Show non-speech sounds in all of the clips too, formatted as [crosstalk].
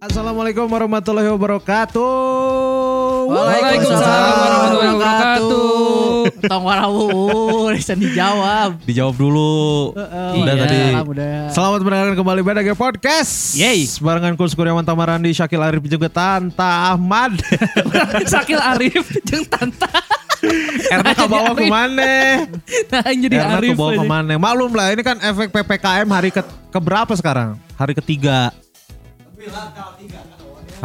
Assalamualaikum warahmatullahi wabarakatuh. Waalaikumsalam warahmatullahi wabarakatuh. Tong [laughs] warawu, Resan dijawab. Dijawab dulu. Udah Iya, tadi. Udah. Selamat mendengarkan kembali Badage Podcast. Yeay. Barengan Kus Kuryawan Tamarandi, Syakil Arif juga Tanta [laughs] Ahmad. [laughs] Sakil Arif jeung Tanta. Erna kebawa Arif. kemana? [laughs] Nah, jadi Erna Arif. kebawa ini. kemana? Maklum lah, ini kan efek PPKM hari ke keberapa sekarang? Hari ketiga. Hari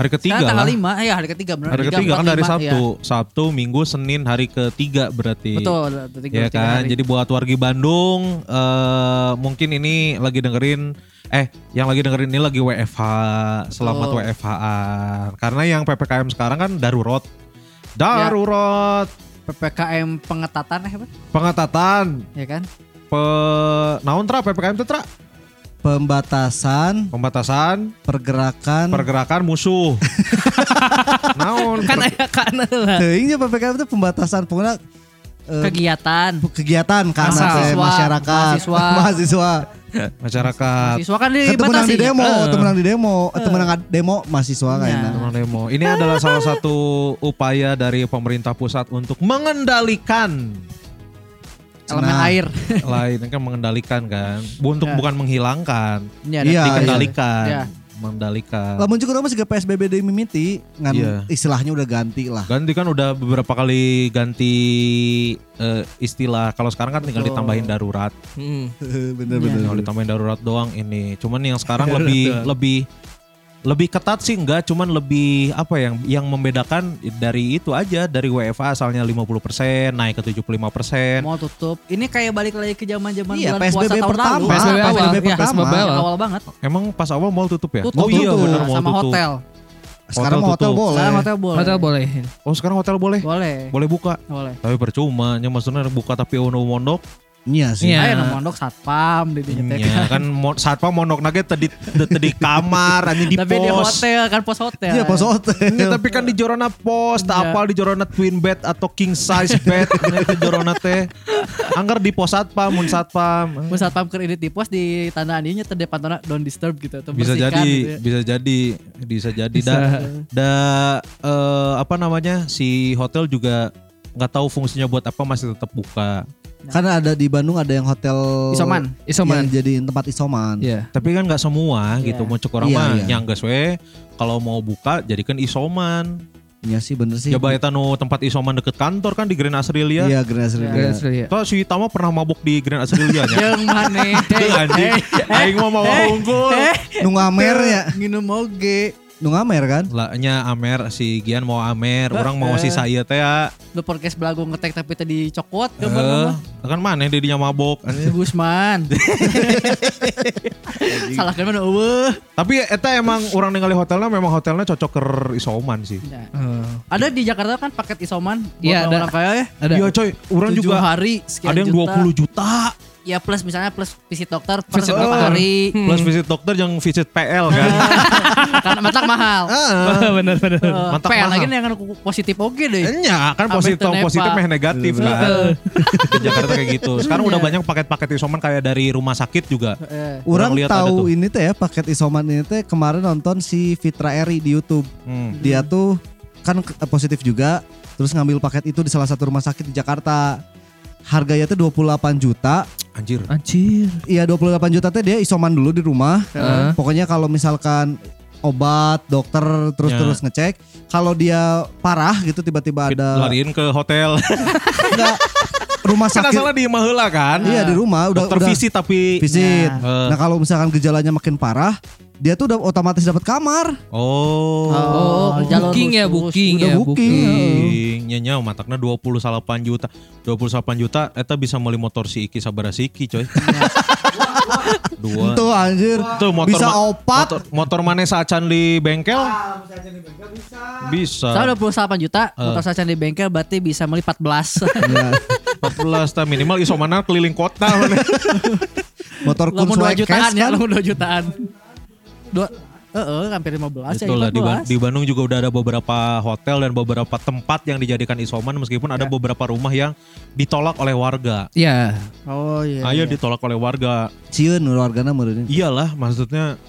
Sekarang ketiga tanggal lah. 5, ya hari ketiga benar. Hari Tiga, ketiga kan empat, dari lima, Sabtu. ya. Sabtu, Minggu, Senin, hari ketiga berarti. Betul, Ya tiga, tiga kan, hari. jadi buat wargi Bandung eh mungkin ini lagi dengerin eh yang lagi dengerin ini lagi WFH, selamat Betul. WFH-an. Karena yang PPKM sekarang kan darurat. Ya. Darurat PPKM pengetatan eh apa? pengetatan Ya kan? pe naon tra PPKM itu tra pembatasan pembatasan Hmm. pergerakan pergerakan [laughs] musuh. naon Kan aya kan lah. Teuingnya PPKM itu pembatasan pengguna eh, [laughs] kegiatan. kegiatan karena Mahasiswa. teh, masyarakat Mahasiswa. [laughs] mahasiswa masyarakat Siswa kan itu menang dibatasi. di demo Eh, Nah. Iya. itu menang di demo itu menang ad- demo mahasiswa kayaknya Teman demo. Ini adalah salah satu upaya dari pemerintah pusat untuk mengendalikan elemen Nah. air. lain kan mengendalikan kan untuk Ya. bukan menghilangkan Iya, Iya, ada- dikendalikan Iya. mengendalikan lamun juga orang masih ke PSBB di mimiti ngan Iya. istilahnya udah ganti [laughs] lah ganti kan udah beberapa kali ganti eh, istilah kalau sekarang kan tinggal Betul. ditambahin darurat bener Iya. bener tinggal ditambahin darurat doang ini cuman yang sekarang lebih lebih lebih ketat sih enggak cuman lebih apa yang yang membedakan dari itu aja dari WFA asalnya 50% naik ke 75% Mau tutup. Ini kayak balik lagi ke zaman-zaman Iya, bulan puasa PSBB tahun pertama. lalu. PSBB Ah, awal. Iya, PSBB awal. awal. Awal banget. emang pas awal mall tutup ya Tutup oh iya tutup. benar mall sama tutup hotel. sekarang Hotel mau hotel tutup. boleh Sekarang hotel boleh. Hotel boleh. oh sekarang hotel boleh Boleh. boleh buka Boleh. Tapi percuma, nya maksudnya buka tapi ono mondok. iya sih Iya. Ayo nah, mondok satpam di dinya Iya, teh. Ya kan mo- satpam mondok nage tadi tadi kamar [laughs] anjing di Tapi di pos. hotel kan pos hotel. iya pas Nya, hotel tapi kan di jorona pos, tak Iya. apal di jorona twin bed atau king size bed [laughs] nya di jorona teh. Angger di pos satpam, mun satpam. Mun satpam keur edit di pos di tanda andinya teh depan don't disturb gitu atau Bisa bersihkan jadi, gitu ya. bisa jadi, bisa jadi. Da, da eh, apa namanya si hotel juga nggak tahu fungsinya buat apa masih tetap buka. karena ada di Bandung ada yang hotel Isoman. Isoman. yang jadiin tempat isoman Iya. Tapi kan nggak semua Iya. gitu. Mau cukur Iya, mah iya. nyangges we. Kalau mau buka jadikan isoman. iya sih bener sih Coba eta nu tempat isoman deket kantor kan di Grand Asrilia. iya Grass Iya. Iya. Tuh si Tama pernah mabuk di Grand Asrilia [laughs] nya. Yang Eh, mana? Tuh, anjing. Aing mah mau unggul. nungamer ya Nginum oge. nungamer kan Lah nya Amer si Gian mau Amer, orang mau si saya teh ya. Lu podcast belagu ngetek tapi tadi cokot ke Eh, mana? Eh, kan mana didinya mabok. anjing. Gusman. Salah kan mana eueuh. Tapi eta emang orang ningali hotelnya memang hotelnya cocok ke isoman sih. Ya. Eh, Ada di Jakarta kan paket isoman buat Iya, ada. orang kaya ya. Ada. [laughs] Iya coy, orang Tujuh juga hari sekian ada yang juta. 20 juta Ya plus misalnya plus visit dokter per Visit berapa dokter. hari. [laughs] plus visit dokter yang visit PL kan. Karena matak mahal. Bener bener. Eh, Matak PL Eh, mahal. lagi nih yang positif oke deh. Enya kan Abis positif itu nepa. Iya. positif meh negatif [laughs] kan. Di Jakarta kayak gitu. Sekarang udah banyak paket-paket isoman kayak dari rumah sakit juga. Eh, Orang Orang lihat ada tuh. tahu ini teh ya paket isoman ini teh kemarin nonton si Fitra Eri di YouTube. Hmm. Dia tuh kan ke- positif juga terus ngambil paket itu di salah satu rumah sakit di Jakarta. Harganya tuh 28 juta. Anjir. Anjir. Iya 28 juta teh dia isoman dulu di rumah. Heeh. Pokoknya kalau misalkan obat, dokter Ya. terus-terus ngecek, kalau dia parah gitu tiba-tiba ada Lariin ke [laughs] hotel. enggak [laughs] rumah Kan sakit. asalnya di Maheula kan. Iya di rumah udah Dokter udah visi tapi visit. Eh. Nah, kalau misalkan gejalanya makin parah, dia tuh udah otomatis dapat kamar. oh. Ah. Oh, jalur booking ya khusus. booking Udah ya booking. Nyanya matakna 28 juta. 28 juta eta bisa meli motor si Iki Sabara si Iki [laughs] coy. Dua. Tuh Gitu, anjir. Tuh motor Iya. bisa ma- opat. [laughs] Ah, Motor, motor mana sacan di bengkel? bisa. Saya 28 juta, motor sacan di bengkel berarti bisa beli 14. Ya, 14 ta minimal isomanan keliling kota. motor Lamun 2 Kunsway jutaan cash ya, kan. lamun 2 jutaan. Dua Heeh, hampir 15 ya, Betul lah di, Ban- 14. di Bandung juga udah ada beberapa hotel dan beberapa tempat yang dijadikan isoman meskipun ada beberapa rumah yang ditolak oleh warga. Iya. Oh Ya, iya. Ayo ditolak oleh warga. Cieun wargana meureun. Iyalah maksudnya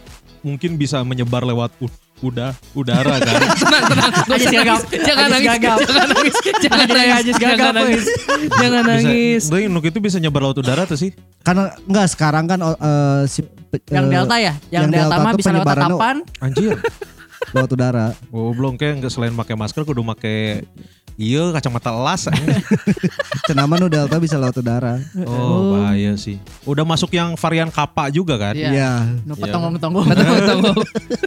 mungkin bisa menyebar lewat uh, udah udara kan. tenang, tenang. Gak Ajis usah gagap. nangis. Ajis Jangan nangis. gagap. [laughs] Jangan nangis. Jangan Ada yang nangis. Ajis Jangan gagap, woy. nangis. [laughs] Jangan Bisa- nangis. Tapi nuk itu bisa nyebar laut udara tuh sih. Karena enggak sekarang kan eh, si pe- Yang eh, delta ya, yang, yang delta, delta mah tuh bisa lewat penyebarannya- tatapan. Anjir. lewat udara. [laughs] Oh belum kayak nggak selain pakai masker kudu pakai iya kacamata elas. Cenama nu delta bisa lewat udara. oh bahaya sih. Udah masuk yang varian kappa juga kan. Iya. Iya. Nu Iya. petonggong-tonggong. Tunggu.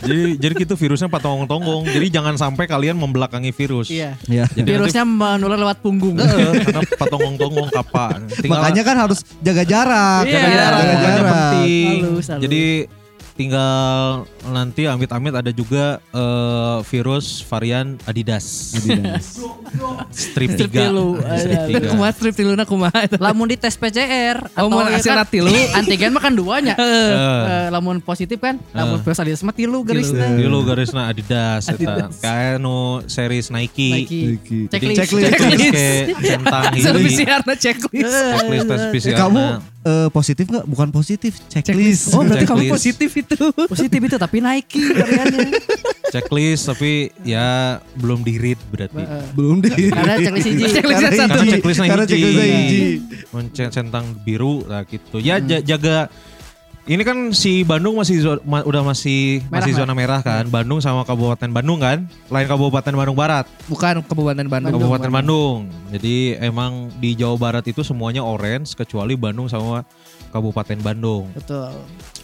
jadi jadi gitu virusnya patong-tonggong. Jadi jangan sampai kalian membelakangi virus. [laughs] Iya. Iya. Jadi Virusnya menular lewat punggung. Heeh, karena patongong-tongong kapan. Tinggal Makanya kan harus jaga jarak. Iya, jaga jarak. jarak, Jaga jaraknya jarak. penting. Halus, halus. Jadi tinggal nanti amit-amit ada juga eh, virus varian Adidas. Adidas. Strip 3. Strip tilu. Strip Ada. tiga. Kumaha strip tiluna kumaha eta. Lamun di tes PCR Oh, mau ya hasil kan, tilu. antigen mah kan duanya. [laughs] Heeh. Eh, Eh, lamun positif kan, lamun virus adidas mah tilu garisna. Tilu garisna Adidas, eta. Kayak nu series Nike. Nike. Oke. Checklist. Checklist. Terus Checklist. ke [laughs] centang Hasil hili. PCR na [laughs] checklist. Checklist tes Eh, PCR. kamu Nah, eh, positif nggak? Bukan positif, checklist. Oh berarti kamu Checklist. positif itu. Positif itu tapi Nike variannya. checklist tapi ya belum di read berarti. Oh, Eh, belum deh. Karena [laughs] checklist hiji. Checklist yang Karena satu. Karena hiji. checklistnya Karena hiji. checklistnya hiji. Mencet centang biru lah gitu. Ya ja- jaga ini kan si Bandung masih zo- ma- udah masih Merah, masih Mbak. zona merah kan. Bandung sama Kabupaten Bandung kan. Lain Kabupaten Bandung Barat, Bukan Kabupaten Bandung. Kabupaten Bandung. Jadi emang di Jawa Barat itu semuanya orange kecuali Bandung sama Kabupaten Bandung. Betul.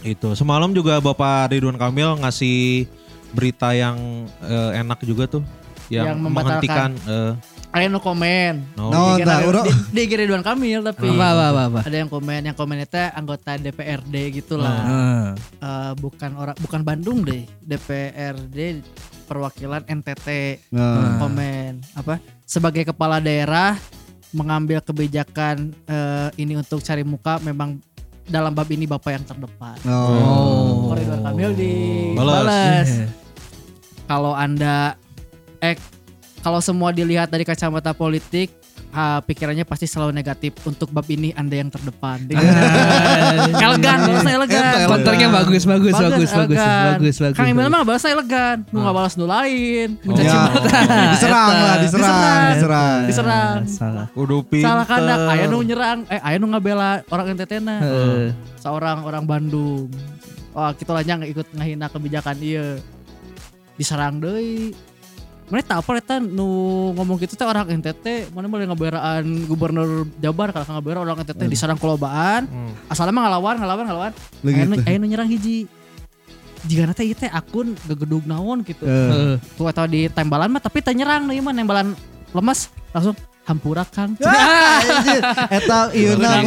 Itu. Semalam juga Bapak Ridwan Kamil ngasih berita yang eh, enak juga tuh yang, Yang menghentikan membatalkan. Ada yang no komen. eh, no. No. Oh, Di entah, Gira- urang. di- Di IG Ridwan Kamil tapi. Apa apa apa apa. Ada yang komen, yang komen itu anggota DPRD gitu lah. Nah. Heeh. Eh, bukan orang bukan Bandung deh, DPRD perwakilan NTT. Nah. komen apa sebagai kepala daerah mengambil kebijakan eh, ini untuk cari muka memang dalam bab ini bapak yang terdepan. Oh. Koridor Kamil di Balas. balas. Kalau anda eh kalau semua dilihat dari kacamata politik ah, pikirannya pasti selalu negatif untuk bab ini anda yang terdepan. [laughs] elegan, bahasa elegan. Elegan. Konternya bagus bagus bagus bagus elegan. bagus bagus. Ah. Oh, iya. Kang Emil mah bahasa elegan, mau nggak balas nu lain, mencaci Ya. maki, Diserang Eta. lah, diserang, Diserang. diserang. diserang. Salah. Kudu pinter. Salah kandak, aya nu nyerang, eh aya nu ngabela orang NTT na. Heeh. Seorang orang Bandung. Wah, kita lah nya ikut ngahina kebijakan ieu. Diserang deui. Mana tak apa eta nu ngomong gitu teh orang NTT, mana boleh ngabelaan gubernur Jabar kalau ngabera orang NTT diserang kolobaan. Hmm. Asalnya mah ngalawan, ngalawan, ngalawan. Lu Aya nu gitu. aya nu nyerang hiji. Jika nanti itu akun gegedug naon gitu. Eh, Heeh. Tuh atau di tembalan mah tapi teh nyerang deui mah tembalan lemes langsung hampura Kang. anjir. Eta Iuna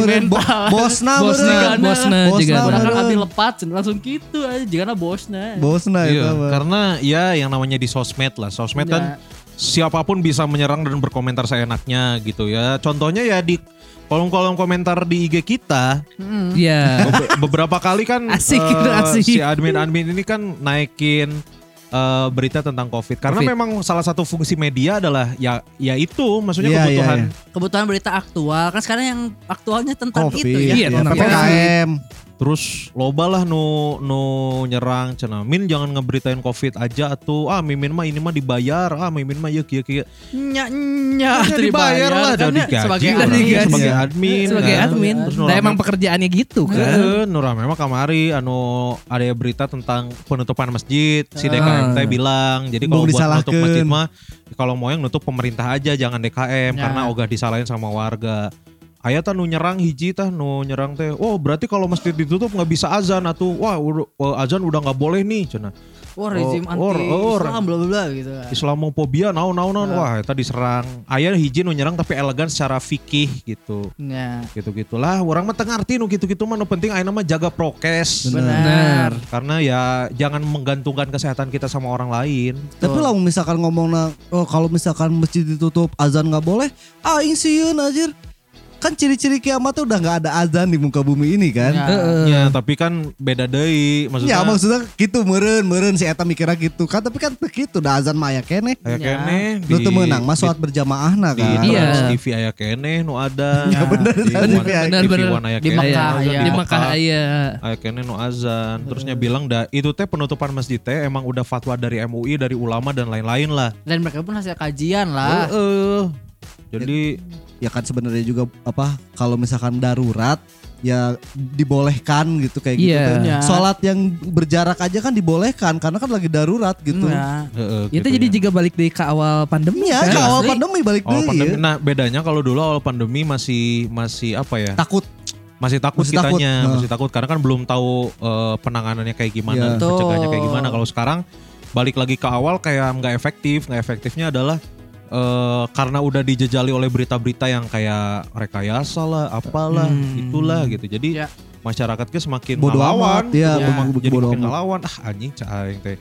Menang meureun iya, nah, bo mental. bosna Bosna, meureun. bosna juga. Bosna Orang abdi meureun. lepat cenah langsung gitu aja jigana bosna. Bosna Iya, eta mah. karena ya yang namanya di sosmed lah. Sosmed kan Ya. siapapun bisa menyerang dan berkomentar seenaknya gitu ya. Contohnya ya di kolom-kolom komentar di IG kita Iya. be- beberapa kali kan Asik, eh, asik. si admin-admin ini kan naikin eh, berita tentang Covid karena Covid. memang salah satu fungsi media adalah ya ya itu maksudnya Iya, iya, kebutuhan iya. Kebutuhan berita aktual kan sekarang yang aktualnya tentang Covid, itu ya. Iya, ya, tenang. PPKM. terus loba lah nu nu nyerang cenah min jangan ngeberitain Covid aja tuh ah mimin mah ini mah dibayar ah mimin mah yuk yuk yuk Nya nya Maksudnya dibayar lah kan dari ya, sebagai orang. admin. Digaji. sebagai admin Sebagai kan. admin. Terus Nah nurame- emang pekerjaannya gitu kan. Heeh, nurame mah kamari anu ada berita tentang penutupan masjid si DKM teh bilang jadi kalau Bung buat nutup disalahkeun. masjid mah kalau mau yang nutup pemerintah aja jangan DKM Ya. karena ogah disalahin sama warga Aya tah nu nyerang hiji tah nu nyerang teh. Oh, berarti kalau masjid ditutup nggak bisa azan atuh. Wah, udah- wah, azan udah nggak boleh nih cenah. Wah, rezim Or- anti or- Islam bla bla bla gitu. Islamophobia naon naon naon. Wah, eta diserang. Aya hiji nu nyerang tapi elegan secara fikih gitu. Nah, Gitu-gitulah, orang mah teu ngarti nu gitu-gitu mah nu penting ayeuna mah jaga prokes. benar. Karena ya jangan menggantungkan kesehatan kita sama orang lain. Tapi lah misalkan ngomong oh, kalau misalkan masjid ditutup azan nggak boleh, aing ah, sieun anjir. kan ciri-ciri kiamat tuh udah nggak ada azan di muka bumi ini kan. Ya. Ya, tapi kan beda deui maksudnya. Ya maksudnya gitu meureun meureun si eta mikirnya gitu kan tapi kan teu kitu da azan mah aya keneh. Aya kene Iya. Lu tuh menang mas sholat berjamaah nah di kan. Iya. Trans TV aya kene nu ada. Ya, bener, Di Trans One- TV aya kene. TV One aya Di kene. Mekah, iya. Di Mekah iya. Aya kene nu azan. Terusnya bilang dah itu teh penutupan masjid teh emang udah fatwa dari MUI, dari ulama dan lain-lain lah. Dan mereka pun hasil kajian lah. Heeh. Jadi Ya kan sebenarnya juga apa kalau misalkan darurat ya dibolehkan gitu kayak gitu. Iya. kan. Iya. Sholat yang berjarak aja kan dibolehkan karena kan lagi darurat gitu. Nah. Ya. heeh gitu Itu Iya jadi ya. jika balik dari ke awal pandemi Iya, kan? ke awal Asli. pandemi balik Awal deh. pandemi, nah bedanya kalau dulu awal pandemi masih masih apa ya? Takut. Masih takut Masih takut, kitanya, nah. masih takut karena kan belum tahu eh, penanganannya kayak gimana, Iya. pencegahannya kayak Betul. gimana. Kalau sekarang balik lagi ke awal kayak nggak efektif, nggak efektifnya adalah eh, karena udah dijejali oleh berita-berita yang kayak rekayasa lah, apalah, itulah gitu. Jadi Iya. masyarakatnya semakin Hmm. Bodo ngelawan, amat, iya, jadi bodo- jadi bodo makin amat. ngelawan. Ah anjing caing teh.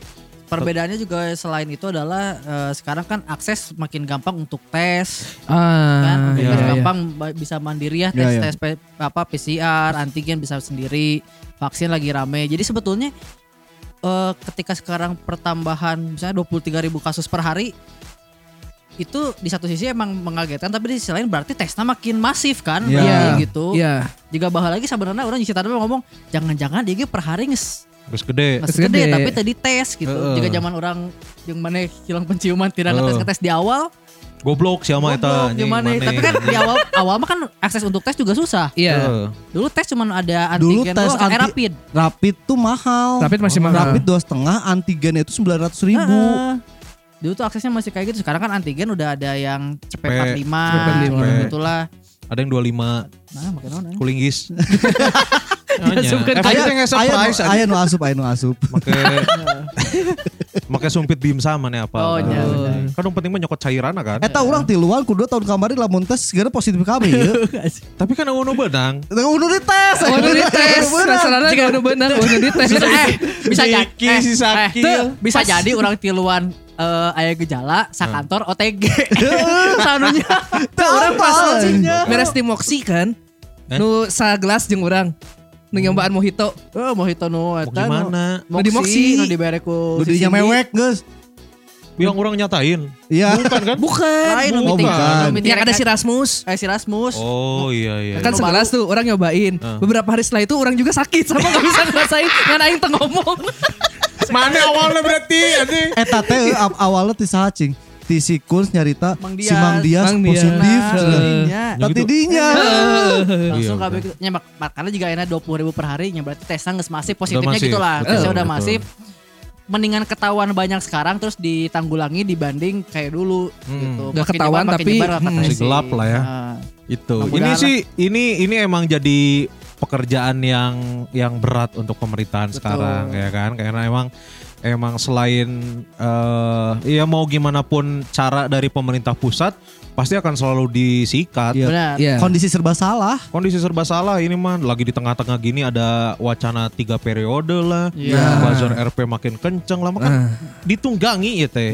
Perbedaannya juga selain itu adalah eh, sekarang kan akses makin gampang untuk tes kan, Ah, Untuk iya, tes iya. gampang ba- bisa mandiri ya Iya, tes iya. tes pe- apa PCR, antigen bisa sendiri, vaksin lagi rame. Jadi sebetulnya eh, ketika sekarang pertambahan misalnya 23.000 kasus per hari itu di satu sisi emang mengagetkan tapi di sisi lain berarti tesnya makin masif kan Iya. berarti gitu. Iya. Jika bahal lagi sebenarnya orang di tadi ngomong jangan-jangan dia ge per hari nges Terus gede. nges Gede. gede tapi tadi tes gitu. Heeh. Jika zaman orang yang mana hilang penciuman tidak Heeh. ngetes-ngetes di awal Goblok siapa eta? Goblok, anjing, ya? gimana maneh, tapi kan anjing. di awal awal mah kan akses untuk tes juga susah Iya. Heeh. dulu tes cuman ada Dulu antigen tes doang sama anti- rapid Rapid tuh mahal. Rapid masih mahal. Rapid dua setengah, antigennya itu sembilan ratus ribu. Ah. Heeh. dulu tuh aksesnya masih kayak gitu sekarang kan antigen udah ada yang Cepet, CP45 cepet 45. gitu gitulah Ada yang 25 nah makin naon, anjing. [laughs] kulinggis. sebutkan. Efeknya nggak surprise. aya nu asup, aya nu asup. [laughs] Make [laughs] make sumpit bim sama nih apa? Iya. Oh, iya, Eh. bener. kan yang penting mah nyokot cairan kan. Eta Eh, orang tiluan kudu tahun kemarin lamun tes segera positif kami [laughs] ya. Tapi kan anu benang. Udah dites. Oh, [laughs] udah dites. Udah bener. Rasanya gak udah benar. Udah dites. bisa eh, bisa jadi Diki, eh, si Sakil. tuh, bisa jadi orang tiluan eh aya gejala sakantor OTG [laughs] sanunya Teu orang apal. pas beres di Moxie kan. Eh? Nu sagelas jeung urang. Nu nyombaan mojito. eh mau hito nu Mau eta nu- gimana? Nu di Moxie. Moxie, nu dibere ku Udah si dinya Cindy. mewek guys. Yang orang nyatain. Iya. Bukan [laughs] kan? Bukan. lain nu Oh, meeting bukan. nu meeting kan. Yang ada si kayak- Rasmus. kayak si Rasmus Oh iya iya. Kan Baru- segelas tuh orang nyobain. Heeh. Beberapa hari setelah itu orang juga sakit sama gak bisa ngerasain ngan aing teu [laughs] ngomong. Mana awalnya berarti anjing. Eta teh aw- eh, awalnya ti saha cing? Ti si Kunz nyarita Mang si Mang Dias Mang Dias. positif. Nah, cenah. jadinya. Tapi Gitu. dinya. Iya, [laughs] betul. langsung kabeh gitu. Ya, mak- makanya juga enak 20 ribu per hari berarti tesnya nggak masif positifnya masif, gitu lah betul, tesnya udah betul. masif mendingan ketahuan banyak sekarang terus ditanggulangi dibanding kayak dulu Hmm. gitu Nggak Makin ketahuan, nyebar, makin tapi, nyebar, kata hmm, masih si- gelap lah ya. Ah. Itu. Ini Mudah-mudahan sih ini ini emang jadi pekerjaan yang yang berat untuk pemerintahan Betul. sekarang ya kan karena emang emang selain eh ya mau gimana pun cara dari pemerintah pusat pasti akan selalu disikat. ya Iya. benar Iya. Kondisi serba salah. Kondisi serba salah ini mah lagi di tengah-tengah gini ada wacana tiga periode lah. Iya. Buzzer RP makin kenceng lah makan Eh. ditunggangi ya [laughs] teh.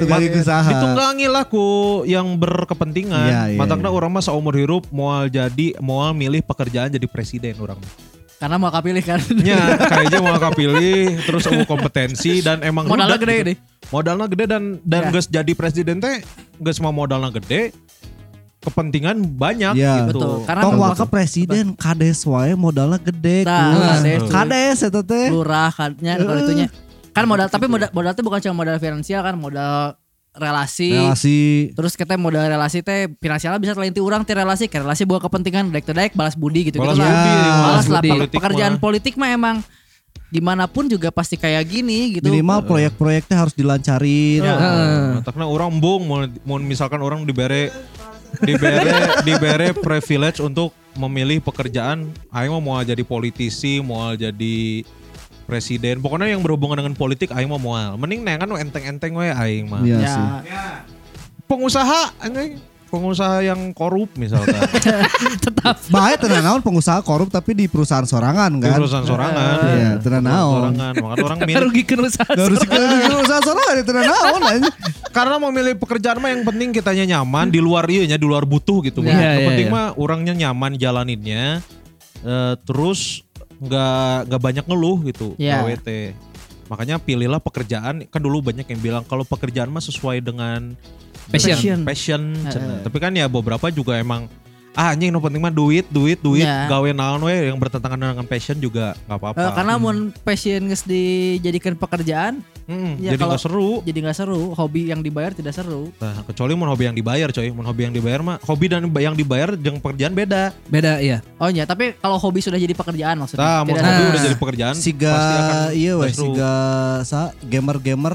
Tukang usaha. ditunggangi lah ku yang berkepentingan. Iya, iya, Matakna iya. orang mah seumur hidup moal jadi moal milih pekerjaan jadi presiden orang. mah. karena mau kapilih [laughs] kan Nya kayaknya mau kapilih terus aku kompetensi dan emang modalnya udah gede gitu. deh Modalnya gede dan dan Iya. Ya. geus jadi presiden teh geus mau modalnya gede kepentingan banyak Iya. gitu. betul karena Tong memang wakil presiden kades wae modalnya gede. Tah, Kunz. kades, cuy. Kades ya, eta teh. lurah kannya kalau itunya kan modal tapi modal modal itu bukan cuma modal finansial kan modal relasi, Relasi. terus kita modal relasi teh finansialnya bisa telinti orang ti relasi ke relasi buat kepentingan daek daek balas budi gitu gitu Balas Iya. budi, balas lah budi. pe- Politik pekerjaan mah. politik mah emang gimana pun juga pasti kayak gini gitu Minimal proyek-proyeknya harus dilancarin. Iya. Matakna orang bung mau, mau misalkan orang dibere dibere dibere privilege untuk memilih pekerjaan aing mah mau jadi politisi, mau jadi presiden. Pokoknya yang berhubungan dengan politik aing mah moal. Mending nengan we enteng-enteng we aing mah. Iya ya sih. Pengusaha anjing, pengusaha yang korup misalkan. Bae tenan naon pengusaha korup tapi di perusahaan sorangan Di kan. perusahaan sorangan. Iya, tenan Perusahaan naon. Sorangan, makanya orang milih kan Rugikan usaha. Harus di perusahaan sorangan ya tenan naon anjing. karena memilih pekerjaan mah yang penting kitanya nyaman di luar iya nya, di luar butuh gitu. Iya, Yang iya, penting iya. mah orangnya nyaman jalaninnya. eh, terus nggak nggak banyak ngeluh gitu Iya. gawe teh. Makanya pilihlah pekerjaan. Kan dulu banyak yang bilang kalau pekerjaan mah sesuai dengan Passion. dengan passion. cenah. Tapi kan ya beberapa juga emang ah anjing no penting mah duit, duit, duit. Iya. Gawe naon we yang bertentangan dengan passion juga nggak apa-apa. Eh, karena mun passion geus dijadikan pekerjaan Mm, ya jadi kalau- nggak seru. jadi nggak seru, hobi yang dibayar tidak seru. Nah, kecuali mau hobi yang dibayar coy. Mau hobi yang dibayar mah hobi dan yang dibayar dengan pekerjaan beda. Beda iya. Oh iya, tapi kalau hobi sudah jadi pekerjaan maksudnya. Nah, mau Tidak hobi seru. udah jadi pekerjaan siga kan pasti akan iya weh seru. siga sa gamer gamer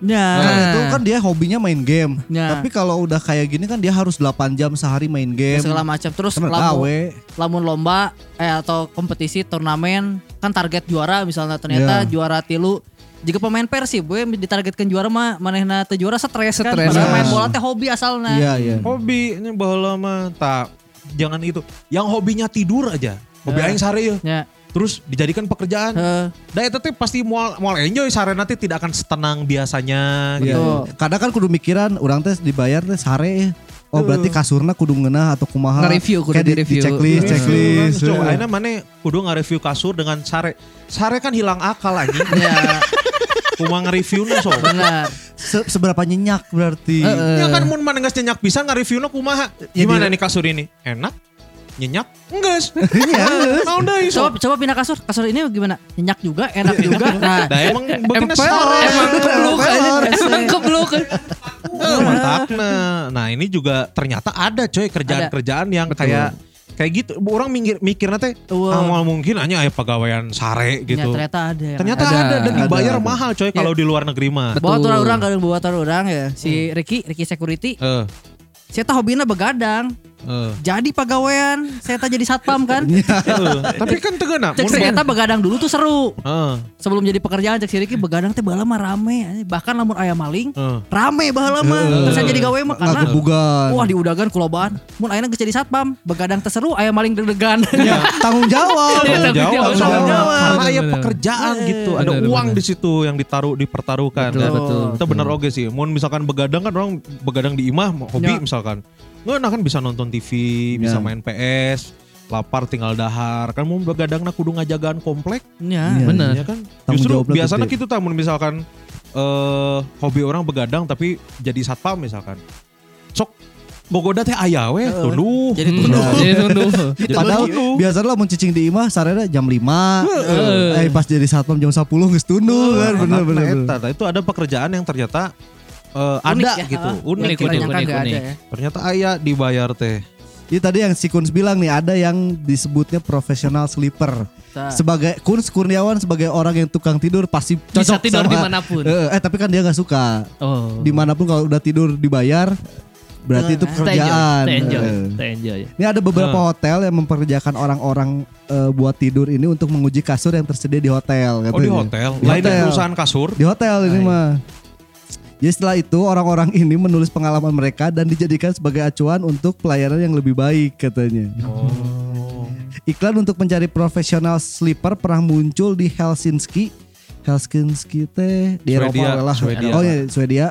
Nah, Ya. itu kan dia hobinya main game Ya. tapi kalau udah kayak gini kan dia harus 8 jam sehari main game segala macam terus Temen lamun, gawe lamun lomba eh atau kompetisi turnamen kan target juara misalnya ternyata juara tilu jika pemain Persib we ditargetkan juara mah manehna teu juara stres kan Stres. padahal main Iya. bola teh hobi asalna iya iya Hobi ini baheula mah tak jangan itu. Yang hobinya tidur aja. Hobi Eh. aing sare ya. Ya. Terus dijadikan pekerjaan. Heeh. Da eta teh pasti moal moal enjoy sare nanti tidak akan setenang biasanya Iya, gitu. iya. kadang kan kudu mikiran orang tes dibayar teh sare oh berarti kasurna kudu ngeunah atau kumaha Nge-review, kudu Kayak di- di-review. di checklist Iya. checklist Coba akhirnya mana kudu nge-review kasur dengan sare. Sare kan hilang akal anjing. Iya. Cuma nge-review so. benar Se- seberapa nyenyak berarti Ya kan mun mana geus nyenyak pisan ngarevieuna kumaha? Ya, Gimana di- nih kasur ini? Enak? Nyenyak? Enggeus. Iya, geus. Naon deui sok. coba coba pindah kasur kasur ini gimana nyenyak juga enak juga nah Da emang beukna Emper, sore. emang kebluk aja. Emang kebluk. Eh, Matakna. Nah, ini juga ternyata ada coy kerjaan-kerjaan yang kayak kayak gitu. Orang mikir mikirnya teh Wow. ah, mau mungkin hanya aya pegawaian sare Ya, gitu. ternyata ada Ya. yang Ternyata Ada, ada, dan ada, dibayar ada. mahal coy kalau di luar negeri mah. Bet- bawa Betul. orang kadang bawa orang ya si Ricky Ricky security Eh, saya tahu hobina begadang eh. jadi pagawean saya tahu jadi satpam kan Iya, [laughs] Eh, Tapi kan tegena. cek mun- ternyata begadang dulu tuh seru Eh, sebelum jadi pekerjaan cek si Ricky begadang teh bahala mah rame bahkan lamun ayam maling eh. rame bahala mah terus saya jadi gawe mah karena ngagebugan Wah diudagan kulobaan Mun ayeuna geus jadi satpam Begadang terseru Ayam maling deg-degan tanggung jawab tanggung jawab, Iya, Tanggung tanggung jawab. Iya, jawab. karena ya Bener-bener. pekerjaan Iya, gitu ada Bener-bener. uang di situ yang ditaruh dipertaruhkan Betul, Dan betul. itu benar oke sih mau misalkan begadang kan orang begadang di imah hobi Ya. misalkan nggak nah kan bisa nonton TV bisa Ya. main PS lapar tinggal dahar kan mau begadang nak kudu ngajagaan komplek Ya. Iya, Bener. ya kan Tanggung justru jawabnya biasanya gede. gitu tamun misalkan eh hobi orang begadang tapi jadi satpam misalkan sok bogoda teh ayah weh tunduh Jadi Iya. Hmm, tunduh Jadi tunduh. Padahal gitu. biasanya lah mencicing di imah sarana jam 5. Heeh. Oh, Eh pas jadi satpam jam 10 geus tundul kan bener Nah, bener. eta, bener. nah, itu ada pekerjaan yang ternyata eh, ada ya, gitu, ha. unik, Unik, gitu. unik. Ternyata nggak ada ya Ternyata ayah dibayar teh. Ini tadi yang si Kuns bilang nih ada yang disebutnya profesional sleeper. Nah. Tah. Sebagai Kuns Kurniawan sebagai orang yang tukang tidur pasti cocok Bisa tidur sama- dimanapun. Eh, eh, tapi kan dia nggak suka. Oh. nah. Dimanapun kalau udah tidur dibayar berarti itu Stay enjoy, pekerjaan. stay enjoy, Eh. stay enjoy. Ini ada beberapa hotel yang memperkerjakan orang-orang eh, buat tidur ini untuk menguji kasur yang tersedia di Oh hotel. di katanya. hotel, Di lain di hotel. perusahaan kasur. Di hotel ini mah. Jadi setelah itu orang-orang ini menulis pengalaman mereka dan dijadikan sebagai acuan untuk pelayanan yang lebih baik katanya. Oh. Iklan untuk mencari profesional sleeper pernah muncul di Helsinki. Helsinki teh di Swedia, Eropa lah. Swedia. Oh iya, Swedia.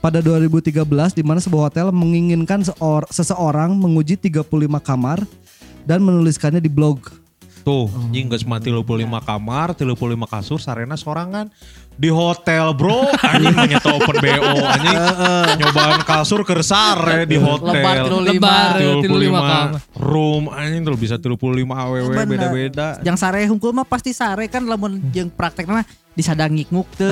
Pada 2013 di mana sebuah hotel menginginkan seor- seseorang menguji 35 kamar dan menuliskannya di blog. Tuh, anjing geus mah 35 kamar, 35 kasur, sarena sorangan. Di hotel bro, anjing mah nyetok open BO, [laughs] anjing nyobaan kasur kersare di Lebar hotel. 35. Lebar 35 kamar. 35 room, anjing tuh bisa 35 aww Bener. beda-beda. Yang sare hungkul mah pasti sare kan lamun yang prakteknya mah disadang ngikmuk teu.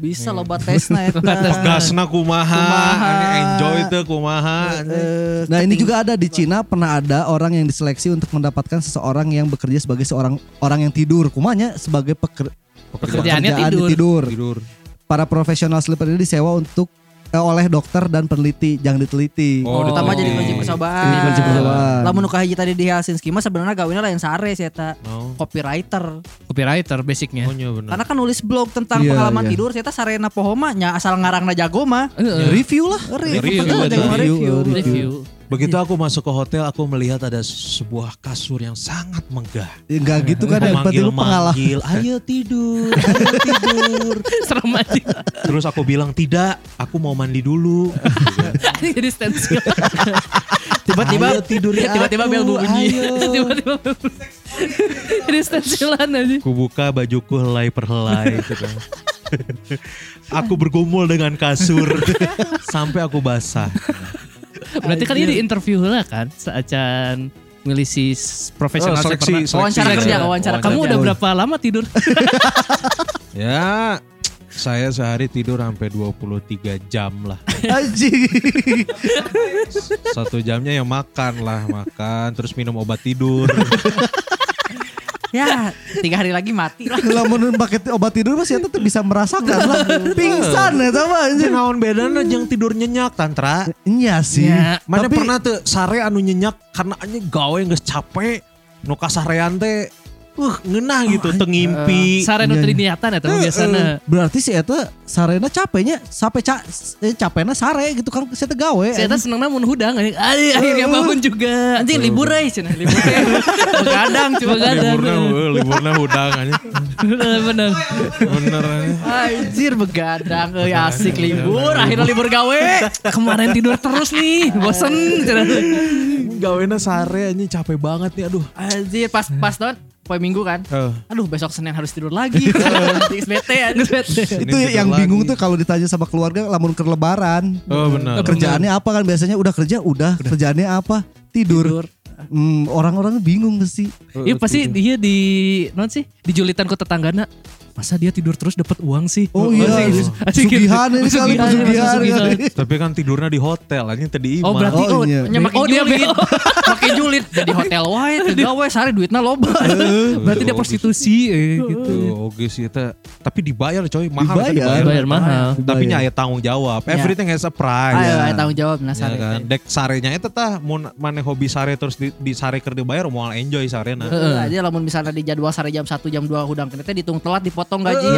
Bisa loba tesna eta. Gasna kumaha, Kumaha. anjing enjoy tuh kumaha. anjing. Nah ini juga ada di Cina pernah ada orang yang diseleksi untuk mendapatkan seseorang yang bekerja sebagai seorang orang yang tidur. Kumanya sebagai peker- Pekerjaannya pekerjaan di tidur. Tidur. Para profesional sleeper ini disewa untuk eh, oleh dokter dan peneliti, jangan diteliti. Oh, Pertama jadi diteliti. kunci percobaan. Jadi kunci percobaan. Lamun nu kahiji tadi di Helsinki mah sebenarnya gawina lain sare sih eta. Oh. Copywriter. Copywriter basicnya. Oh iya bener. Karena kan nulis blog tentang Iya, pengalaman iya. tidur, ternyata sarena poho mah nya asal ngarangna jago mah. Heeh. Review lah. Review, Review, penting mah jago Iya, iya, review. review, review. Review. [laughs] Begitu aku masuk ke hotel, aku melihat ada sebuah kasur yang sangat menggah. Enggak gitu kan yang penting lu pengalaman. [laughs] Memanggil-manggil, [laughs] ayo tidur, ayo tidur. Serem aja. [laughs] Terus aku bilang tidak, aku mau mandi dulu. Ini jadi stensil. Ayo Tiba-tiba tidur ya Tiba-tiba aku, bel bunyi. ayo. [laughs] Tiba-tiba bel bunyi. [laughs] Jadi stensilan aja. Aku buka bajuku helai per helai. gitu. aku bergumul dengan kasur sampai aku basah. Berarti kan ini interview lah kan seacan milih si profesional Oh, seleksi, seleksi. seperti- iya. wawancara kerja, wawancara. Kamu Wawancara udah kerja. berapa lama tidur? Ya, saya sehari tidur sampai 23 jam lah. Anjing. [laughs] Satu jamnya ya makan lah, makan terus minum obat [laughs] tidur. ya, tiga hari lagi mati lah. Lamun pakai obat tidur masih tetap bisa merasakan lah. Pingsan ya sama anjing. Naon bedana jeung tidur nyenyak tantra? Iya sih. Ya, Mana Tapi- pernah tuh sare anu nyenyak karena anjing gawe geus capek nu kasarean teh uh ngeunah gitu teu ngimpi. [laughs] Sare nu teu Iya, niatan ya, eta mah biasana. Berarti si Eta sarena capeknya sampai ca eh, capeknya sare gitu kan si Eta gawe. Saya tuh senengnya mun hudang anjing. Ay, akhirnya bangun juga. Anjing libur euy cenah, libur. [laughs] Begadang cuma gadang. Liburna heuh, liburna hudang anjing. Bener bener. Bener eh. anjing. Anjir begadang euy asik libur, akhirnya libur gawe. Kemarin tidur terus nih, bosen cenah. Gawena sare anjing capek banget nih aduh. Anjir pas pas tahun poin minggu kan. Eh, Aduh besok Senin harus tidur [laughs] lagi. Anjing, bete anjing bete. ini itu tidur yang bingung lagi. tuh kalau ditanya sama keluarga lamun ke lebaran. Oh benar. kerjaannya apa kan biasanya udah kerja udah, kerjaannya apa? Tidur. Hmm, orang-orang bingung sih. Iya pasti dia di non sih dijulitan ke tetanggana. Masa dia tidur terus dapat uang sih? Oh, iya, Asik, asik. sugihan ini kali Sugihan, pesugihan. pesugihan. Tapi kan tidurnya di hotel anjing tadi Oh gitu. berarti Oh, oh, iya. nya makin Oh, dia julid, [laughs] makin julid jadi hotel wae, tiga wae sehari duitnya loba. berarti dia prostitusi eh, gitu. Tuh, oke sih eta. Tapi kan dibayar coy, mahal Dibayar. Iya. tapi Bayar mahal. Tapi nya aya tanggung jawab. Everything has a price. Ayo, ayo tanggung jawab nah Ya sare. kan? Dek sarenya eta tah mun mane hobi sare terus di, di sare keur dibayar moal enjoy nah. sarena. Heeh. aja lamun misalnya di jadwal sare jam 1 jam 2 hudang kenete ditung telat dipotong gaji.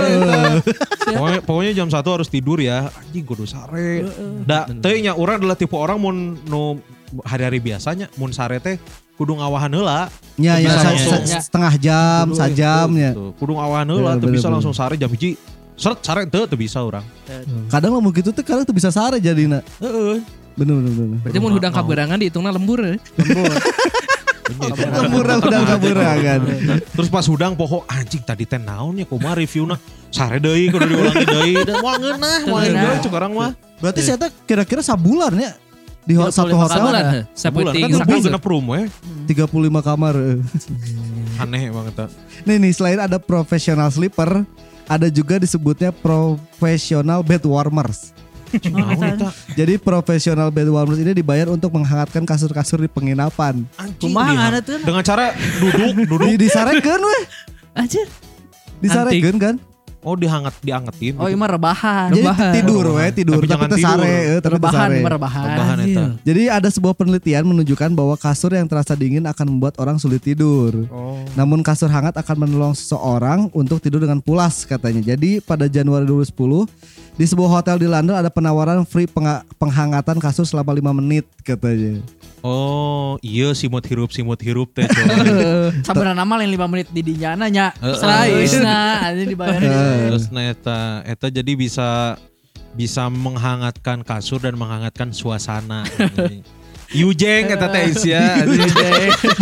pokoknya, pokoknya jam 1 harus tidur ya. Anjing kudu sare. Da teu nya urang adalah tipe orang mun nu hari-hari biasanya mun sare teh kudu ngawahan heula. Ya, ya, Bisa sa- langsung. sa- setengah jam, sajam ya. Tuh, Kudu ngawahan heula Bener, teu bisa bener, langsung sare jam hiji. Seret sare teu teu bisa urang. Kadang lamun gitu tuh kadang tuh bisa sare jadina. Heeh. Bener bener bener. Berarti mun hudang Mau. kaberangan dihitungna lembur. eh. Gitu. Lemurang udah kan. kaburangan. Terus pas hudang poho anjing tadi teh naon ya kumaha reviewna. Sare deui kudu diulangi [laughs] deui. Da moal ngeunah, moal enjoy cuk urang mah. Berarti saya tuh kira-kira sabulan ya di ho- satu hotel Kaburan, eh. Sebulan Saputing kan sakit sakit. [laughs] genep room we. 35 kamar. eh. Aneh banget tak. Nih nih selain ada professional sleeper, ada juga disebutnya professional bed warmers. Naon eta? Jadi professional bed warmers ini dibayar untuk menghangatkan kasur-kasur di penginapan. Anjing. Kumaha dia. ngaranna teu? Dengan cara duduk, duduk. Di disarekeun weh, Anjir. disarekeun kan. Oh dihangat, diangetin. gitu. Oh, ieu mah rebahan. Jadi Rebahan. tidur weh, tidur Tapi tapi jangan teu sare, tidur. eh, tapi teu Rebahan, sare. mah rebahan. Tambahan eta. Jadi ada sebuah penelitian menunjukkan bahwa kasur yang terasa dingin akan membuat orang sulit tidur. Oh. Namun kasur hangat akan menolong seseorang untuk tidur dengan pulas katanya. Jadi pada Januari 2010 di sebuah hotel di London ada penawaran free penga- penghangatan kasur selama 5 menit katanya. [laughs] Oh, iya simut hirup simut hirup teh. Sabenerna nama lain 5 menit di dinyana nya. Heeh. Seraisna anjing dibayar. Terus nah eta eta jadi bisa bisa menghangatkan kasur dan menghangatkan suasana. [laughs] Yujeng eta teh isi ya. anjing.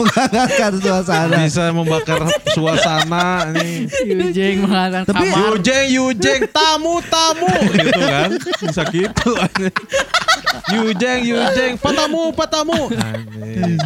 Menghangatkan suasana. Bisa membakar suasana nih. Yujeng mengatakan Tapi- kamar. Yujeng, Yujeng, tamu, tamu gitu kan. Bisa gitu. anjing. Yujeng, Yujeng, patamu, patamu. Anjing.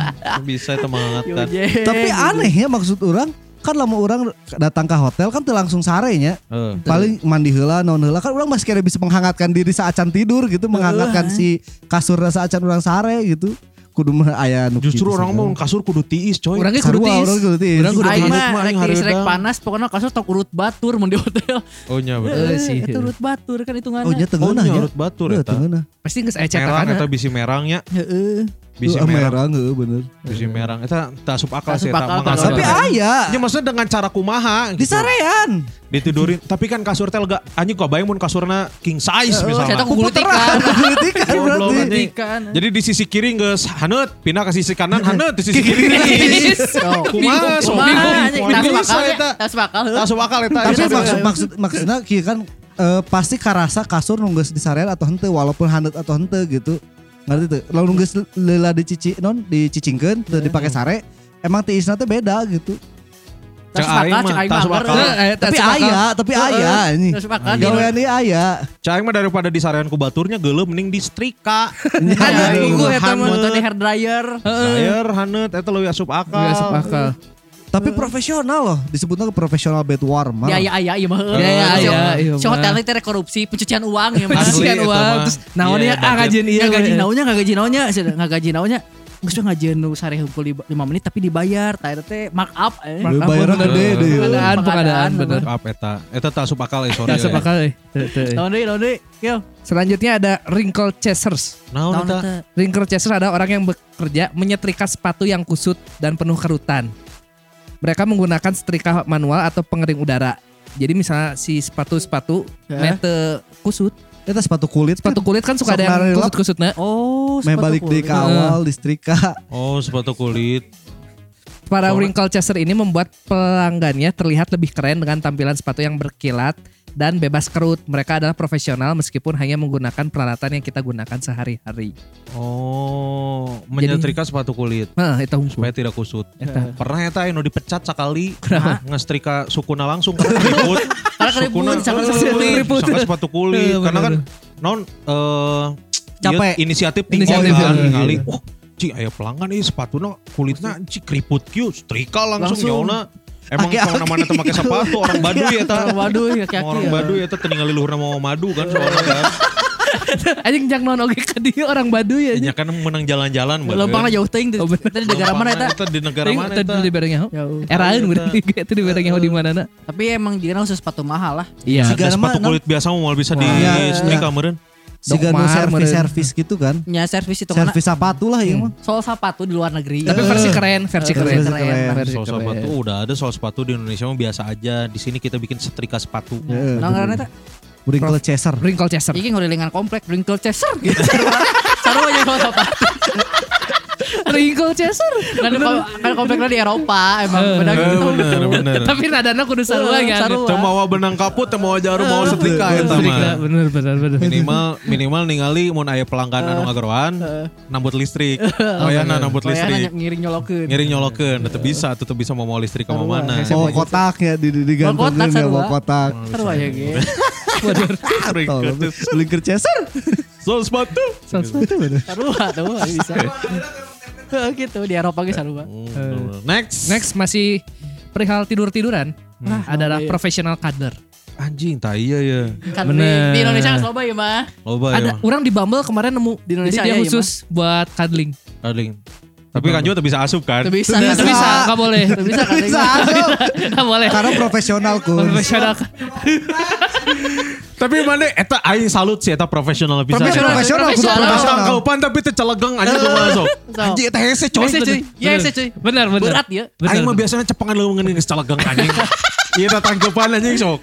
Bisa itu menghangatkan. Yujeng. Tapi Iya, aneh ya maksud orang kan lama orang datang ke hotel kan teu langsung sarenya Eh, paling mandi heula non heula kan orang masih kira bisa menghangatkan diri saacan tidur gitu menghangatkan si kasur saacan orang sare gitu kudu mah aya nu Justru kitu orang segala. mau kasur kudu tiis coy. Orangnya kudu Sarua, tiis. orang kudu tiis. Orang kudu Aing tiis. duduk tiis. mah, mah rek aing tiis rek hareudang. panas pokoknya kasur tok urut batur mun di hotel. Oh nya bener. Eh, [laughs] sih. Eta urut batur kan Oh hitunganna. Oh nya ya. nya tengeunah nya. Iya, urut batur Heeh, eta. tengeunah. Pasti geus aya Merang cetakan. eta bisi merangnya. Heeh. Bisi Eh, merah. Iya, merah heuh, bener. Bisi merah. Eta tak asup akal Tak sih. asup eta akal, tak mengasal. Tapi Salah. aya. Ya maksudnya dengan cara kumaha Di gitu. sarean. Ditidurin. Tapi kan kasur teh lega. Anjing kok bayang mun kasurna king size misalnya. Saya [laughs] kulitikan. Kulitikan Goblok, berarti. anjing. Kulitikan. Jadi di sisi kiri geus haneut, pindah ke sisi kanan haneut di [laughs] sisi kiri. [laughs] Kumaha sok. Bingung. Bisa Bingung. eta. Tas bakal. Tak asup akal eta. Tapi Eta maksud maksud maksudnya kieu kan eh, pasti karasa kasur nunggu di sarean atau henteu walaupun handet atau henteu gitu. Ngerti tuh? Lalu nunggu leula dicuci non dicicingkeun teu Iya, dipake sare emang teh isna teh beda gitu. Cek Tas bakal, aing mah, cek aing tas mah. Eh, bakal. Heeh. Tapi aya, tapi aya ini. Tas bakal. Gawean ieu aya. Caing mah daripada di sarean ku baturnya geuleuh mending di [laughs] strika. [laughs] Ada Anjing, buku eta mah. haneut. Foto di hair dryer. Sayer haneut eta leuwih asup Ya, akal. Nggak sepakal. Tapi profesional loh, disebutnya profesional bed warmer. Ya ya ya iya mah. Ya, ya, Si- ya, iya, Si mah. hotel teh tere korupsi pencucian uang ya mah. Asli. Kasihan eta uang. mah. kan, Terus naonnya Iya, ah ngajin iya. Nggak gaji naunya, nggak gaji naunya, sudah, nggak gaji naunya. Nggak sudah ngajian nu sare hukum 5 menit tapi dibayar. Tak ada teh mark up. Eh. Lu bayarnya gede deh. Pengadaan, pengadaan Pengadaan, benar. Maaf eta. Eta tak asup akal eh sorry. Nggak sepakal eh. Tuh, tuh, eh. Tahun deh, tahun deh. Yo, Selanjutnya ada wrinkle chasers. Naon tahun eta? teh. Wrinkle chaser ada orang yang bekerja menyetrika sepatu yang kusut dan penuh kerutan. Mereka menggunakan setrika manual atau pengering udara. Jadi misalnya si sepatu-sepatu Heh. nete kusut. Itu sepatu kulit Sepatu kulit kan suka Sok ada yang narilap. kusut-kusut nah. Oh, Meh sepatu balik di kulit. ke awal di setrika. Oh, sepatu kulit. Para Soalnya- wrinkle chaser ini membuat pelanggannya terlihat lebih keren dengan tampilan sepatu yang berkilat dan bebas kerut. Mereka adalah profesional meskipun hanya menggunakan peralatan yang kita gunakan sehari-hari. Oh, menyetrika sepatu kulit Nah, itu hukum. supaya tidak kusut. Eta. Pernah eta anu dipecat sakali [laughs] ngestrika sukuna langsung karena keriput. Karena keriput, disangka sepatu kulit. kulit. Sangka sepatu kulit. Iya, Karena kan bener. non eh Capek. ieu inisiatif tinggi Inisiatif, kan iya, iya. ningali. Wah, ci aya pelanggan ieu sepatuna kulitna ci keriput kieu strika langsung, Langsung. nyaona. Emang Aki-aki. kalau namanya teh make sepatu orang Baduy eta. Orang Baduy, iya. aki-aki, Orang ya. Baduy eta teu ningali luhurna mau madu kan soalnya kan. Anjing jang naon oge ka dieu orang Baduy Ya anjing. kan menang jalan-jalan bener. Lempang lah jauh teuing. Oh, bener. Tadi di negara ya, mana eta? Eta di negara Teuing mana ya, Iya. teu eta? di barengnya. Jauh. Eraeun urang itu di barengnya di manana. Tapi emang dia langsung sepatu mahal lah. Iya. Ada Siga- Gara sepatu mah, kulit biasa mau bisa di Wah. setrika meureun. Si Gano Dokmar, servis meureun. servis gitu kan. Nya Ya, servis itu mana? Iya. Servis sepatu lah ya mah. Soal sepatu di luar negeri. Tapi versi keren, versi Versi keren. keren. Versi Soal sepatu keren. udah ada soal sepatu di Indonesia mah biasa aja. Di sini kita bikin setrika sepatu. Ya. Heeh. Nah, karena eta Wrinkle chaser. Nah, Wrinkle chaser. [laughs] iki ngurilingan komplek wrinkle chaser gitu. Sarua aja kalau sepatu. Wrinkle chaser. Kan kom- kan kompleknya di Eropa emang Eh, beda gitu. Eh, bener bener. Tapi nadana kudu sarua kan. Sarua. Teu mawa benang kaput, teu mawa jarum, Eh, mawa setrika eta Setrika, mah. Bener bener bener. Minimal minimal ningali mun aya pelanggan anu ngageroan nambut listrik. Wayahna nambut Kayak listrik. ngiring nyolokeun. Ngiring nyolokeun, tetep bisa, tetep bisa mau mawa listrik sama mana. Nah, Bawa kotak ya di di Bawa kotak, digantungin ya bawa sarua. kotak. Sarua aja gitu. Tolong. Wrinkle chaser. Soal sepatu. Sarua tuh bisa. [laughs] Heeh, gitu di Eropa ge sarua. Hmm, Next. Next masih perihal tidur tiduran. Hmm. adalah iya. profesional kader. Anjing, tai ya ya. Kan Bener. di Indonesia nggak loba ya mah. Loba ya. Ada orang di Bumble kemarin nemu Di Indonesia Jadi dia ya, iya, khusus buat cuddling. Adeling. Tapi kan juga bisa asup kan? Tuh bisa. bisa. Nggak bisa, nggak boleh. Nggak bisa kan? Bisa. aduh. [laughs] Nggak boleh. Karena profesional kun. Profesional. Tapi mana eta aing salut sih eta profesional bisa. Profesional, profesional, kudu Profesional. Datang profesional. eh, kaupan Nah, tapi teu celegeng anjing kumaha sok. Sok. Anjing eta hese coy. Hese, cuy. Iya, hese, cuy. Benar benar. Berat ya. Benar. Aing mah biasanya cepangan leuweung ngeun geus celegeng anjing. Iya, Ieu datang kaupan anjing sok.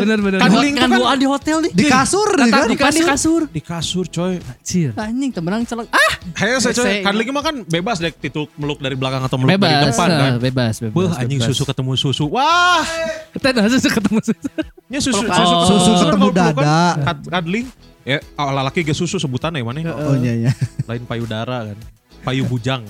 Benar benar. Kan Kan link Kan tuh buan di hotel nih. Di kasur nih kan. di kasur. di kasur coy. Anjir. Anjing temenang celok. Ah, Hese coy. Hese. Kan lagi mah kan bebas dek tituk meluk dari belakang atau meluk dari iya. Bebas, depan kan. eh, bebas, bebas. Beuh anjing bebas. susu ketemu susu. Wah, Tenang, susu ketemu [laughs] susu. nya susu Oh. susu Susu ketemu kalau pelukan, dada. kad- Kadling. Ya, ala laki ge susu sebutan ya mana? Eh. Oh iya iya. Lain payudara kan. Payu bujang.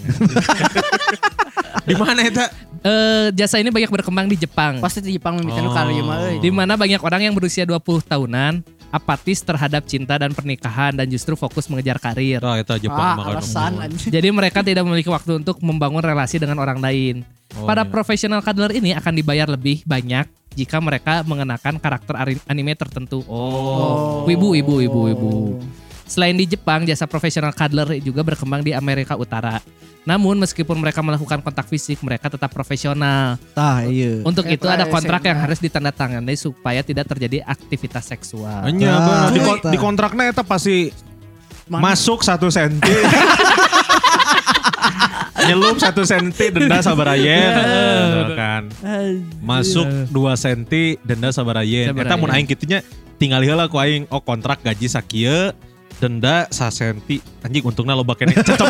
[laughs] di mana eta? Eh, jasa ini banyak berkembang di Jepang. pasti di Jepang mimiti nu Oh. kali mah euy. di mana banyak orang yang berusia 20 tahunan apatis terhadap cinta dan pernikahan dan justru fokus mengejar karir. Nah, eta Jepang Ah, makan alasan umum. anjing. Jadi mereka tidak memiliki waktu untuk membangun relasi dengan orang lain. Oh, Para iya. profesional kader ini akan dibayar lebih banyak jika mereka mengenakan karakter ari- anime tertentu. Oh, ibu, ibu, ibu, ibu. Selain di Jepang, jasa profesional cuddler juga berkembang di Amerika Utara. Namun meskipun mereka melakukan kontak fisik, mereka tetap profesional. Tah iya. Untuk Kayak itu ada pra- kontrak SMA. yang harus ditandatangani supaya tidak terjadi aktivitas seksual. Anya, Ah, bener. di, kon- eta. di kontraknya eta pasti Mana? masuk satu senti. nyelup satu senti denda sabar ayen Bener kan masuk dua senti denda sabar ayen Sabar kita mau ayen. aing kitunya tinggal heula ku aing oh kontrak gaji sakieu denda sa senti anjing untungnya loba kene cocok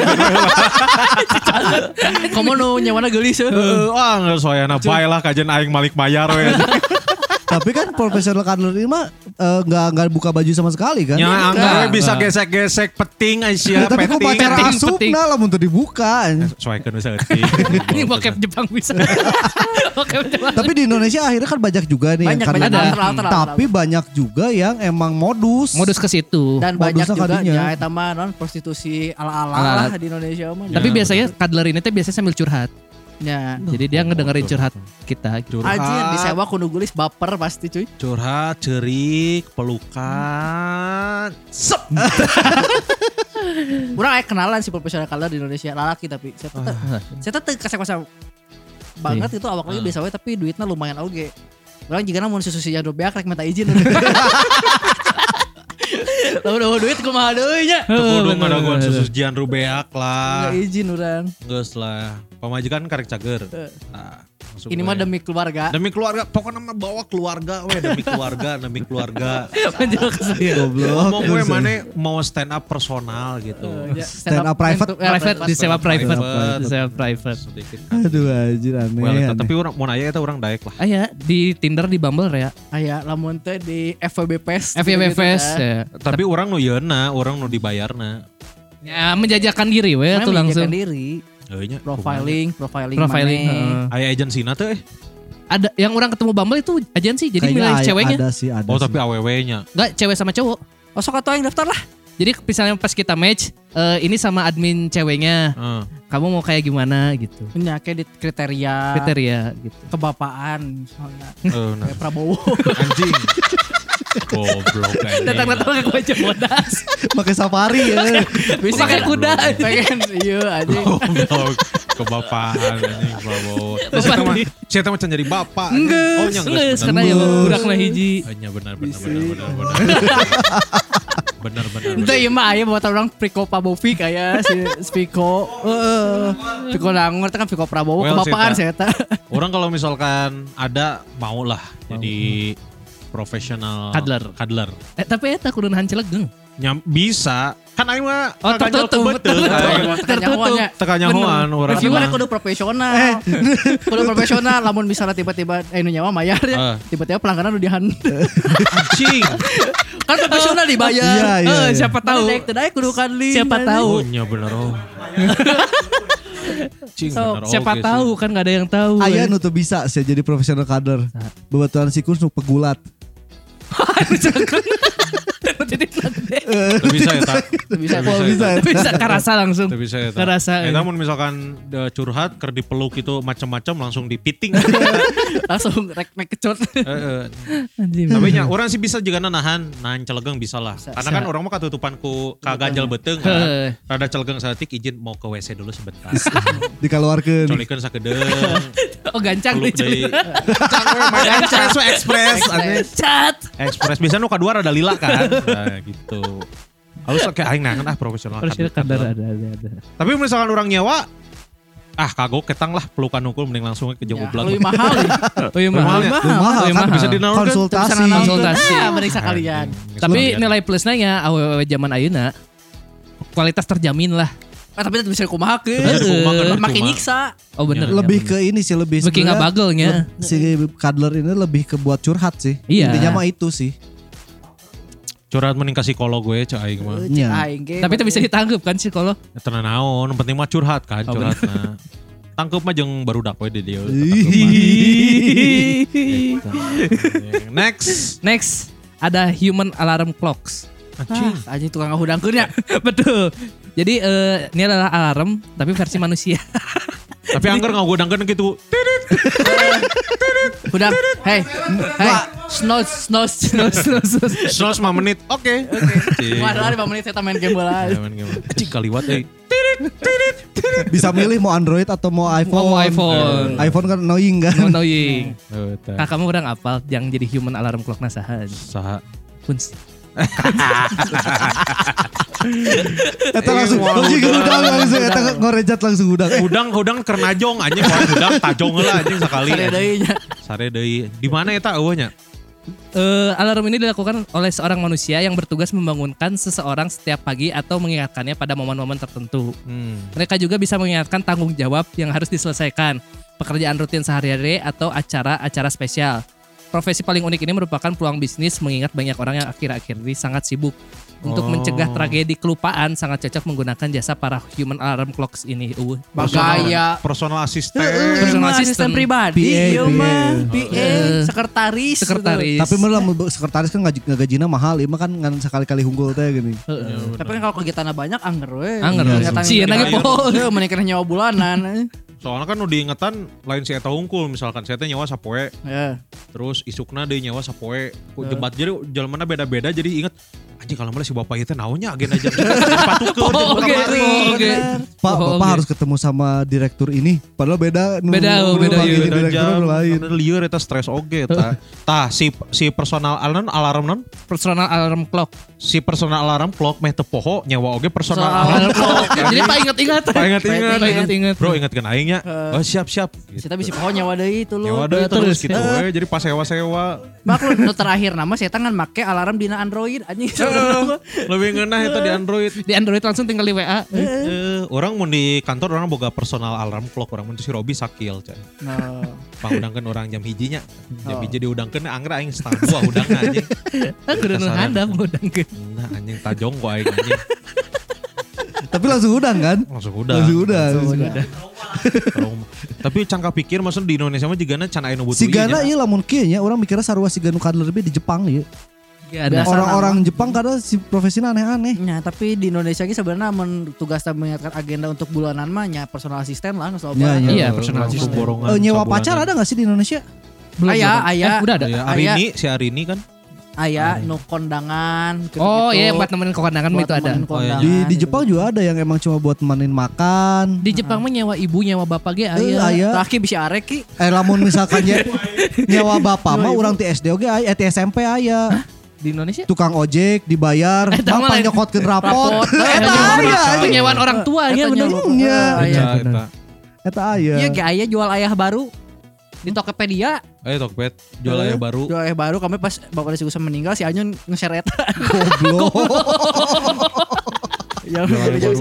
Kamu nu nyawana gelis eh. Heeh, wah nggak soalnya bae lah kajian aing malik bayar we Tapi kan profesional cuddler ini mah eh, nggak nggak buka baju sama sekali kan? nya Enggak. anggar we bisa gesek-gesek peting Ya, Asia tapi kok pacar peting Peting, peting. asupna lah untuk dibuka. soalnya bisa Ini bokep Jepang [laughs] bisa. bokep Jepang. tapi di Indonesia akhirnya kan banyak juga nih Banyak yang cuddler. banyak ada. alter, alter, alter. Tapi banyak juga yang emang modus. Modus ke situ. dan modusnya banyak juga kadinya. ya eta mah non prostitusi ala-ala lah di Indonesia mah. Tapi biasanya cuddler ini teh biasanya sambil curhat. nya. Jadi dia ngedengerin curhat kita. gitu. Anjir disewa kudu gelis baper pasti cuy. curhat cerik pelukan sep Kurang aya kenalan si profesional color di Indonesia lalaki tapi saya tuh saya tuh kasar-kasar banget itu awak lagi biasa we tapi duitnya lumayan oge. Orang jika namun susu si jadul beak rek minta izin. Tahu udah duit kumaha deui nya. Tepudung ada gua susu jian rubeak Minta lah izin urang. Geus lah Pemajikan karek cager Nah, maksud Eh. Ini gue. mah demi keluarga. Demi keluarga Pokoknya mah bawa keluarga we [laughs] Demi keluarga Demi keluarga Menjelaskan Iya, sendiri. Ngomong gue mana Iya, mau stand up personal Eh, gitu Stand up private. Ya, Private disewa private. Private. Disewa Eh. private. Sedikit kan Aduh anjir aneh. Well, eta, aneh. tapi orang mau nanya itu orang daek lah Aya Ah, ya, di Tinder di Bumble ya. Aya Ah, lamun teh di FVB Fest. FYP Gitu Fest. kan. ya. tapi orang nu yeuna, orang nu dibayarna. Ya, menjajakan diri we Itu tuh langsung langsung. diri, Heunya. profiling, profiling, Profiling. maneh. heeh. Aya agentsina teh. eh. Ada yang orang ketemu Bumble itu agensi jadi Kayaknya milih ada- ceweknya. Ada sih ada. Oh, sih. tapi aww-nya. Enggak, cewek sama cowok. Oh sok atuh aing daftar lah. Jadi misalnya pas kita match, eh, ini sama admin ceweknya, Heeh. kamu mau kayak gimana gitu. Nya kayak di kriteria Kriteria gitu. kebapaan misalnya. Eh, nah. Kayak Prabowo. [laughs] Anjing. Goblok anjing. Datang-datang ke gua Jemonas. [laughs] pakai safari ya. Bisa Pakai kuda. Pengen iya [laughs] anjing. Goblok. Kebapaan anjing Prabowo. Terus Bapak eta mah di- saya mah can jadi bapak. anjing. Oh, Enggak, nya enggak, geus, karena bener. ya budak lah hiji. Hanya iya, benar benar benar benar benar. Benar benar. Itu ya. iya mah aya buat orang Piko Pabovic kayak si si Piko. Heeh. Piko Nangor itu kan Piko Prabowo Well, kebapaan sih, saya eta. Orang kalau misalkan ada mau lah jadi profesional Cuddler. Cuddler. Eh, tapi eta kudu nahan celegeng. Nyam, bisa. Kan aing mah Oh, kakaknya tertutup, betul. Aing mah Tertutup. Tekanya hoan orang. Eh. Reviewer kudu profesional. [laughs] Kudu profesional lamun misalnya tiba-tiba eh nu nyawa mayar Ah. ya. Tiba-tiba pelanggaran udah dihan. [laughs] anjing. Kan profesional Iya dibayar. iya. Eh, iya. siapa Tahu. tahu? Tadi kudu kan, kali. Siapa tahu? Oh, nya bener [laughs] oh. Cing, bener Siapa oge sih. tahu kan nggak ada yang tahu. Ayah [laughs] nu teu bisa sih jadi profesional kader. Bebatuan sikus nu pegulat. kan? Jadi Teu bisa [laughs] ya, tak. Bisa. Teu Poal ya, bisa tak. ya. bisa kerasa langsung. Teu bisa ya, tak. Kerasa, Eh, ya. namun misalkan eh, curhat ker dipeluk itu macam-macam langsung [laughs] dipiting. Langsung rek rek kecot. Heeh. Anjing. Tapi nya orang sih bisa juga nahan, nahan celegeng bisa lah. Karena kan orang mah katutupan ku kaganjal beteng kan. Rada celegeng saeutik izin mau ke WC dulu sebentar. Dikeluarkan. Colikeun [laughs] sakedeung. Oh gancang deh Peluk deui. [laughs] eh, cerita. Express we express. [laughs] anjing. Cat. Express biasanya nu kadua rada lila kan. Nah, gitu. Halus oke aing nangan ah profesional. Harusnya kadar ada ada ada. Tapi misalkan orang nyewa ah kagok ketang lah pelukan hukum mending langsung ke jauh Ya, goblok. Lebih mahal. [laughs] ya? Oh iya mahal. Mahalnya. Ah, Mahal Lebih kan mahal. Bisa dinaunkeun. konsultasi. Bisa nanaon. Konsultasi. Nah, meriksa kalian. Hmm, Tapi nilai plusnya ya aww zaman ayeuna kualitas terjamin lah. Ah, tapi itu bisa kumaha ke. Bisa dikumaha, kan, Makin percuma. nyiksa. Oh bener. Iya. Lebih ke ini sih lebih Beki sebenarnya nggak bagelnya. le- Si kader ini lebih ke buat curhat sih. Iya. Intinya mah itu sih. curhat mending ke psikolog gue cek aing mah. Iya. Eh, Aing ge. Tapi itu bisa ditangkap kan sih kalau Eta naon, penting mah curhat kan, Oh, curhat nah. Tangkep mah jeung barudak we di dieu. Next. Next ada human alarm clocks. Anjing. Aja tukang ngahudangkeun ya. [laughs] Betul. Jadi eh, ini adalah alarm tapi versi manusia. [laughs] Tapi angker ngagodangkeun gitu. Hudang. Hei. Hei. Snooze, snooze, [laughs] snooze, snooze. 105 menit. Oke. Cing. Waduh, 5 menit saya main game bola. Ya, Iya. men, gimana? Anjing kaliwat eh. euy. Bisa milih mau Android atau mau iPhone. Oh, Mau iPhone. Iya. iPhone kan annoying kan. No knowing. Eta. Kakak kamu orang apal yang jadi human alarm clock nasahan. Saha. Kunci. Eh, Iya, Eta langsung langsung gudang langsung eta ngorejat langsung gudang. Eh, Udang udang kernajong anjing poal udang tajong lah anjing sekali. Sare deui nya. Sare deui. Di mana eta eueuhnya? Eh, alarm ini dilakukan oleh seorang manusia yang bertugas membangunkan seseorang setiap pagi atau mengingatkannya pada momen-momen tertentu. Hmm. Mereka juga bisa mengingatkan tanggung jawab yang harus diselesaikan, pekerjaan rutin sehari-hari atau acara-acara spesial. Profesi paling unik ini merupakan peluang bisnis mengingat banyak orang yang akhir-akhir ini sangat sibuk. Untuk Oh. mencegah tragedi kelupaan sangat cocok menggunakan jasa para human alarm clocks ini. Uh, Bagaya. Personal assistant. Personal Personal assistant. assistant pribadi, PA, ieu PA. mah PA, Eh. sekretaris. Iya, sekretaris. Tapi malah sekretaris kan ngaji ngagajina mahal, ieu mah kan ngan sekali-kali hunggul teh gini. Ya, Heeh. bener. Tapi kan kalau kegiatannya banyak anger we. Iya, Anger, we. Cieun lagi lagi, po. Menikah nyawa bulanan. eh. Soalnya kan udah diingetan lain si eta hungkul misalkan si eta nyawa sapoe Ya. terus isukna deui nyawa sapoe ku jebat jadi jelmana beda-beda jadi inget anjing kalau malah si bapak itu ya, naunya agenda jam sepatu ke Oh, oke, oke. Pak, Oh, Bapak oke. harus ketemu sama direktur ini. Padahal beda nu- Beda, nu beda, panggilnya iya, Beda direktur jam, nu lain. ada liur eta stres oge eta. Tah si si personal alarm alarm non Personal alarm clock. si personal alarm clock meh tepoho nyawa oge personal Personal alarm clock. Jadi pak ingat-ingat. Pak ingat-ingat. Pak ingat-ingat. Bro ingetkeun aing nya. Oh siap siap. Kita bisa pohon nyawa deui itu lu. Nyawa deui Terus, terus gitu ya. we, jadi pas sewa-sewa Mak lu nu terakhir nama saya tangan make alarm dina Android anjing. lebih ngeunah eta di Android. Eh. Di Android langsung tinggal di WA. Eh, orang mau di kantor orang boga personal alarm clock orang mun si Robi sakil can. Nah, Pangudangkeun orang jam hijinya. Jam Oh. hiji diudangkeun angger aing setengah dua udang anjing. Kudu nu Kasaran. handap ngudangkeun. Nah anjing tajong kok aing anjing. Tapi langsung udang kan? Langsung Langsung udang. Trauma. Tapi cangka pikir maksudnya di Indonesia mah jigana can aya nu butuh Si iya. ieu nya. Gana ieu iya lamun kieu nya orang mikirnya sarua si Ganu Kadler lebih di Jepang ieu. Gana. Biasa Orang-orang Jepang kadang si profesinya aneh-aneh. Nah, tapi di Indonesia ge sebenarnya men tugas mengingatkan agenda untuk bulanan mah nya personal asisten lah nu Ya, sobat. ya. Iya, personal Langsung assistant. borongan. Eh, nyewa sabulanan. pacar ada gak sih di Indonesia? Belum, Aya, belum. aya. iya, Eh, udah ada. Ya, hari ini si hari ini kan Aya nu Ah, iya, kondangan gitu-gitu. Iya. Oh iya buat nemenin ke kondangan mah Gitu. Buat itu ada. Oh, iya. nemenin kondangan. gitu. Di, di Jepang juga ada yang emang cuma buat temenin makan. Di Jepang mah nyewa ibu nyewa bapak ge Eh, aya. aya. Terakhir bisa arek ki. Eh lamun misalkan nya- nyawa bapak mah orang ti SD oge aya, eh, ti SMP aya. Di Indonesia ya. Tukang ojek dibayar, Eh, tah mah bapak lain. Iya, nyokotkeun rapot. Rapot. Eta aya Eh, ya, anjing. penyewaan orang tua ya Eta bener. nyawa. Iya. Aya. Eta, bener. eta. Eta aya. Iya, ge aya jual ayah baru di Tokopedia. Ayo Tokped Eh, jual Eh. ayah baru. Jual ayah baru kami pas bapak si Gusam meninggal si Anyun ngeseret. Goblok. Ya, Jual ayah baru.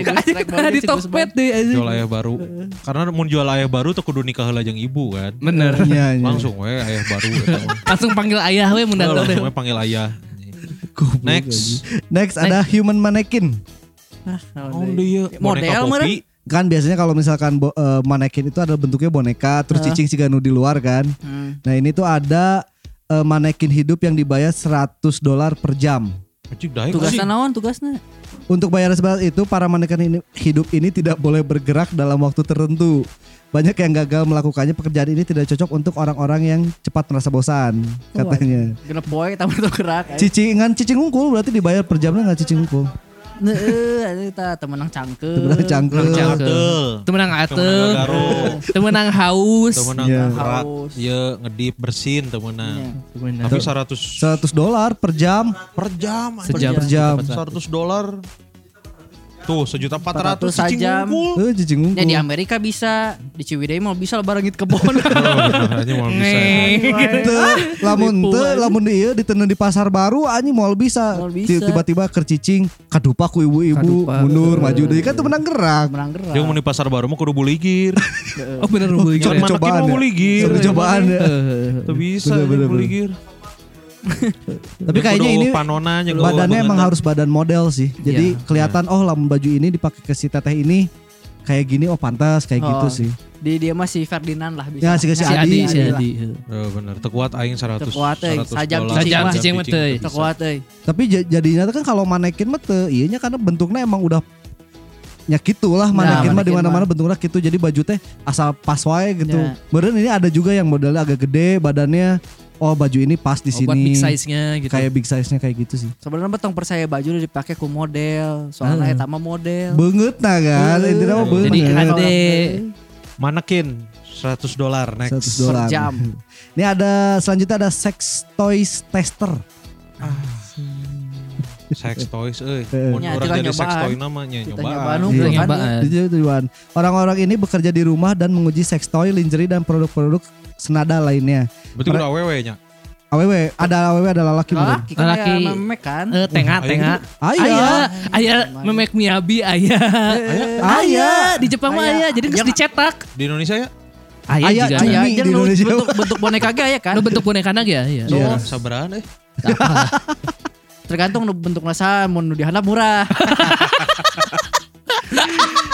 Nah, di Tokped deh Jual ayah baru. Karena mau jual ayah baru tuh kudu nikah heula jeung ibu kan. Bener. Iya, iya. Langsung we ayah baru. [laughs] eta mah. Langsung panggil ayah we mun datang Langsung deh. we panggil ayah. Goblok Next. Oh, anjing. Next ada human mannequin. Ah, Oh, Model iya. Boneka meureun. kopi. Kan biasanya kalau misalkan bo- eh, mannequin itu ada bentuknya boneka, terus cicing si Ganu di luar kan. Hmm. Nah ini tuh ada eh, manekin hidup yang dibayar 100 dolar per jam. Cik daek Tugasna Iya, sih. naon tugasna? Untuk bayaran sebesar itu, para manekin ini, hidup ini tidak boleh bergerak dalam waktu tertentu. Banyak yang gagal melakukannya pekerjaan ini tidak cocok untuk orang-orang yang cepat merasa bosan katanya. Genep boy [laughs] tamu tuh gerak. Cicingan cicing unggul berarti dibayar per jamnya nggak cicing unggul. Nah, Heeh, eta temenang cangkeum. Temenang cangkel. Cangkel. Temenang Temenang ate, garuk. temenang haus. Temenang Iya. gerak. Haus. Iya ngedip bersin temenang. Iya. Tapi 100 100 dolar per jam. per jam anjing. Sejam. Per jam. 100 dolar. Tuh sejuta empat ratus 400 cicing sajam. [laughs] unggul. Eh, cicing Ya unggul. di Amerika bisa, di Ciwidey mau bisa lah gitu barangit [laughs] kebon. iya, Oh. Hanya mau bisa. Teu, lamun teu, lamun di ieu ditenen di pasar baru anjing moal bisa. Moal bisa. Tiba-tiba kercicing kadupa ku ibu-ibu Kadupa. mundur maju deui kan teu menang gerak. Menang gerak. Dia mau di pasar baru mau kudu [laughs] buligir. Oh bener lu Jangan manekin Coba- ingat. cobaan mau ya. buligir. Satu cobaan ya. Tuh bisa Bener, bener, anjing buligir. Tapi kayaknya ini panonanya badannya emang harus badan model sih. Iya. Jadi kelihatan oh lamun baju ini dipakai ke si teteh ini kayak gini oh pantas kayak Oh. gitu sih. Di dia masih Ferdinand lah bisa. Ya si si Si Adi, Adi. si Adi. Oh, bener, terkuat aing 100 Tekuat, eh. 100 Sajam dolar. cicing Sajam mah. cicing mah, cicing teh. teh bisa. Tekuat euy. Tapi ja- jadinya tuh kan kalau manekin mah teu ieu nya karena bentuknya emang udah ya gitu Nah, lah manekin mah manekin di mana-mana bentuknya gitu jadi baju teh asal pas wae gitu. Iya. Ya. Beren ini ada juga yang modelnya agak gede badannya oh baju ini pas di Oh, buat sini. big size-nya gitu. Kayak big size-nya kayak gitu sih. Sebenarnya betong percaya baju udah dipakai ku model, soalnya eta mah model. Banget nah kan, Beungeut. intinya mah beungeut. Iya. Jadi HD. Manekin 100 dolar next. 100 dolar. Per [laughs] jam. Ini ada selanjutnya ada sex toys tester. sex toys euy. Eh. Mun Nya, urang titah jadi sex nyobaan. toy namanya Kita nyobaan. nyoba Iya. kan Nyobaan. Itu tujuan. Orang-orang ini bekerja di rumah dan menguji sextoy, lingerie dan produk-produk senada lainnya. Berarti udah awewe nya. AWW ada AWW ada lalaki mungkin. Laki kan Laki. ya memek kan. Eh, tengah, Ayo, tengah. Ayah, Ayah, ayah memek miyabi ayah. ayah, Di Jepang mah Ayah. ayah, jadi geus dicetak. Di Indonesia ya? Ayah, Ayah, juga. Cumi Iya, di jadi nu Indonesia. bentuk, bentuk boneka ge ya kan. Lu bentuk boneka anak ya? Iya. So, Iya. sabaran eh. Tergantung nu bentuk nasa mun nu dihandap [laughs] murah.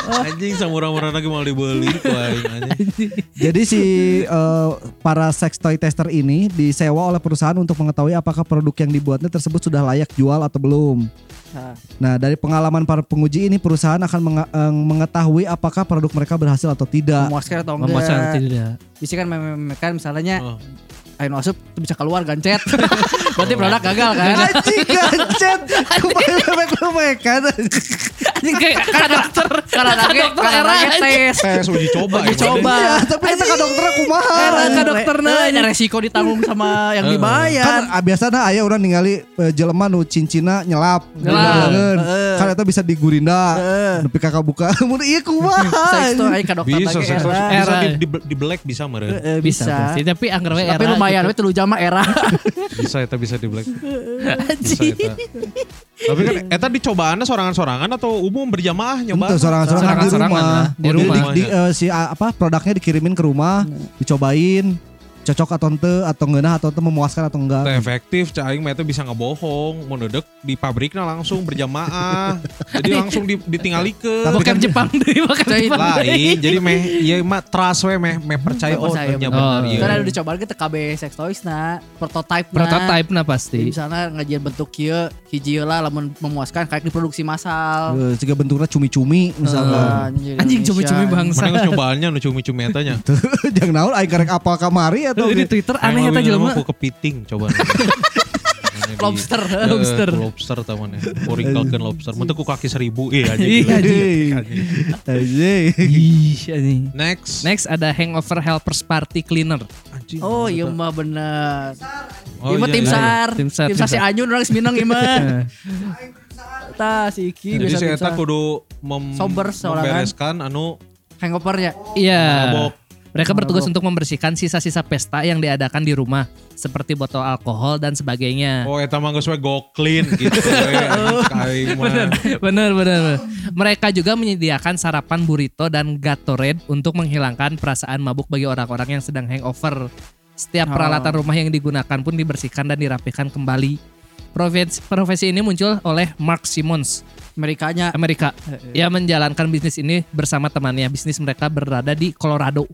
Anjing samurah-murah lagi mau dibeli ku aing anjing. Jadi si eh, para sex toy tester ini disewa oleh perusahaan untuk mengetahui apakah produk yang dibuatnya tersebut sudah layak jual atau belum. Nah, Nah, dari pengalaman para penguji ini perusahaan akan menge- eh, mengetahui apakah produk mereka berhasil atau tidak. memuaskan atau Memuaskan atau Oh, enggak. tidak. Bisa kan memek kan misalnya Oh. ayo nu asup tuh bisa keluar [laughs] gancet. Berarti Oh, produk gagal kan. Anjing gancet. Kemarin lumek-lumekan. Anjing kayak karakter. Karena Karakter lagi dokter karena era. lagi tes. Tes uji coba Eh, Uji ya, coba. Made. Iya, tapi kata ke dokter kumaha. Karena Karena ke dokterna. dokternya nah, resiko ditanggung sama yang Heeh. Kan dibayar. ah, biasanya aya orang ningali eh, jelema nu cincina nyelap. Nyelap. Dibarengeun. Heeh. Kan eta bisa digurinda. Nepi kakak buka. [laughs] Mun ieu kumaha. Sex tuh ayo ke dokter Bisa, lagi sex toys. era. bisa Era. di, di, di black bisa meren. Eh, Bisa. Bisa. pasti. Tapi anggar we era. Tapi lumayan, we gitu. telu jam mah era. Bisa eta bisa di black. Bisa eta. Tapi kan eta dicobaannya sorangan-sorangan atau umum berjamaah Itu nyobaan? sorangan-sorangan di Sorangan-sorangan rumah. Oh, lah, di Jadi rumah. di- di- eh, si ah, apa produknya dikirimin ke rumah, dicobain cocok atau ente atau ngeunah atau ente memuaskan atau enggak. Teu efektif cah aing mah eta bisa ngebohong mun dedek di pabrikna langsung berjamaah jadi langsung di, ditinggalikeun Tapi Bokep kan- Jepang deh. Bokep Coy, Jepang. lain jadi [laughs] meh ieu mah trust we meh meh percaya oh Percaya, iya, nya bener. bener Oh, ieu. Karena udah dicoba kita KB sex toys nah, na prototype na. Prototype nah Jadi pasti. misalnya ngajian bentuk kieu hiji lah lamun memuaskan kayak diproduksi massal. Eh, Jika bentuknya cumi-cumi misalnya. [laughs] Nah, anjing, Anjing Indonesia. cumi-cumi bangsa. Mana [laughs] geus nyobaannya nu cumi-cumi eta nya. Jangan naon aing karek apal kamari atau Di Twitter aneh eta jelema. Aku kepiting coba. Aneh di- Lobster. Eh, Lobster. Lobster tamannya. Kuring kalkan lobster. Mentu ku kaki seribu. Iya aja. Iya, gila. Anjing. Ih, anjing. Next. Next ada Hangover Helpers Party Cleaner. Anjing. [laughs] Oh iya mah bener. Oh, iya mah iya, tim iya. sar. Tim Tim sar, sar, tim si sar. Anyun orang seminang ieu mah. Tah si Iki Jadi biasa si tim Eta sar. kudu mem Sober seorangan. membereskan anu hangovernya. Iya. mabok. Mereka bertugas untuk membersihkan sisa-sisa pesta yang diadakan di rumah, seperti botol alkohol dan sebagainya. Oh Eta mah geus we go clean gitu. we. Anjing, aing mah. Bener, bener. Mereka juga menyediakan sarapan burrito dan Gatorade untuk menghilangkan perasaan mabuk bagi orang-orang yang sedang hangover. Setiap peralatan rumah yang digunakan pun dibersihkan dan dirapikan kembali. Profesi, profesi ini muncul oleh Mark Simmons, Amerikanya. Amerika. Ia menjalankan bisnis ini bersama temannya. Bisnis mereka berada di Colorado.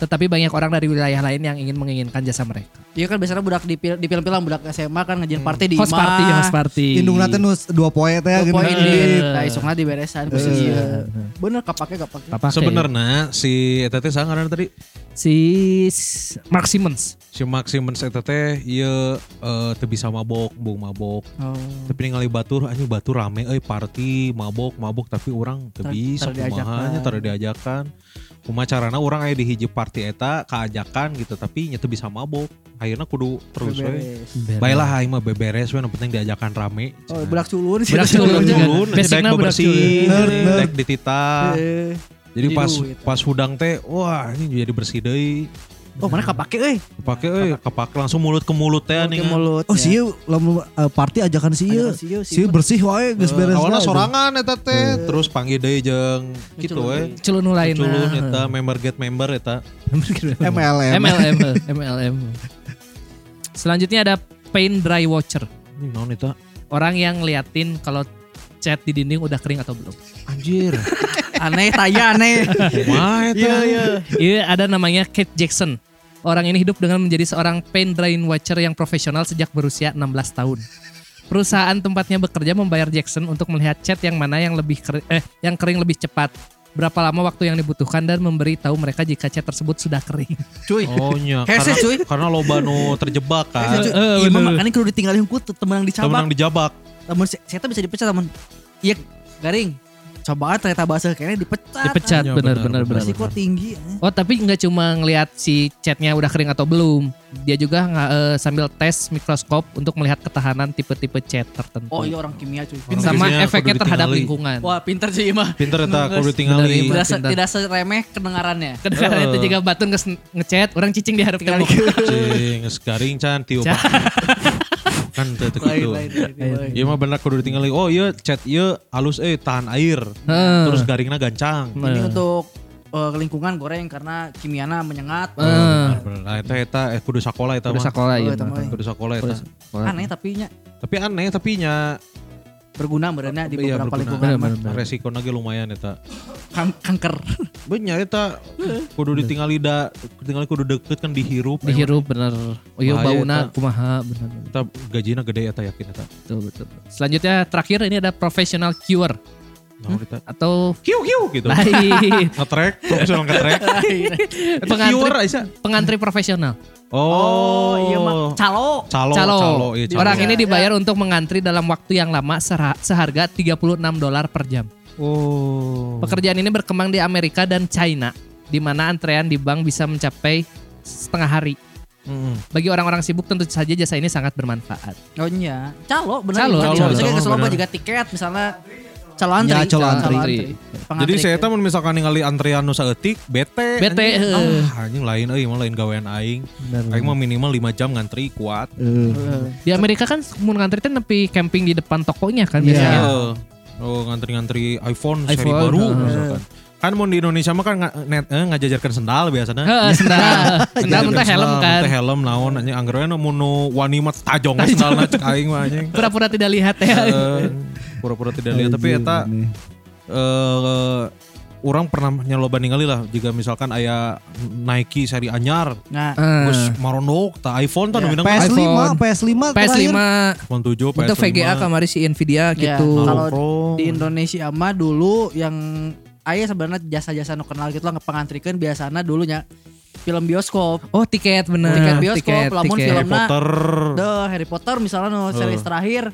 Tetapi banyak orang dari wilayah lain yang ingin menginginkan jasa mereka. Iya kan biasanya budak di, fil- di film-film budak SMA kan ngajian party di Hmm. Host imah. party, host party. Indung nanti nus dua poe teh Tuh gitu. gini. Poin Iya. di, nah isokna diberesan ku si Iya. ieu. Bener kapake kapake. Apa kayak- Sebenarnya si Eta teh sangaran tadi si S- Mark Simmons. si Maximus Eta teh ieu eh, teu bisa mabok, bung mabok. Hmm. Oh, tapi ningali batur anjing batur rame euy party mabok mabok tapi orang teu Tar- bisa tar diajakan. kumahanya tara diajakan kumaha carana orang aya di hiji party eta kaajakan gitu tapi nya teu bisa mabok akhirnya kudu terus we Beberes. baiklah aing mah beberes we nu penting diajakan rame Oh, budak culun sih. [laughs] Budak culun juga. culun Basicna dek budak bebersih culun. Bener. dek ditita Eh. jadi Jadi pas duit. pas hudang teh wah ini jadi bersih deui Oh mana kapake euy. Iya, pakai euy kepake langsung mulut ke mulut teh Ke nih mulut. Oh sih lamun eh, party ajakan sih Iya, ieu. Sih bersih wae geus beres. awalnya dah. sorangan eta teh terus panggil gitu, deui jeung kitu we Culun lain. culun eta member get member eta Ah. MLM. MLM, MLM. Selanjutnya ada paint dry watcher. ini naon eta Orang yang ngeliatin kalau cat di dinding udah kering atau belum. [laughs] anjir aneh taya [laughs] aneh. kumaha eta Iya iya. Iya ada namanya Kate Jackson. Orang ini hidup dengan menjadi seorang paint drying watcher yang profesional sejak berusia 16 tahun. Perusahaan tempatnya bekerja membayar Jackson untuk melihat cat yang mana yang lebih kering, eh yang kering lebih cepat. Berapa lama waktu yang dibutuhkan dan memberitahu mereka jika cat tersebut sudah kering. Cuy. oh nya Hese, karena, cuy. karena loba nu terjebak kan Cuy, Eh, Iya mah bener. makanya kudu ditinggalin ku temen yang dicabak. temenang dijabak Lamun saya bisa dipecah temen. Iya garing. cobaan ternyata bahasa kayaknya dipecat. dipecat Iya, bener benar, bener bener. Risiko tinggi. anjing. Oh tapi nggak cuma ngelihat si catnya udah kering atau belum, dia juga nga- eh, sambil tes mikroskop untuk melihat ketahanan tipe-tipe cat tertentu. Oh iya orang kimia cuy. Orang Pintar. sama kimia efeknya kudu terhadap ditingali. lingkungan. Wah pintar sih mah. Pinter eta kudu Bener, tingali. iya. Tidak, se- pintar. tidak seremeh kedengarannya. Kedengaran itu Heeh. juga batun nges ngechat, orang cicing diharap Tinggal tembok. Cing, garing can tiu. Kan teu teu Lain, kitu. lain, lain, lain. Iya mah bener kudu ditingali. Oh iya cat ieu halus euy tahan air. Heeh. Terus garingna gancang. Ini untuk eh, lingkungan goreng karena kimiana menyengat. Heeh. Bener, Nah eta eta eh, kudu sakola eta Udah mah. sekolah Oh, ya. itu mah. Kudu sakola eta. Aneh tapi nya Tapi aneh tapi nya berguna berenya di Iya, berguna. beberapa lingkungan mah. resiko lagi lumayan eta. Kan- kanker. Banyak eta kudu ditingali da ditingali kudu deket kan dihirup. Dihirup bener. Oh iya Bahaya, bauna Eta. kumaha bener. bener. Eta gajina gede eta yakin eta. Betul, betul. Selanjutnya terakhir ini ada professional cure Nah, eta. atau Kiu kiu gitu. Nah, iya. lain Ngetrek, profesional [laughs] ngetrek. Iya. Kiwer pengantri, Aisyah. pengantri profesional. Oh, iya mah. Calo. Calo, Calo. calo, iya, calo. Orang ini dibayar untuk mengantri dalam waktu yang lama serha- seharga 36 dolar per jam. Oh. Pekerjaan ini berkembang di Amerika dan China, di mana antrean di bank bisa mencapai setengah hari. Mm-mm. Bagi orang-orang sibuk tentu saja jasa ini sangat bermanfaat. Oh iya. Calo bener. Calo, Tadi calo, Maksudnya calo, ke Soloba bener. juga tiket misalnya calo antri. Ya, calo antri. Jadi saya tahu misalkan ningali antrian nu saeutik bete. Bete, anjing. eh. Ah, anjing lain euy, mah lain gawean aing. Aing mah minimal 5 jam ngantri kuat. Eh, Di Amerika kan mau ngantri teh nepi camping di depan tokonya kan Iya. biasanya. Eh, Oh, ngantri-ngantri iPhone, seri iPhone, baru eh. misalkan. Kan mau di Indonesia mah kan nga- net eh, ngajajarkan sendal biasanya. Heeh, [laughs] sendal. Sendal Ngajajarkan mentah helm sendal, kan. Teh helm naon anjing anggaran nu mun nu wani mah tajong we sendalna cek aing mah [laughs] anjing. Pura-pura tidak lihat ya. Eh, pura-pura tidak lihat tapi anjir, eta nih. eh orang pernah nyeloba ningali lah jika misalkan aya Nike seri anyar Nah, Eh. terus marondok ta iPhone ta Ya, nu minang PS5, iPhone. PS5 PS5 iPhone 7 PS5 Itu VGA kamari si Nvidia Ya. gitu. Kalau nongkrong. di Indonesia mah dulu yang ayah sebenarnya jasa-jasa nu kenal gitu lah ngepengantrikeun biasana dulunya film bioskop. Oh tiket bener. Tiket bioskop, lamun Harry film- Karena- Potter The Harry Potter misalnya nu Hmm. series terakhir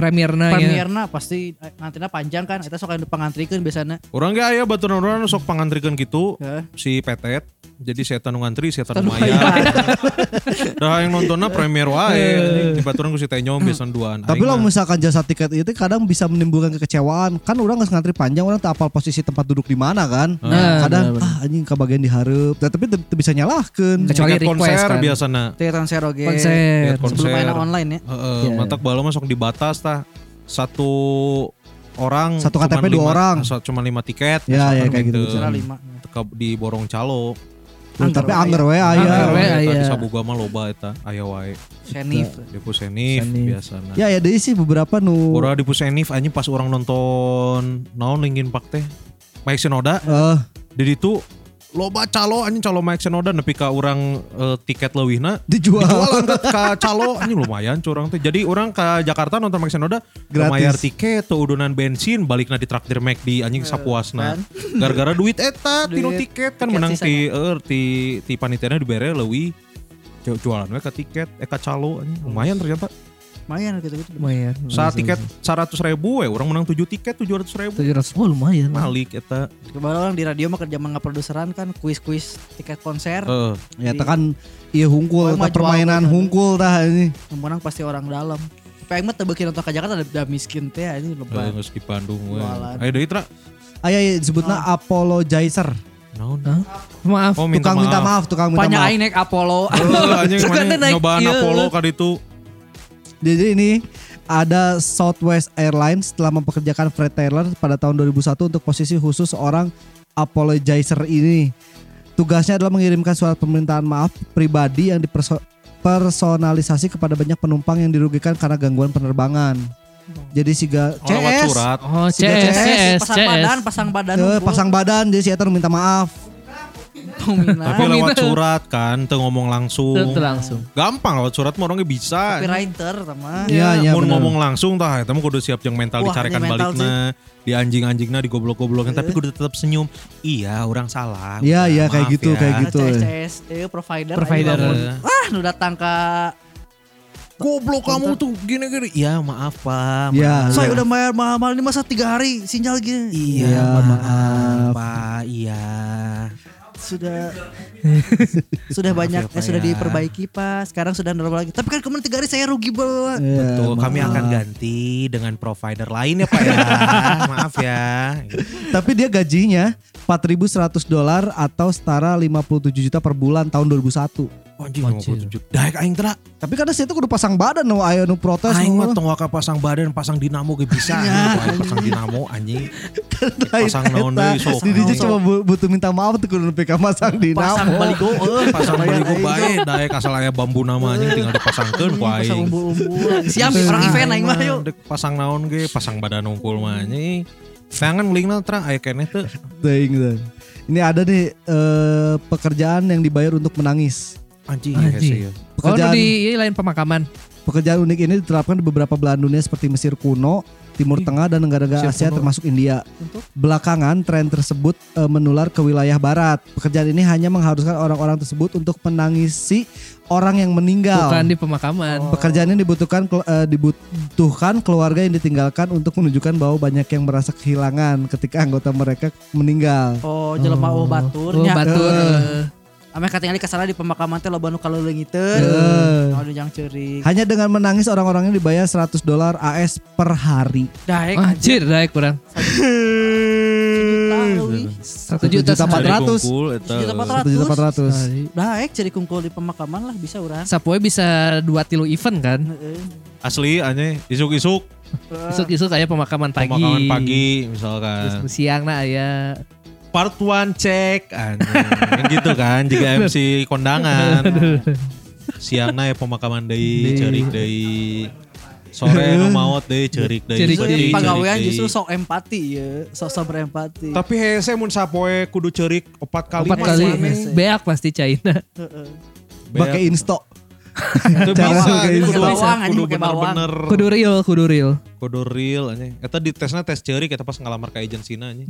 Nah, Premiernya iya. ya. premierna pasti eh, ngantrina panjang kan eta sok anu pengantrikeun biasana. orang ge aya baturan urang sok pangantrikeun gitu Heeh. Ya. si Petet jadi setan nu ngantri setan nu mayar [laughs] dah yang nontonnya premier wae dibaturan ku si Tenyom biasan duaan Tapi Aing lah mah. misalkan jasa tiket itu kadang bisa menimbulkan kekecewaan. Kan orang nggak ngantri panjang, orang tak apal posisi tempat duduk di mana kan. Nah, kadang ah anjing kebagian diharap. Nah, tapi teu- teu bisa nyalahkan. Kecuali Tiket request konser kan. biasana Tiket konser oge. Konser. Iya, Tiket konser Sebelum mainan online ya. Heeh, matak bala masuk di batas tah. Satu orang Satu cuman KTP dua lima- orang. so- cuman lima tiket. Ya, ya, misalkan kayak gitu. Hmm. Kira lima. Teka di borong calo. Tuh, tapi anger we Anger aya. we. Eta aya. Di sabuga mah loba eta, aya wae. Senif. Di Pusenif Pusenif. biasana. Ya ya deh sih beberapa nu Urang di Pusenif anjing pas orang nonton naon Linkin Park teh. Mike Shinoda eh di ditu loba calo anjing calo Mike Shinoda nepi ka urang eh, tiket leuwihna [laughs] dijual. Jualan ke calo ini lumayan curang teh. Jadi orang ke Jakarta nonton Max Noda Gratis. bayar tiket tuh udunan bensin balikna di traktir Mac di anjing sapuasna. Gara-gara Iya, kan? [laughs] duit eta tinu tiket kan menang ti er, ti ti panitiana dibere leuwih ju- jualan we ka tiket eh ka calo anjing. lumayan ternyata Lumayan gitu-gitu. Lumayan. saat tiket 100 ribu we orang menang 7 tiket 700 ribu 700 oh lumayan. malik eta Kebetulan orang di radio mah kerja mangga produseran kan kuis-kuis tiket konser. Eh, Ya tekan iya hungkul, Orang mah tah permainan jual. hungkul dah ini. Hmm. Yang menang pasti orang dalam. Tapi aing mah teu beuki nonton ke Jakarta udah, udah miskin teh eh, ini lebar. geus di Bandung we Jualan. ayo deui tra Aya ya, disebutna apologizer. naon Maaf. oh minta Tukang minta maaf maaf, tukang minta Banyak maaf. aing naik Apollo. [laughs] Eh, anjing Suka teh mana naik, nyobaan iya. Apollo kali itu Jadi ini ada Southwest Airlines telah mempekerjakan Fred Taylor pada tahun 2001 untuk posisi khusus seorang apologizer ini. Tugasnya adalah mengirimkan surat permintaan maaf pribadi yang dipersonalisasi kepada banyak penumpang yang dirugikan karena gangguan penerbangan. Jadi si ga- Oh, lewat CS surat Oh, Si CS, CS, CS, eh, pasang badan, pasang badan. eh, unggul. pasang badan jadi si Eta minta maaf. Pemina. Tapi lewat surat kan, teu ngomong langsung. Itu Oh, langsung. Gampang lewat surat mah orangnya bisa. copywriter sama. Iya, iya Mun bener. ngomong langsung tah eta mah kudu siap jeung mental Wah, dicarekan ini mental balikna, di anjing-anjingna digoblok-goblokan tapi kudu tetap senyum. Iya, orang salah. Iya, Udah, iya, kayak maaf ya. gitu, kayak Nah, gitu. CS, CS, eh, provider. Provider. aing lamun, Wah, nu datang ke goblok kamu tuh gini-gini. Ya maaf pak. Ya, maaf. Saya udah bayar mahal-mahal ini masa tiga hari sinyal gini. Iya, Iya, maaf pak. Iya. Sudah sudah ya, banyak Pak, eh, sudah ya. diperbaiki Pak. Sekarang sudah normal lagi. Tapi kan kemarin tiga hari saya rugi banget. Iya, Tuh kami maaf. akan ganti dengan provider lain ya pak [laughs] ya. maaf ya. Tapi dia gajinya 4.100 dolar atau setara 57 juta per bulan tahun 2001. Anjing 57. Daek aing tera. Tapi karena saya tuh kudu pasang badan nu ayo nu protes. Aing nu- mah tong waka pasang badan pasang dinamo ge bisa. Ya. Aing pasang dinamo anjing. Pasang naon Eta, deui sok. Di DJ cuma bu- butuh minta maaf tuh kudu nepi ka masang dinamo. Pasang baligo eh. pasang beli gue baik daek asal aya bambu namanya tinggal dipasangkeun ku Pasang aing. Gitu Nah, umbul-umbul. Siap orang event aing mah yuk. Dek pasang naon ge, pasang badan unggul mah anjing. Tangan lingna terang aya keneh teu. Teuing, teuing. Ini ada nih eh, pekerjaan yang dibayar untuk menangis. Anjing ya Anjing. sih. Oh, Pekerjaan di lain pemakaman. Pekerjaan unik ini diterapkan di beberapa belahan dunia seperti Mesir kuno, Timur Tengah dan negara-negara Asia termasuk India. Belakangan tren tersebut eh, menular ke wilayah barat. Pekerjaan ini hanya mengharuskan orang-orang tersebut untuk menangisi orang yang meninggal. Bukan di pemakaman. Oh, Pekerjaan ini dibutuhkan kel- eh, dibutuhkan keluarga yang ditinggalkan untuk menunjukkan bahwa banyak yang merasa kehilangan ketika anggota mereka meninggal. Oh, jelema oh. Oh, baturnya. Eh. batur. Ame katingali kesana di pemakaman teh loba nu kaleleungiteun. Eh, Oh, nu jang ceurik. Hanya dengan menangis orang-orangnya dibayar 100 dolar AS per hari. Eh, Daek Ah, Anjir, daik kurang. tahu ih. 1 juta Juta sehari. 400. Satu 1.400. Daek ceri kungkul di pemakaman lah bisa urang. Sapoe bisa dua tilu event kan. Heeh. Asli anjing isuk-isuk Isuk-isuk kayak pemakaman pagi. pemakaman pagi Terus misalkan. siang nah ya. Part 1 cek anjing. gitu kan [laughs] jika MC kondangan. Siangna ya pemakaman deui, ceurik deui. Sore nu maot deui, ceurik deui. Ceurik Penting, Justru deui. ceurik pagawean deui. justru sok empati ya, sok sok berempati. Tapi hese mun sapoe kudu ceurik opat kali. Empat mah Iya. kali. soalnya. Beak pasti China. Heeh. Pakai insto. [laughs] Itu gitu. Cara bisa, pakai itu Pakai kudu- bawang, anjing, kudu pakai bawang. bener-bener. Kudu real, kudu real. [laughs] Kudu real anjing. Eta di tesnya tes ceuri kita pas ngalamar ke agensinya anjing.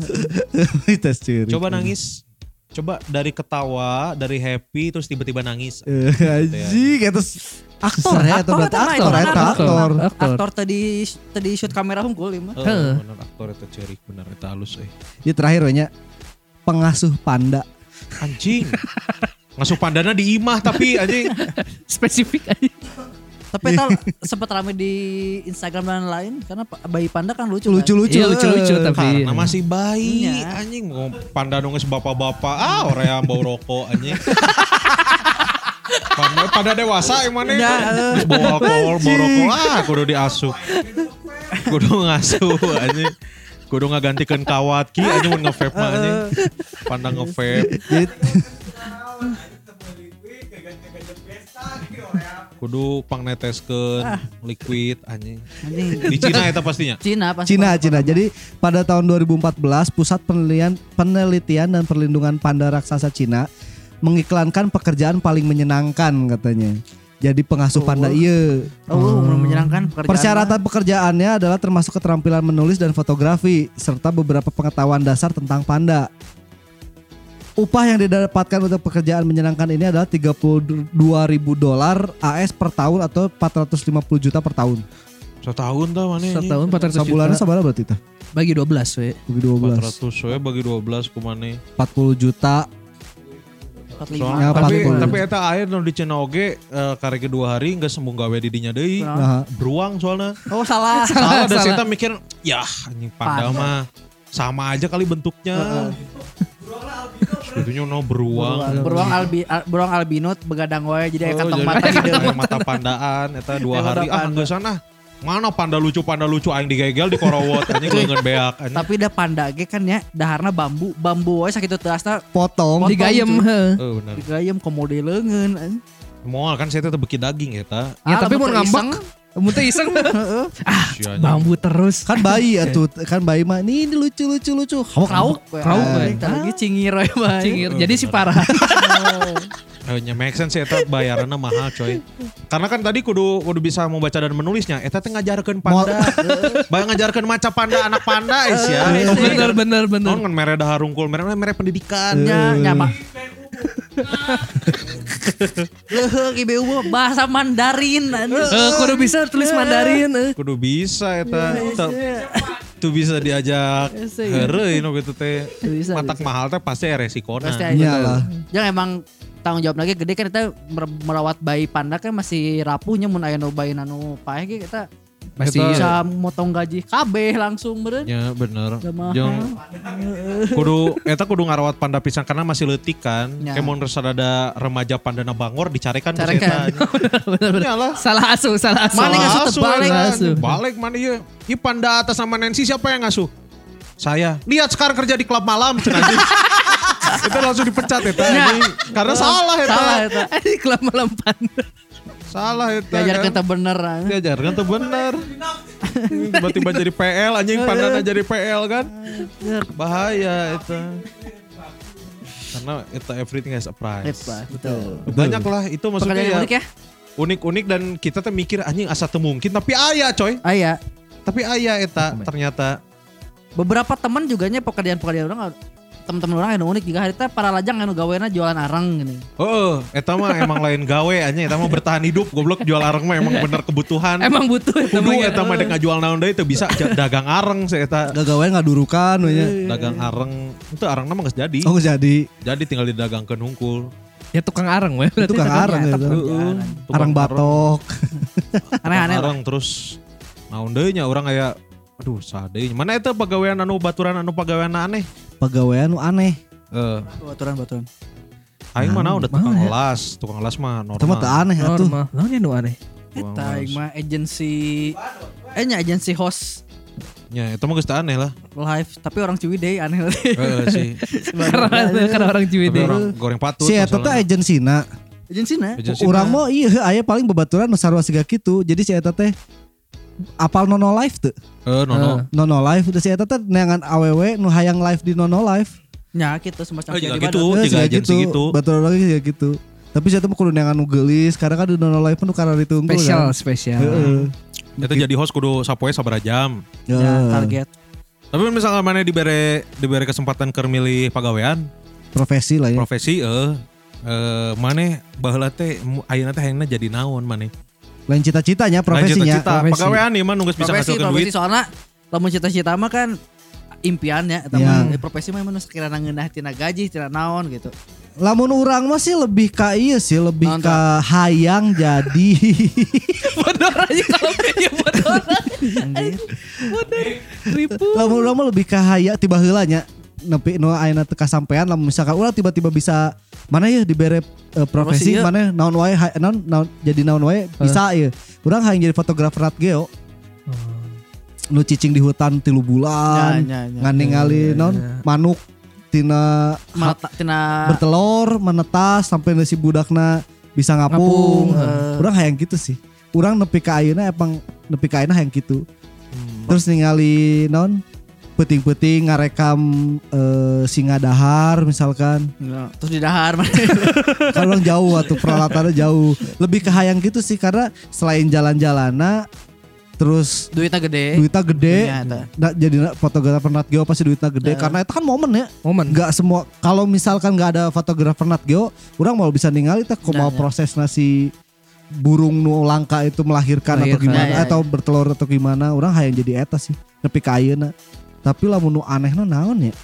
Tes ciri. Coba nangis. Coba dari ketawa, dari happy terus tiba-tiba nangis. Eh, Anjing, eta s- aktor ya, eta Aktor, berarti eta mah, aktor, eta eta mah, aktor. Aktor. Aktor tadi tadi shoot kamera hungkul ieu mah. Heeh, Heeh. Eh, bener aktor eta ceuri, bener eta halus eh. euy. Ya terakhir we nya pengasuh panda. Anjing. Ngasuh pandana di imah tapi anjing. Spesifik aja. Tapi Iya. eta sempat rame di Instagram dan lain karena pa- bayi panda kan lucu. kan? Lucu-lucu. Iya, lucu-lucu eh. tapi. Karena masih bayi Iya. anjing mau pandana geus bapak-bapak. Ah, orang yang bau rokok anjing. Pada, pada dewasa emangnya Iya, Terus bawa alkohol, bawa rokok lah kudu diasuh. Kudu ngasuh anjing. Kudu ngagantikeun kawat ki anjing mun nge-vape mah anjing. Pandang nge-vape. Jadi, Kudu pangneteskeun liquid anjing. Anjing. Di Cina eta pastinya. Cina pasti. Cina, Cina. Jadi pada tahun 2014, Pusat Penelitian, Penelitian dan Perlindungan Panda Raksasa Cina mengiklankan pekerjaan paling menyenangkan katanya. Jadi pengasuh panda iya. Oh, belum menyenangkan pekerjaan. Persyaratan pekerjaannya adalah termasuk keterampilan menulis dan fotografi serta beberapa pengetahuan dasar tentang panda. Upah yang didapatkan untuk pekerjaan menyenangkan ini adalah 32.000 dolar AS per tahun atau 450 juta per tahun. Setahun tah mana anjing. Setahun 400 Sebulannya juta. sabara berarti tah? Bagi 12 we. Bagi 12. 400 we bagi 12 kumane. 40 juta. 45. Soalnya, Ya, tapi 40. tapi eta air nu di Cina oge eh, karek dua hari nggak sembuh gawe di dinya deui. Nah, Beruang soalnya. Oh, salah. Salah ada cerita mikir, yah anjing panda Panda. mah sama aja kali bentuknya. Sebetulnya no beruang. Beruang albi al- beruang albino begadang wae jadi aya Oh, Ya, kantong jadi mata kayak hideung. mata pandaan eta dua Kayak mata hari ah panda. enggak sana. Mana panda lucu panda lucu aing digegel di korowot anjing geungeun beak anjing. Iya. Tapi dah panda ge kan ya daharna bambu, bambu wae sakitu teasna potong. Potong, Digayem. cuy. he. Eh bener. digayem komode leungeun. Moal kan saya teh beki daging eta. Ya Ah, tapi mau lamun teu iseng. ngambek. Mun teu [laughs] iseng. Ah, Si anjing. Bambu terus. Kan bayi atuh, kan bayi mah ini ini lucu lucu lucu. Krauk, we. Krauk, we. Tah lagi cingir we bae. eh. Cingir. Jadi si parah. Hanya Eh, make sense eta bayarannya mahal coy. Karena kan tadi kudu kudu bisa membaca dan menulisnya. Eta teh ngajarkeun panda. [laughs] Bayang ngajarkeun maca panda anak panda is Iya, ya. [laughs] bener bener bener. Iya. Naon ngan mere dahar rungkul mere mere pendidikan. Ya, nyapa. Leuheung IBU mah bahasa Mandarin anjing. Eh, kudu bisa tulis Mandarin. eh. Kudu bisa Iya, eta. Teu- Tuh bisa diajak heureuy nu gitu teh. Bisa, Matak mahal teh pasti ya resikonya. Pasti aja. Iyalah. Jangan emang tanggung jawab lagi gede kan kita mer- merawat bayi panda kan masih rapuhnya mun aya nu bayi nanu paeh ge kita Pasti. bisa motong gaji kabeh langsung meureun. iya. Ah. Ya bener. Gak mahal. Jeung kudu eta kudu ngarawat panda pisang karena masih leutik kan. Ya. Kayak mun resada ada remaja pandana bangor dicarekan ku si Carekan. [laughs] eta. Iyalah. Salah asuh, salah asuh. Mana ngasuh Asuh, tebalik. ya. Asuh. Balik mana iya. Iya panda atas sama Nancy siapa yang ngasuh? Saya. Lihat sekarang kerja di klub malam. cen [laughs] anjing. Itu langsung dipecat ya. Karena salah ya. Oh. Salah [laughs] eta. Ini kelam melempan. Salah ya. Diajarkeun teh bener. ah. Diajarkan Ya, kan tuh bener. Tiba-tiba jadi PL anjing pandana jadi PL kan. Bahaya itu. Karena itu everything has a price. Eta, betul. Banyak lah itu maksudnya Pekerjaan yang ya. unik ya. Unik-unik dan kita tuh mikir anjing asa teu mungkin tapi ayah coy. Aya, Tapi ayah eta ternyata. beberapa teman juga nya pekerjaan-pekerjaan orang teman-teman orang yang unik juga harita para lajang anu gaweana jualan arang [laughs] gini. Heeh, eta mah emang lain gawe anjing eta mah bertahan hidup goblok jual areng mah emang bener kebutuhan. Emang butuh ya Kudu namanya. eta mah dek ngajual naon deui teu bisa ja- dagang areng sih eta. Gagawain ngadurukan we nya. Dagang areng itu areng mah geus jadi. Oh jadi Jadi tinggal didagangkeun hungkul. Ya tukang areng weh. itu kang arang ya. Arang batok. aneh-aneh terus Nah, naon deui nya urang aya aduh sadeunya mana eta pagawean anu baturan anu pagawean aneh Pegawaian nu aneh. eh Baturan-baturan. aing mah naon da tukang mana ya? las tukang las mah Itu mah teu normal aneh atuh. Normal. Lawan yang nu aneh. Tukang Eta las. aing mah agensi eh nya agensi host nya eta Ya, mah geus teu aneh lah live tapi orang Ciwidey aneh [laughs] lagi. heeh sih [laughs] Karena karena orang tapi Ciwidey. orang goreng patut Si eta teh agensina. Agensina. Agensi Urang mah. mah iya aya paling babaturan nu sarua siga kitu. Jadi si eta teh apal nono live teu? eh no no Nono live udah si eta teh neangan awewe nu hayang live di nono live. Nya gitu semacam Oh, kayak juga di gitu. Bandung. tiga siga agensi gitu. Baturan lagi siga gitu. Tapi si eta mah kudu neangan nu geulis karena kan di nono live nu karena ditunggu Spesial, Ya. kan. spesial. Heeh. eta jadi host kudu sapoe sabaraha jam Ya, Ya, target. tapi misalnya mana dibere dibere kesempatan keur milih pagawean profesi lah ya. profesi eh eh mana baheula teh mu- ayeuna teh ayeuna jadi naon mana Lain cita-citanya profesinya. cita profesi. pagawean ieu mah nu geus bisa Profesi, ngasilkeun duit profesi soalnya lamun cita-cita mah kan impiannya eta Iya. mah Eh, profesi mah emang nu sakirana ngeunah tina gaji, tina naon [laughs] gitu. Lamun urang mah sih lebih ka iya sih, lebih Nonton. ke hayang jadi. Bodor aja kalau ya gitu, [laughs] bodor. Bodor. Ribu. lamun urang mah lebih ke hayang tiba heula nya. Nepi nu ayeuna teu kasampean lamun misalkan urang tiba-tiba bisa mana ya dibere eh, Profesi, profesi iya. mana naon wae hay- naon, naon jadi naon wae bisa ya. Urang hayang jadi fotografer rat geo. Nu cicing di hutan tilu bulan. Ya, ya, ya. ngan ningali naon manuk tina Mata tina bertelur, menetas sampai nasi budakna bisa ngapung. Urang hayang gitu sih. Urang nepi ka ayeuna emang nepi ka ayeuna hayang gitu. Terus ningali non peting-peting ngarekam eh, singa dahar misalkan. Ya, terus di dahar [laughs] mana. Kalau orang jauh atau peralatannya jauh. Lebih ke hayang gitu sih karena selain jalan-jalana terus duitnya gede. duitnya gede. Iya, eta. Nah, jadi fotografer Nat Geo pasti duitnya gede karena itu kan momen ya. Momen. nggak semua kalau misalkan nggak ada fotografer Nat Geo orang mau bisa ningali teh Nah, kumaha ya. proses nasi burung nu langka itu melahirkan, atau Melahirkan. gimana Ya, ya, atau bertelur atau gimana orang hayang jadi eta sih nepi ka ayeuna tapi lamun nu anehna naon ya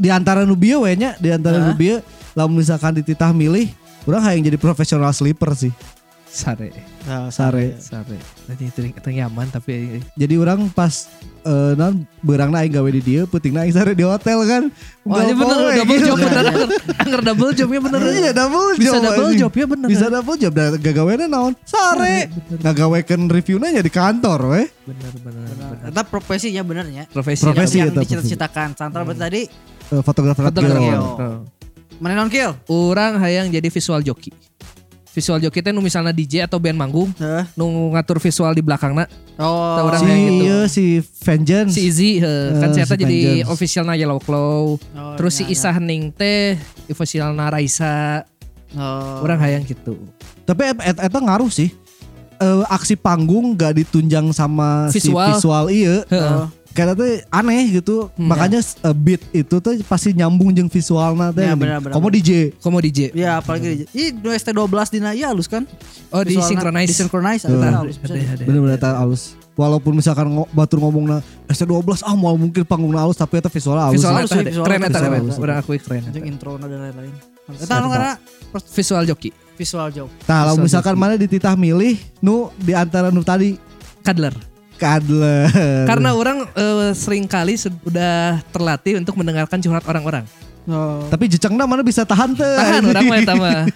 di antara nu bieu we nya di antara nu bieu lamun misalkan dititah milih orang hayang jadi profesional sleeper sih Sare. sare iya. Sare. Tadi itu itu nyaman tapi eh, jadi orang pas eh non berangna aing gawe di dieu peutingna aing sare di hotel kan Oh, iya bener, Gampang we, double [laughs] gitu. job bener. Anger double jobnya bener. Iya double job Bisa double anjing. job ya bener. Nah, Bisa double job dan gagawennya naon Sare Ngagawekan reviewnya ya di kantor weh Bener bener. bener. Eta profesinya benernya. Profesi. Profesi. yang, yang eta, dicita-citakan. Santra berarti tadi Eh, Fotografer Hot Fotografer. Girl. Betul. mana non kill? Orang hayang jadi visual joki. Visual joki teh nu misalnya DJ atau band manggung, Heeh. nu ngatur visual di belakangna. Oh, Tah orang Si hayang gitu. iya si Vengeance Si Izzy heh, kan Eh, saya si jadi Vengeance. officialnya Yellow Claw. Oh, Terus si iya, Isa Hening teh officialna Raisa. Oh. Orang hayang gitu. Tapi et- et- eta ngaruh sih Eh, Aksi panggung gak ditunjang sama si Visual. visual iya Heeh. Hmm. karena teh aneh gitu makanya eh, beat itu tuh pasti nyambung jeung visualna teh Ya, anjing. benar, benar, Komo DJ Komo DJ. Ya apalagi di- Ih, dua ST12 di Naya halus kan? Oh, di Visualnya- synchronize. Di synchronize Tuh. ada halus. bisa deh. bener-bener eta alus walaupun misalkan ngo, batur ngomongna ST12 ah mau mungkin panggungna alus tapi eta visualna alus Nah, Visualnya halus tah, sih, visualnya keren eta tah. keren. Visualnya. Orang akui keren. Jeung intro dan lain-lain. Eta Mantap. anu karena Visual joki. visual jauh. Nah, kalau Bisa misalkan mana dititah milih nu di antara nu tadi Kadler. kadler. Karena orang eh, seringkali sudah terlatih untuk mendengarkan curhat orang-orang. tapi jecengna mana bisa tahan teh. Tahan orang [laughs] mah eta mah.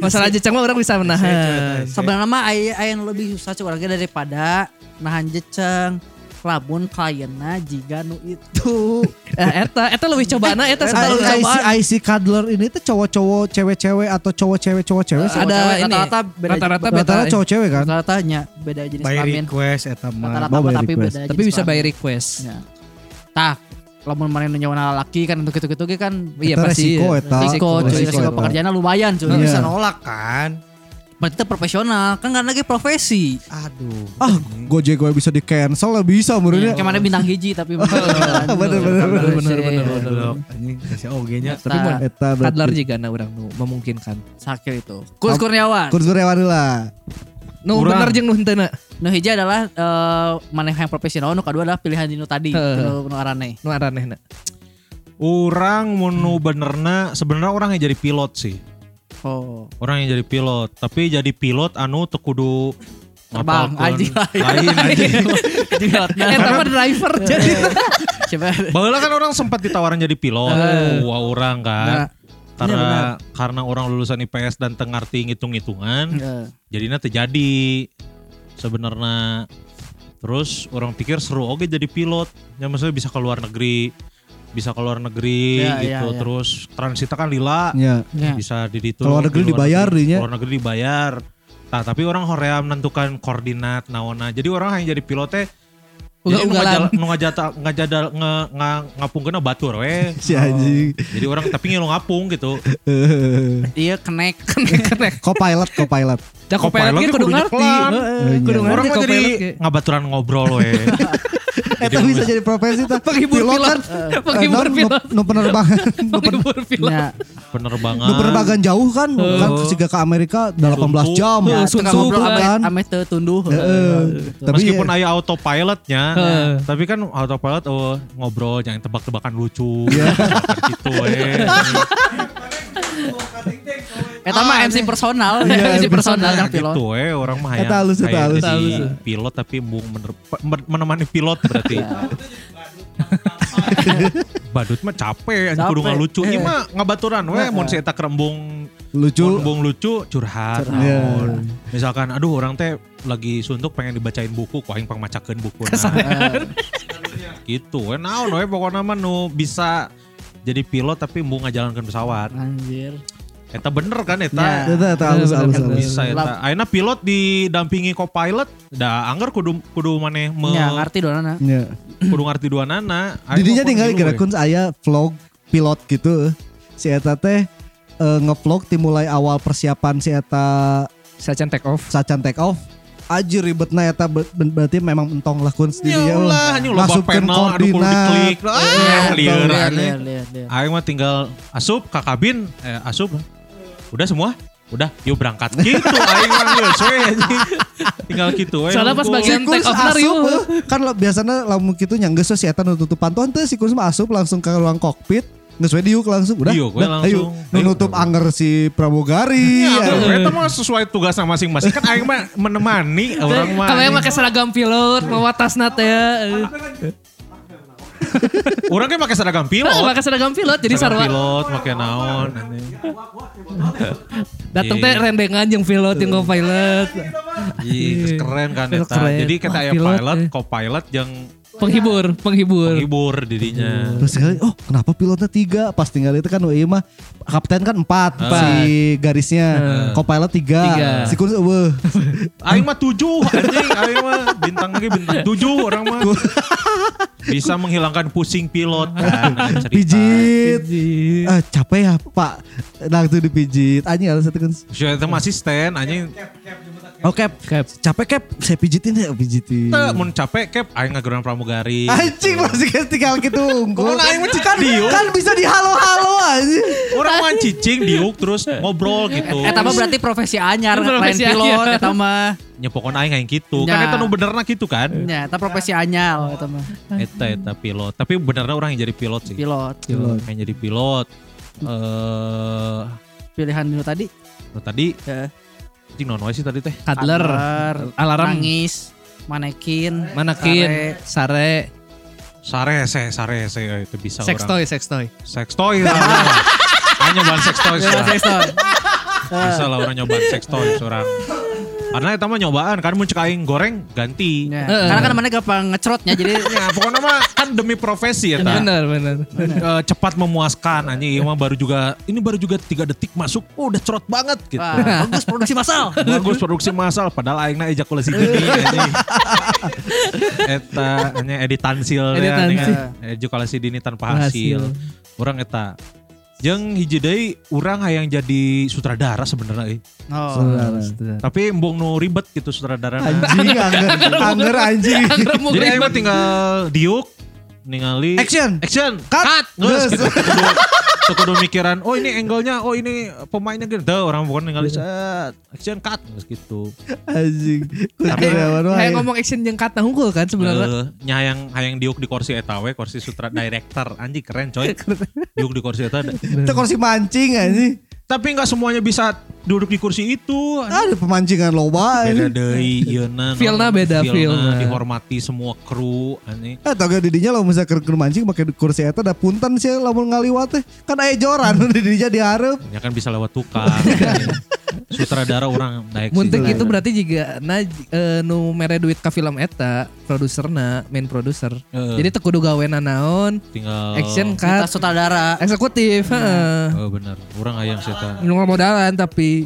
Masalah jecang mah orang bisa menahan. Sebenarnya mah aya aya anu lebih susah cuma orangnya daripada nahan jeceng lamun klienna jiga nu itu. Eh, eta eta lebih cobaan eta I, sebenarnya I, cobaan. see- I see kadler ini tuh cowok-cowok cewek-cewek atau cowok-cewek cowok-cewek. ada Cewek-cewek ini. rata-rata beda Rata-rata beda. Rata-rata cowok-cewek kan. rata-rata nya beda jenis By kelamin. request eta mah. Rata-rata Mau by tapi request. beda Tapi jenis bisa by kelamin. request. Ya. Tah, lamun mana nu nyawa laki kan untuk gitu-gitu ge kan Iya Eta pasti. resiko eta. risiko cuy, Resiko, risiko eta. pekerjaannya lumayan cuy. Iya. Bisa Bisa nol. nolak kan? Berarti itu profesional, kan karena ge profesi. Aduh. Ah, gojek gue bisa di cancel lah bisa menurutnya. Kayak mana bintang hiji tapi Iya. Bener, bener, bener, bener, bener, Aduh, anjing kasih OG-nya. Tapi Nah, Eta Kadler berarti. juga na orang nu memungkinkan. sakit itu. Kus Kurniawan. Kursus rewani lah. Nu Kurang. bener jeung nu henteu nah. na. Nu hiji adalah eh, mana yang profesional, nu kedua adalah pilihan dino tadi, Heeh. nu nu arane. Nu nah. aranehna. Orang menu benerna sebenarnya orang yang jadi pilot sih. Oh. Orang yang jadi pilot, tapi jadi pilot anu teu kudu Terbang, ngapalkeun anjing ya. lain. [laughs] lain anjing. Eta mah driver jadi. Coba Baheula kan orang sempat ditawaran jadi pilot, wah orang kan. Nah, karena karena orang lulusan IPS dan tengarti ngitung-ngitungan, jadinya terjadi sebenarnya. Terus orang pikir seru oke jadi pilot, ya maksudnya bisa ke luar negeri, bisa ke luar negeri Ya, gitu. ya, ya. Terus transita kan lila, Ya. Ya. bisa di ditu. Keluar negeri di luar dibayar negeri- dinya. Keluar negeri dibayar. Nah, tapi orang Korea menentukan koordinat naona. Jadi orang yang jadi pilotnya jadi nu Ugal-ugalan. ngajal- nu ngajata ngajadal nge, nga, ngapungeunna batur we. Si anjing. Jadi orang tapi ngilu ngapung gitu. Iya [laughs] kenek. Copilot, copilot. Da Eh, copilot Copilot ge ge kudu kudunya ngerti. pelan. Heeh, Kudu Iya. Orang ngerti mah jadi copilot ya. ge. ngabaturan ngobrol we. [laughs] Eta bisa jadi profesi tuh. Penghibur pilot. [laughs] Penghibur Eh, non, pilot. Nu nu penerbangan. Nu pen- Penghibur pilot. Ya. penerbangan. Nu penerbangan jauh kan, kan kesiga ke Amerika 18 jam. Oh. Nah, Ya, Susu tengah ngobrol kan. Ame ame teu tunduh. Heeh. Tapi Meskipun ya, aya autopilotnya, Heeh. tapi kan autopilot oh, ngobrol jangan tebak-tebakan lucu. Iya. [laughs] gitu we. Eta mah MC personal, MC personal yang pilot. Gitu we, orang mah hayang- Eta halus, eta hayang halus, jadi halus. pilot tapi embung mener- pe- men- menemani pilot berarti. [laughs] Badut mah capek, anjing kudu Capek. ngalucu. Eh. Ieu mah ngabaturan we mun si eta kerembung lucu. Bung lucu curhat. Iya. naon. Misalkan aduh orang teh lagi suntuk pengen dibacain buku ku aing pang macakeun buku. Eh, gitu. We naon we pokona mah nu bisa jadi pilot tapi mau ngajalankan pesawat. Anjir. Eta bener kan Ya. eta? Eta eta halus halus halus. Bisa eta. Ayeuna pilot didampingi co-pilot, da anggar kudu kudu maneh me, Ya ngerti dong Nana. Ya. kudu ngerti dua nana. Didinya tinggal Ya gerakun saya vlog pilot gitu. Si Eta teh eh, ngevlog dimulai awal persiapan si Eta Sajan take off. sacan take off. Aji ribetna Eta be- be- berarti memang entong lah kun Ya sendiri. ulah, anjing loba Masukkan panel, aduh kudu koordinat. Ya, diklik. Ah, liar Eh, Lihat aneh. lihat lihat. lihat. Aing mah tinggal asup ke kabin, eh, asup. Udah semua? Udah, yuk berangkat. Gitu aing mah geus we anjing. Tinggal gitu we. Soalnya pas Untung. bagian- Sikus Take off lah, asup Ryu. eh. kan lo- biasanya lamun gitu nyanggeus we si eta nu tutup pantuan teh si Kus mah asup langsung ke ruang kokpit geus we diuk langsung udah. Diuk we udah, langsung. ayo. Nu nutup Ayo. anger si [laughs] ya. pramugari. Iya, Aduh. we, Eta mah sesuai tugasnya masing-masing. Kan aing mah menemani orang Iya. Kalau yang mah. anjing. pakai Eh, seragam pilot, mau watas nate ya. Oh. Urang ge make seragam pilot. Pakai Eh, seragam pilot jadi Seragam sarwa. pilot make naon anjing. Datang teh Iya. rendengan jeung pilot jeung co-pilot. Ih, geus keren kan Pilot eta. Iya. keren. Jadi kita Wah, aya pilot, pilot, eh. co-pilot jeung Penghibur, penghibur. hibur dirinya. Terus sekali, oh kenapa pilotnya tiga? Pas tinggal itu kan WI mah kapten kan empat, si Ah. garisnya, Nah. co-pilot tiga, Tiga. si kurus eueuh. [laughs] Aing mah tujuh anjing, aing mah bintang lagi bintang tujuh orang mah. Bisa menghilangkan pusing pilot kan. ada cerita. pijit, Ah, capek ya pak, nah itu dipijit, anjing harus itu kan Saya itu mah asisten anjing. Oke, capek cap, saya pijitin ya, pijitin. Teu, mun capek kep aing ngageran pramugari. Anjing masih kan tinggal gitu unggul. Orang aing mah cicing kan, diuk. kan bisa dihalo-halo anjing. Orang mah cicing diuk terus ngobrol gitu. Eta mah Eh, berarti profesi anyar lain Profesi pilot ya, anyar. eta mah. Nyepokon aing aing gitu. Kan Nya. eta nu benerna gitu kan. Ya, eta profesi anyar ya, eta mah. Eta eta pilot. Tapi benerna orang yang jadi pilot sih. Pilot. Pilot. Yang jadi pilot. Eh Pilihan dulu tadi ya. nu tadi Heeh. anjing non sih tadi teh. Cuddler, alarm, nangis, manekin, manekin, sare, Sare se sare se eh, itu bisa sex orang. toy, sex toy. Sex toy. lah, orang. Aing nyobaan sex toy. sare. sekarang. Sex toy. Bisa lah orang nyobaan sex toy seorang. Karena eta mah nyobaan kan mun cek aing goreng ganti. Ya, Heeh. Karena kan mana gampang ngecrotnya [laughs] jadi Ya, pokoknya mah kan demi profesi ya Bener, bener. Eh, cepat memuaskan anjing Iya mah baru juga ini baru juga tiga detik masuk oh, udah cerot banget gitu wah, bagus produksi massal. [laughs] bagus produksi massal padahal aingna ejakulasi [laughs] gini anjing eta hanya editan sil Edit ya, tansil. dengan ejakulasi dini tanpa hasil Hasil. orang eta jeung hiji deui urang hayang jadi sutradara sebenarnya eh. Oh. iya, Saudara. tapi embung nu ribet gitu sutradara Anjing, anger, anger anjing. jadi aing mah tinggal diuk ningali Action. action Cut. Terus gitu, Terus. kudu, tuh kudu mikiran, oh ini angle-nya, oh ini pemainnya gitu. Tuh, orang bukan ningali set, action cut terus gitu. Anjing. Tapi- Kurniawan wae. Kayak ngomong action yang kata hungkul kan sebenarnya. Eh, nya hayang hayang diuk di kursi eta we, kursi sutra director. Anjing keren [laughs] coy. Diuk di kursi eta. Itu kursi mancing anjing. Tapi nggak semuanya bisa duduk di kursi itu. anjing. Ada pemancingan Beda loba iya anjing. deui ieuna. non- Feel-na beda, feel-na, feel-na. Dihormati semua kru anjing. Eh, tau gak didinya lo misalnya keur keur mancing pakai kursi eta da punten sih lamun ngaliwat teh. Kan aya joran [laughs] didinya dihareup. Ya kan bisa lewat [laughs] tukang. anjing. Sutradara orang daek Muntik sih. itu berarti juga na eh, nu mere duit ka film eta, produserna, main produser. Heeh. Oh. Jadi teu kudu gawe naon, tinggal action Kita cut, Ah, sutradara. Iya. eksekutif, heeh. Oh benar, orang ayam seta. Nu modalan tapi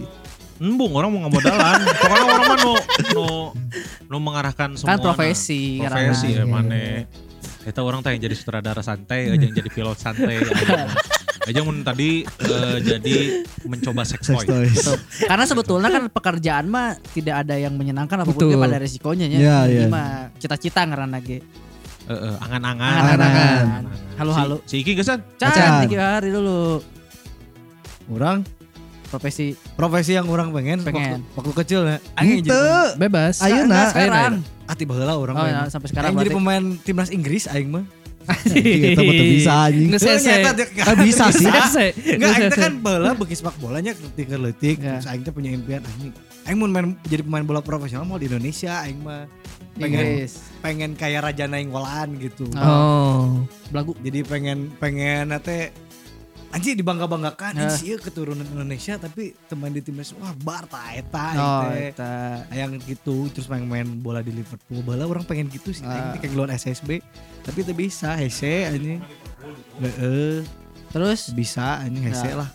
Embung orang mau ngomodalan. Pokoknya orang mah nu nu nu mengarahkan semua. Kan profesi, na. Profesi ya mana. Eta orang teh yang jadi sutradara santai, aja yang jadi pilot santai. Aja mun tadi eh, jadi mencoba sex toy. Sex toys. Karena sebetulnya kan pekerjaan mah tidak ada yang menyenangkan apapun Betul. dia pada resikonya ya. Iya, Ini iya. mah cita-cita ngarana ge. Eh, eh, angan-angan. Angan-angan. Angan-angan. Halo-halo. Si, si Iki gesan. Can, tiga hari dulu Orang profesi profesi yang orang pengen, Pengen. Ah, iya Waktu, waktu kecil ya. Aing Itu. jadi- bebas. Ayeuna. nah, sekarang. Ati baheula orang. Oh, pengen. ya, sampai sekarang Aing jadi berarti. pemain timnas Inggris aing mah. Iya, Kita betul bisa anjing. Nges- Sese. Eh, nyata dia- Ah, [laughs] bisa sih. Sese. Enggak, aing teh Sese. kan bola bagi sepak bolanya letik-letik. Iya. Terus aing teh punya impian anjing. Aing mau main jadi pemain bola profesional mau di Indonesia aing mah. Pengen Inggris. pengen kayak Raja Naing Walaan gitu. Oh. Belagu. Jadi pengen pengen nate anjing dibangga-banggakan Nah. sih ya keturunan Indonesia tapi teman di timnas wah bar ta eta Oh, aing teh. eta. Ayang gitu terus pengen main bola di Liverpool. Bola orang pengen gitu sih Ah. aing teh kayak geluan SSB tapi teu bisa hese anjing. Heeh, Terus bisa anjing hese Nah. lah.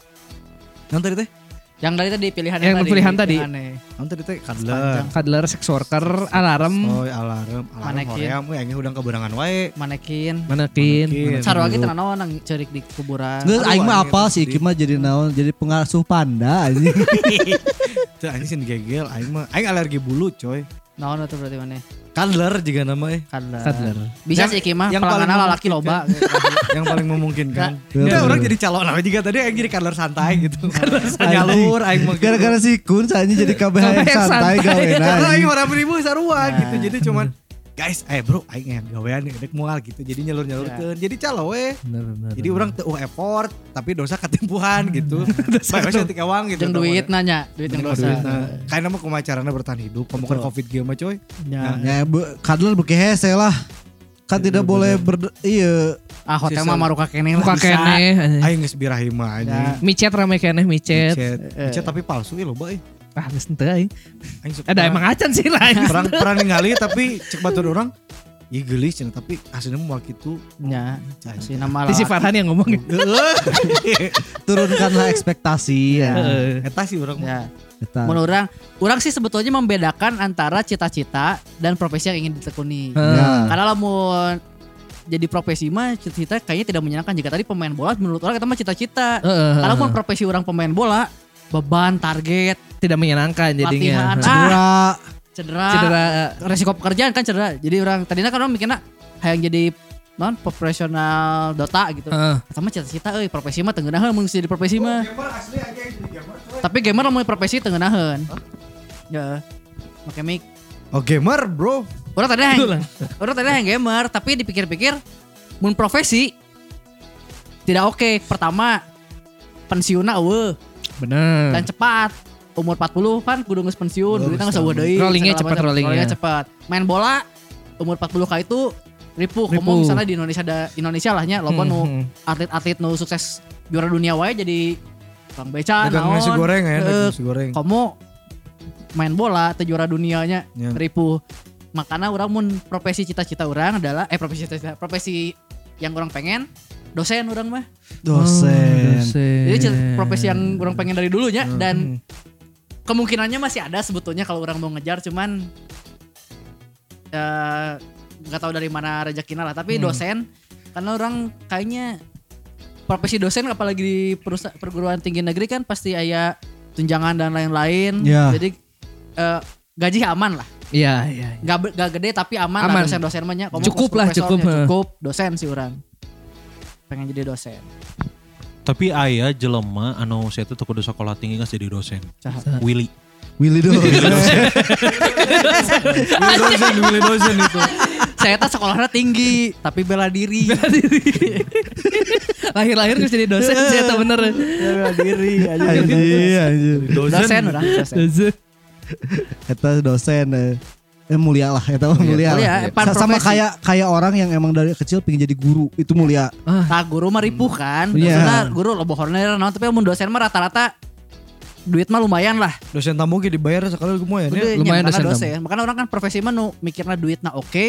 Yang tadi teh, yang dari tadi pilihan Yang pilihan tadi. pilihannya. yang Kan tadi teh kadler. Sepanjang. Cuddler, sex worker, alarm, Soy alarm, alarm Manekin. hoream we anjing udang keberangan wae. manekin manekin. Cara lagi tenang naon nang cerik di kuburan. Nges, aing mah Aduh, apal anjing, sih Iki mah jadi naon jadi pengasuh panda anjing. [laughs] Teu anjing sih gegel aing mah. Aing alergi bulu coy. Naon itu berarti mana? Kadler juga nama eh. Kadler. Cuddler. Bisa Yang- sih Iki mah yang pelanggan paling ala laki [laughs] loba. gitu. memungkinkan. yang paling memungkinkan. Nggak. Ya, orang jadi calon apa juga tadi aing jadi kadler santai [laughs] gitu. Nyalur aing mah. gitu. Gara-gara si Kun saat ini jadi KBH yang Sampai santai santai. gawena. Karena anjing. aing orang ribu sarua gitu. Jadi cuman guys, eh bro, aing yang gawean ya, dek mual gitu. Jadi nyelur-nyelurkeun. Jadi calo we. Jadi orang teu uh, effort tapi dosa ketimpuhan [laughs] gitu. Bae wes ketik awang gitu. Jeung duit nanya, duit yang dosa. Karena mah nah. kumacarana bertahan hidup, pemukul covid ge mah coy. Nah. Ya. Ya be- kadler beki hese lah. Kan tidak boleh ber iya Ah hotel mah maruka kene lah. Muka bisa. keneh. eh. Aing geus birahi mah anjing. Micet rame keneh, micet. Micet. Eh, Micet tapi palsu ya loba eh. Ah, geus henteu aing. Aing suka- Ada emang acan sih lah. aing. [laughs] perang perang ningali tapi cek batur orang Iya gelis cenah, tapi aslinya mau gitu. Ya. Si nama Di si Farhan yang ngomong. Hmm. [laughs] turunkanlah ekspektasi ya. Heeh. Eh. Eta sih orang mah. Ya. Eta. Menurut orang, orang sih sebetulnya membedakan antara cita-cita dan profesi yang ingin ditekuni. Ya. Karena lamun jadi profesi mah cita-cita kayaknya tidak menyenangkan jika tadi pemain bola menurut orang kita mah cita-cita. Heeh. Karena mau profesi orang pemain bola beban target tidak menyenangkan latihan jadinya. ah, Cedera. cedera, Cedera eh. resiko pekerjaan kan cedera jadi orang tadinya kan orang mikirnya hayang jadi non profesional Dota gitu Heeh. sama cita-cita euy profesi mah teu ngeunaheun mun geus jadi profesi mah Oh, Gamer asli aja yang jadi gamer. coy. tapi gamer lamun profesi teu ngeunaheun ya make mic Oh gamer bro. orang tadi yang orang tadi yang gamer tapi dipikir-pikir mun profesi tidak oke pertama pensiunna eueuh Hmm. bener. dan cepat umur 40 kan kudu geus pensiun duitnya geus eueuh deui Rollingnya segala cepat, macam. rollingnya. cepat main bola umur 40 kali itu ripuh Ripuh. ngomong misalnya di Indonesia ada Indonesia lah nya loba nu Hmm. atlet-atlet nu sukses juara dunia wae jadi Bang Beca Dagang nasi goreng ya, dagang Heeh. nasi goreng. kamu main bola teu juara dunianya Ya. ripuh makanya orang mun profesi cita-cita orang adalah eh profesi cita-cita profesi yang orang pengen dosen orang mah Dosen. jadi cita- Eh. profesi yang orang pengen dari dulunya Hmm. dan kemungkinannya masih ada sebetulnya kalau orang mau ngejar cuman eh, nggak tahu dari mana rezekinya lah Hmm. tapi dosen karena orang kayaknya profesi dosen apalagi di perusa- perguruan tinggi negeri kan pasti ada tunjangan dan lain-lain Ya. jadi eh, gaji aman lah Iya, iya. nggak be- nggak gede tapi aman, lah Aman. dosen-dosen mah nya. Ngomong Cukup lah, profesornya, cukup, eh. cukup dosen sih orang pengen jadi dosen Tapi ayah jelema anu saya tuh kudu sekolah tinggi kan jadi dosen. Willy. Willy dulu. [laughs] Willy dosen, Willy dosen itu. saya tak sekolahnya tinggi tapi bela [laughs] diri bela diri Lahir-lahir geus jadi dosen sih eta bener. Bela diri aja. anjir, anjir. dosen orang dosen Eta dosen. Eh, Eh, mulia lah, eta mah Mulia, mulia. Iya. lah. pan Sa- Sama profesi. kayak kayak orang yang emang dari kecil pengen jadi guru, itu mulia. nah guru mah ripuh kan Iya. Maksudnya guru lo bohornya nah, tapi mun dosen mah rata-rata duit mah lumayan lah Dosen tamu ge dibayar sekali gue mau ya. Gede, lumayan makanya dosen dosen makanya orang kan profesi mah nu mikirnya duit nah oke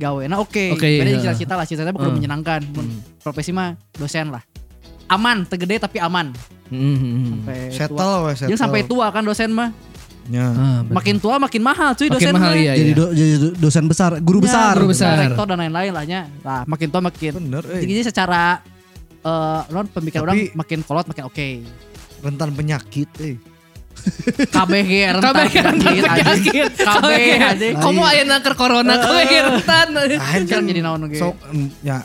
gawe nah oke Oke, Jadi iya. Hmm. cita-cita lah cita-cita perlu menyenangkan Mun profesi mah dosen lah aman tegede tapi aman Hmm. sampai ya, tua Heeh. Settle we settle. Jadi sampai tua Ah. kan dosen mah Ya. makin tua makin mahal cuy Makin dosen mah. mahal iya. Jadi, iya. do- jadi do- dosen besar, guru Ya, besar. guru besar. Rektor dan lain-lain lahnya. Nah, makin tua makin. Bener eh. Jadi secara eh non pemikiran orang Tapi- makin kolot makin oke. Rentan penyakit eh. Kabeh [laughs] ge rentan Kabeh ge rentan penyakit, anjing. penyakit. Kabeh Kabeh. anjing. Kamu aya nangker corona kabeh ge rentan. Anjir jadi naon ge. So, mm, ya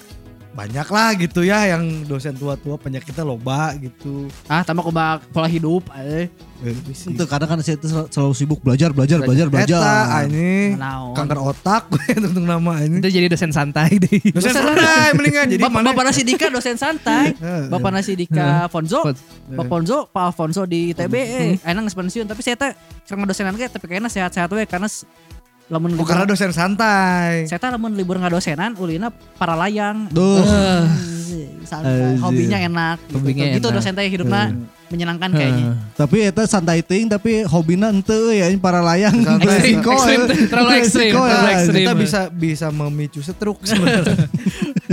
banyak lah gitu ya yang dosen tua-tua penyakitnya loba gitu. Ah, tambah kuba pola hidup eh Eh, Itu karena kan saya itu sel- selalu sibuk belajar, belajar, belajar, belajar. Eta ah, ini Nah, naon. kanker otak [laughs] untuk nama ini. Itu jadi dosen santai deh. Dosen santai mendingan jadi Bapak, mana? Bapak Nasi [laughs] Dika dosen santai. Eh, Bapak Nasi Dika Fonzo. Fon- Bapak Fonzo, Pak Alfonso di ITB eh Hmm. enang geus pensiun tapi saya teh cereng dosenan ge tapi kayaknya sehat-sehat we karena s- lamun Oh, karena dosen santai. saya teh lamun libur nggak dosenan ulina para layang Duh. santai Anjir. hobinya enak gitu, Hobinya gitu enak. dosen teh hidupnya menyenangkan kayaknya Tapi eta santai ting tapi hobina ente ya ini para layang. Santai. Resiko, Ekstrim, eh. terlalu ekstrim, Resiko, eh. terlalu ekstrim. Oh, ya, Kita bisa bisa memicu [laughs] stroke sebenarnya.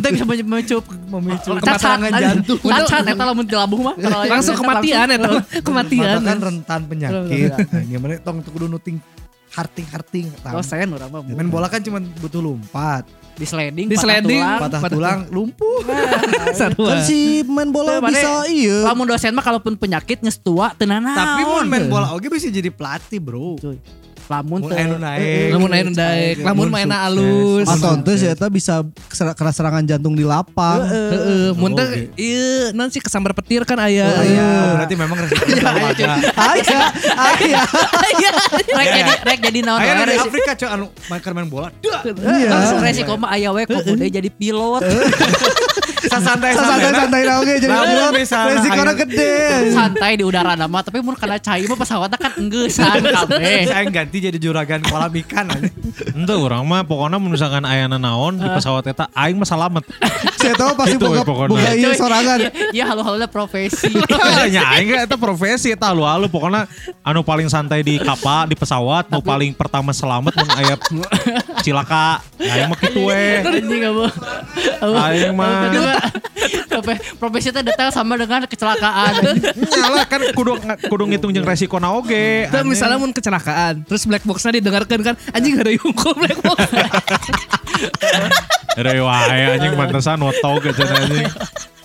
kita bisa men- memicu memicu cacat kematangan jantung. cacat eta lamun di labuh mah kalau yang Langsung cacat kematian langsung. eta. [laughs] Kematian. Mata kan rentan penyakit. Nah, Gimana tong tuh kudu nuting harting-harting. [laughs] tang. dosen orang mah Main bola kan cuma butuh lompat, di sliding Di sliding, patah Patah tulang, lumpuh. Kan Sarua. si main bola Tuh, Mane. bisa iya. lamun dosen mah kalaupun penyakit ngestua tenana Tapi mun main bola oge bisa jadi pelatih, Bro. lamun Eh, Mun teu- anu naik. Lamun aya [laughs] nu daek, lamun mah enak alus. sukses. Atau ente si eta bisa kesera- kena serangan jantung di lapang. Heeh, mun teh Oh, oke. ieu naon sih kesambar petir kan aya. Oh, iya. Berarti memang resikonya sama aja. Aya, aya. rek Iya, jadi rek jadi naon Eh, Ayo wae dari resi- Afrika cuy anu main keur main bola. Duh, langsung resiko mah aya we kok bude jadi pilot sasantai Santai santai lah oke jadi Lamun bola. misalna Resikonya aya- gede. santai di udara nama tapi mun kana cai mah pesawatnya kan enggesan kabeh Eh, Saya ganti jadi juragan kolam ikan aja. Ente orang mah pokoknya mun misalkan ayana naon di pesawat eta aing mah selamat. Saya tahu pasti Gitu, buka pokoknya. [laughs] buka iya Cuy, sorangan. Iya halo-halo profesi. Nya aing ge eta profesi eta lu alu pokoknya anu paling santai di kapal di pesawat nu paling pertama selamat mun aya cilaka. Aing mah kitu we. Anjing kamu. Aing mah Profe- Profesi itu detail sama dengan kecelakaan. nyala kan kudu kudu ngitung jeung resiko na oge. Tuh misalnya mun kecelakaan, terus black boxnya didengarkan kan, anjing gak ada hukum black box. Rewa aya anjing mantesan woto ge cenah anjing.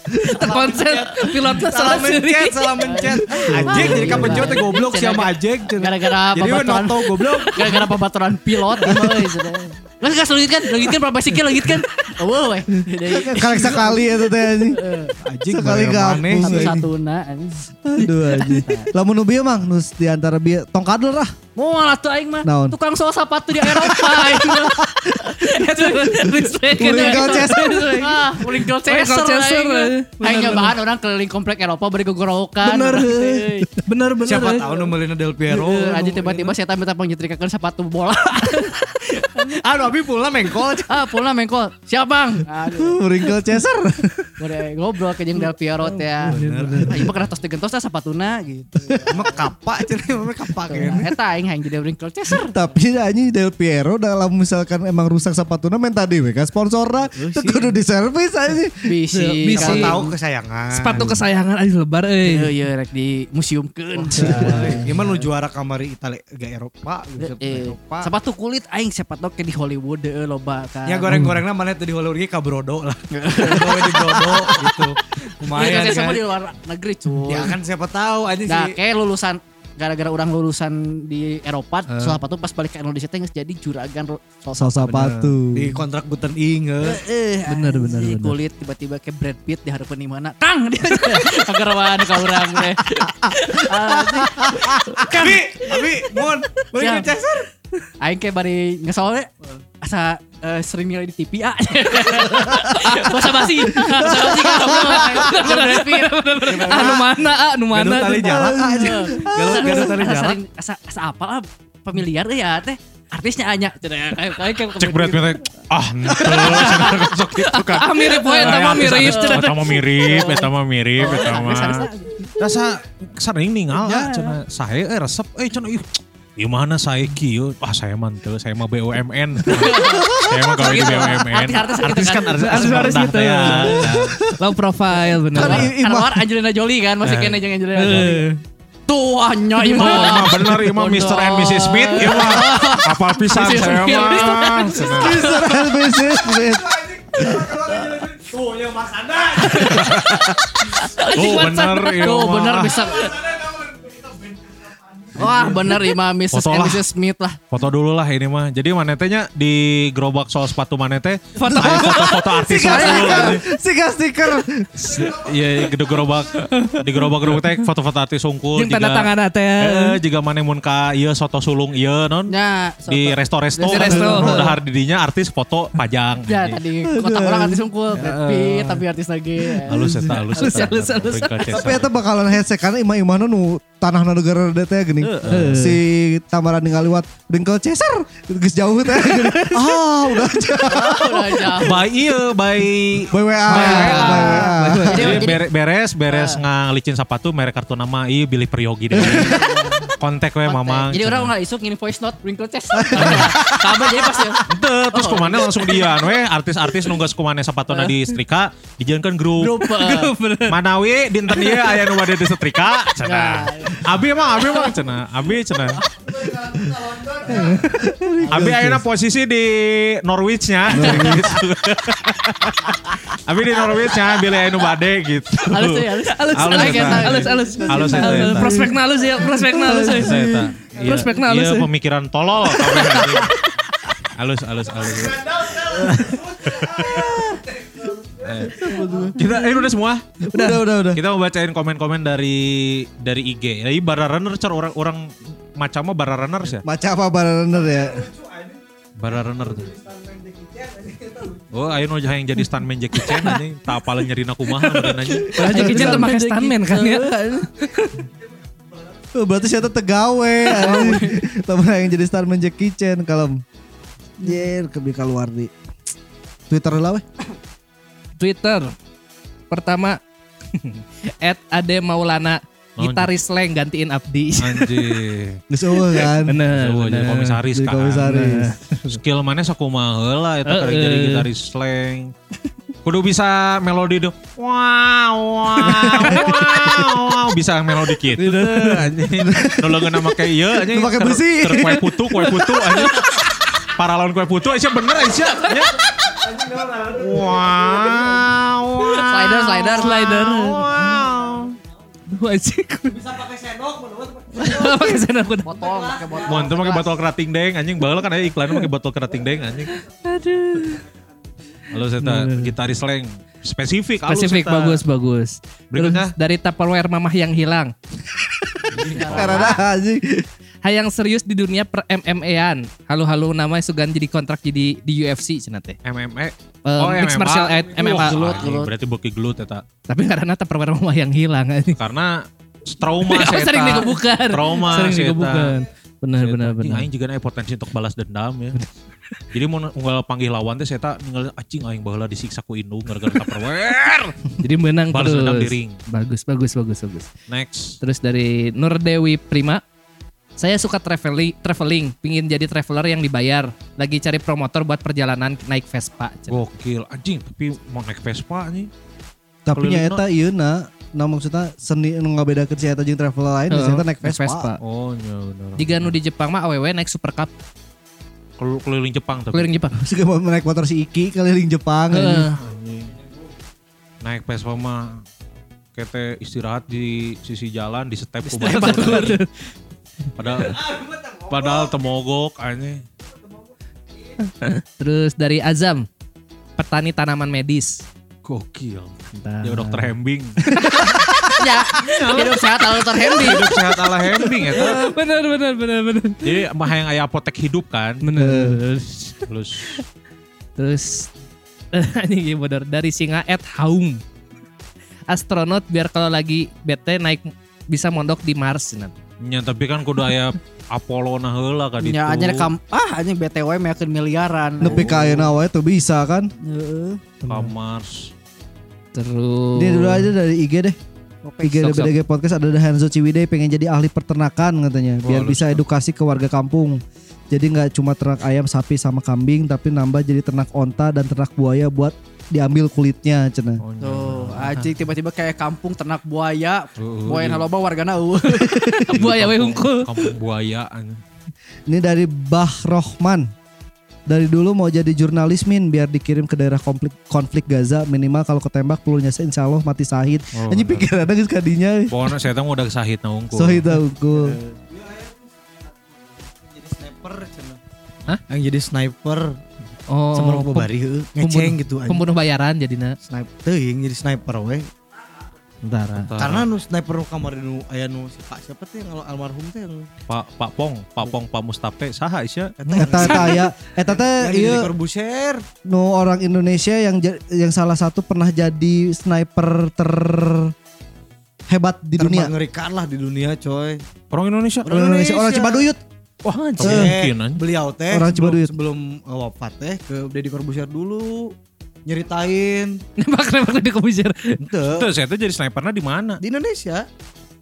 terkonsen pilotnya salah salah sendiri. mencet, salah mencet. Ajek jadi kapanjur teh goblok sih sama Ajek. Gara-gara Jadi we pembaturan noto goblok. Gara-gara pembaturan pilot gitu. Gak gas logitkan Logitkan profesi kill logitkan Wow weh Jadi Kali sekali ya teh anjing. Ajek Sekali gabung. Satu-satu na Aduh anjing. Lamun nu bieu mang nu di antara bieu tongkadel lah. Mual atuh aing mah Naon? Tukang sol sepatu di Eropa [laughs] aing mah Itu respect. Uling Colchester. Ah, Uling Colchester Colchester, aing mah. bener, Aing nyobahan orang keliling komplek Eropa beri gogorokan Bener. Euy. Bener bener. Siapa tahu nu meulina Del Piero. Heeh, aja tiba-tiba saya minta menyetrikakan sepatu bola. Aduh abi pula mengkol. ah, pulang mengkol. Siap, Bang. Aduh, Uling Colchester. gore ngobrol ke jeung Del Piero teh. ya. Aing mah kena tos digentos teh sapatuna gitu. Emang kapa cenah emang kapa Nah, kayaknya. Eta aing hayang jadi wrinkle [laughs] chaser. [laughs] Tapi anjing Del Piero dalam misalkan emang rusak sepatuna minta dewe kan sponsorna teu kudu diservis anjing. Bisi. Siapa Bisi. tahu kesayangan. Sepatu kesayangan aja lebar eh. euy. Iya, Eh, iya, rek di Oh, museumkeun. Gimana lu juara kamari Italia ke Eropa gitu ke Eh, Eropa. Sepatu kulit aing sepatu ke di Hollywood euy loba kan. Ya goreng-gorengnya mana tadi Hollywood ge ka Brodo lah. Gawe di Brodo gitu. Wrinkle Lumayan chaser mah kan. di luar negeri, cuy. Ya kan siapa tahu anjing Iya, Nah, sih. kayak lulusan gara-gara orang lulusan di Eropa, Eh. soal sepatu pas balik ke Indonesia teh geus jadi juragan ro- sol Sol sepatu. [laughs] Di kontrak eh. buten ing heuh. bener bener bener Eh, kulit tiba-tiba kayak Brad Pitt di harapan di mana Kang [laughs] dia agar wan kau orang teh Abi, Abi, mon, balik Iya. Siap. ke Chester. aing kayak bari ngesol we. asa eh, sering nilai di TV ah bahasa [laughs] basi bahasa basi kan Brad Pitt Ah nu mana ah nu Gaduh mana. tali jalan Iya. aja. Gaduh gaduh tali asa jalan. sering asa asa apal ah familiar euy ya teh artisnya anya Cenah, kayak kayak kayak Cek berat berat. Ah, [laughs] ntul. Sok gitu kan. Ah mirip poe eta mah mirip. Eta mah mirip, eta mah mirip, eta mah. Rasa sering ningal ah cenah sae eh resep eh cenah ih. Gimana saya kieu? Ah saya mah teu, saya mah BUMN. saya mah gawe di BUMN. Artis-artis gitu Artis kan kan. artis Artis-artis rendah gitu. teh ya. Low profile bener. Kan keluar Angelina Jolie kan masih kena jeung Angelina Jolie. Tuh hanya Oh, imam. emang bener, iya mah Mr. and Mrs. Smith, iya mah. Kapal pisang saya mah. Mister and Mrs. Smith. Oh, ya Mas Anda. Tuh bener, iya Tuh mah. bener bisa. Wah bener Ima Mrs. Foto and lah. Mrs. Smith lah. Foto dulu lah ini mah. Jadi manetenya di gerobak soal sepatu manete. Foto foto-foto artis lah dulu. Siga stiker. Iya, gede gerobak di gerobak gerobak teh foto-foto artis sungkul. Jeung tanda jika- tangan teh. Eh, jika mana mun ka ieu soto sulung ieu non Ya. di resto-resto. Di resto. Udah hardidinya artis foto pajang. Ya tadi kota orang artis unggul. Brad Pitt tapi artis lagi. Halus eta, halus ya, eta. Halus, halus, halus. Tapi eta bakalan hese karena imah-imahna nu tanah negara deh teh gini. Si Tamaran ngaliwat Wrinkle Chaser geus jauh teh. gini. [laughs] Ah udah jauh. [laughs] Udah jauh. By ieu, by By WA. By WA. Jadi Iya, bere- beres beres ngalicin sepatu merek kartu nama ieu Billy Priyogi deh. Kontak we mamang. Jadi orang nggak isuk ini voice note wrinkle test. Kabar jadi pas ya. Ente, terus kemana langsung dia we artis-artis nunggas kumane sepatuna di setrika dijalankan grup [laughs] Grup, eh. manawi dinten ieu aya nu bade di setrika Nah, cenah iya. abi mah abi mah cenah abi cenah abi ayeuna posisi di Norwich-nya [laughs] abi di Norwich-nya Billy aya nu bade gitu Halus ya halus. Halus, Halus, halus, eta. halus, halus, Halus, eta, halus. eta. Prospek halus ya, prospek halus. euy. [laughs] Saya tak. Iya, Prospeknya halus, iya, ya. pemikiran tolol. kabeh anjing. halus, halus, halus. Eh, Kita ini udah semua. Udah udah udah. Kita mau bacain komen-komen dari dari IG. Jadi bara runner cer orang orang macamnya bara runners ya. Maca apa Baraner ya? Bara runner tuh. Oh, ayo nu yang jadi stuntman Jackie Chan anjing. Tak apalah nyerina kumaha udah nanya. Aja kejar tuh pakai stuntman kan ya. Oh, Berarti saya tegawe. [laughs] Teman yang jadi star Jackie Chan kalem. Jer kebi keluar di Twitter lah weh. Twitter. Pertama [laughs] at Ade Maulana Lawan. gitaris Leng gantiin Abdi. Anjing. Geus eueuh kan. Bener. Jawa, jadi komisaris Jadi kan. komisaris. skill mana sakumaha heula eta uh, Heeh. jadi gitaris slang. Kudu bisa melodi tuh. Wow, wow, wow, wow. Bisa melodi gitu. teh, Anjing. Nolongeun nama kayak ieu anjing. Nu pake besi. Ter kue putu, kue putu anjing. Para lawan kue putu Aisyah bener Aisyah. Ya. Wow, Slider, slider, slider. [laughs] Duh anjing. Bisa pakai sendok menurut. [laughs] Pakai sendok kuda. Botol, pakai botol. Mohon tuh pakai botol kerating deng anjing baheula kan aya iklan pakai botol kerating deng anjing. Aduh. Halo Zeta, gitaris slang spesifik halus, Spesifik Zeta. bagus bagus. Terus Berikutnya. dari Tupperware Mamah yang hilang. Karena anjing. Hayang serius di dunia per MMA-an. Halo-halo namanya Sugan jadi kontrak jadi di UFC cenah teh. MMA. Eh, Oh, mixed martial art, MMA. Gelut, gelut. Berarti beki gelut eta. Tapi karena Tupperware Mamah yang hilang. [laughs] Karena trauma Aku saya. Oh, sering digebukan. Trauma Sering si eta. digebukan. Benar benar Anjing, benar. Aing juga ada potensi untuk balas dendam [laughs] ya. Jadi mau unggal panggil lawan teh saya tak ninggal acing aing baheula disiksa ku indung gara-gara [laughs] tupperware. Jadi menang Balas terus. dendam di ring. Bagus bagus bagus bagus. Next. Terus dari Nur Dewi Prima. Saya suka traveling, traveling, pingin jadi traveler yang dibayar. Lagi cari promotor buat perjalanan naik Vespa. cenah. Gokil anjing tapi mau naik Vespa anjing. Tapi Kelilingna. nyata iya na. Nah maksudnya seni nu ngabedakeun si eta jeung traveler lain, si eta naik Vespa. Oh, iya bener. Jika nu di Jepang mah aww naik Super Cup Kel- keliling Jepang tapi keliling Jepang. Terus mau naik motor si Iki keliling Jepang. anjing. Heeh. Anjing. naik Vespa mah kete istirahat di sisi jalan di step ku batur. padahal padahal temogok anjing Terus dari Azam, petani tanaman medis. gokil Entah. [laughs] dia dokter Hembing Ya, hidup sehat lalu terhendi. hidup sehat ala Hembing ya bener bener bener bener. jadi mah yang ayah apotek hidup kan Bener. terus Terus [laughs] anjing ieu bodor dari singa at home. Astronot biar kalau lagi bete naik bisa mondok di Mars Nah, nanti. nya tapi kan kudu ayah Apollo nah heula kan Ya, anjir kam ah anjing BTW meyakin miliaran. Nepi ka ayeuna wae tuh bisa kan. Ka Mars Terus Ini dulu aja dari IG deh. IG Sok, BDG Podcast ada Hanzo Ciwidey pengen jadi ahli peternakan katanya Wah, biar lu bisa edukasi ke warga kampung. Jadi nggak cuma ternak ayam, sapi sama kambing tapi nambah jadi ternak onta dan ternak buaya buat diambil kulitnya cenah. Oh, nya. Tuh, gitu. anjing tiba-tiba kayak kampung ternak buaya. Heeh, Buaya di naloba wargana uh. eueuh. [laughs] buaya we kampung- hungkul. kampung buaya anjing Ini dari Bah Rohman. Dari dulu mau jadi jurnalis min biar dikirim ke daerah konflik, konflik Gaza minimal kalau ketembak pelurunya saya insya Allah mati sahid. Oh, Anjing bener. pikiran geus kadinya. Pokoknya saya tahu udah sahit nah hungkul. Sahid aku. Jadi sniper cenah. Hah? Yang jadi sniper Oh, sama oh, pem- bari heuh, ngeceng gitu anjing. pembunuh bayaran jadinya. Sniper teuing jadi sniper we. Bentar. Tah. Karena nu sniper nu kamari nu aya nu si Pak siapa teh yang almarhum teh yang Pak Pak Pong, Pak Pong, Pak Mustape, saha isya. Eta eta aya eta teh ieu Iya, Eh, Corbusier. nu orang Indonesia yang ja- yang salah satu pernah jadi sniper ter hebat di dunia. Mengerikan lah di dunia, coy. Orang Indonesia. Orang Indonesia, orang Cibaduyut. Wah, anjing. Eh. mungkin anjing. Beliau teh Orang sebelum, Cibaduyut. sebelum eh, wafat teh ke Deddy Corbusier dulu nyeritain Nembak nembak di komputer. ente Tuh, saya tuh jadi snipernya di mana? di Indonesia.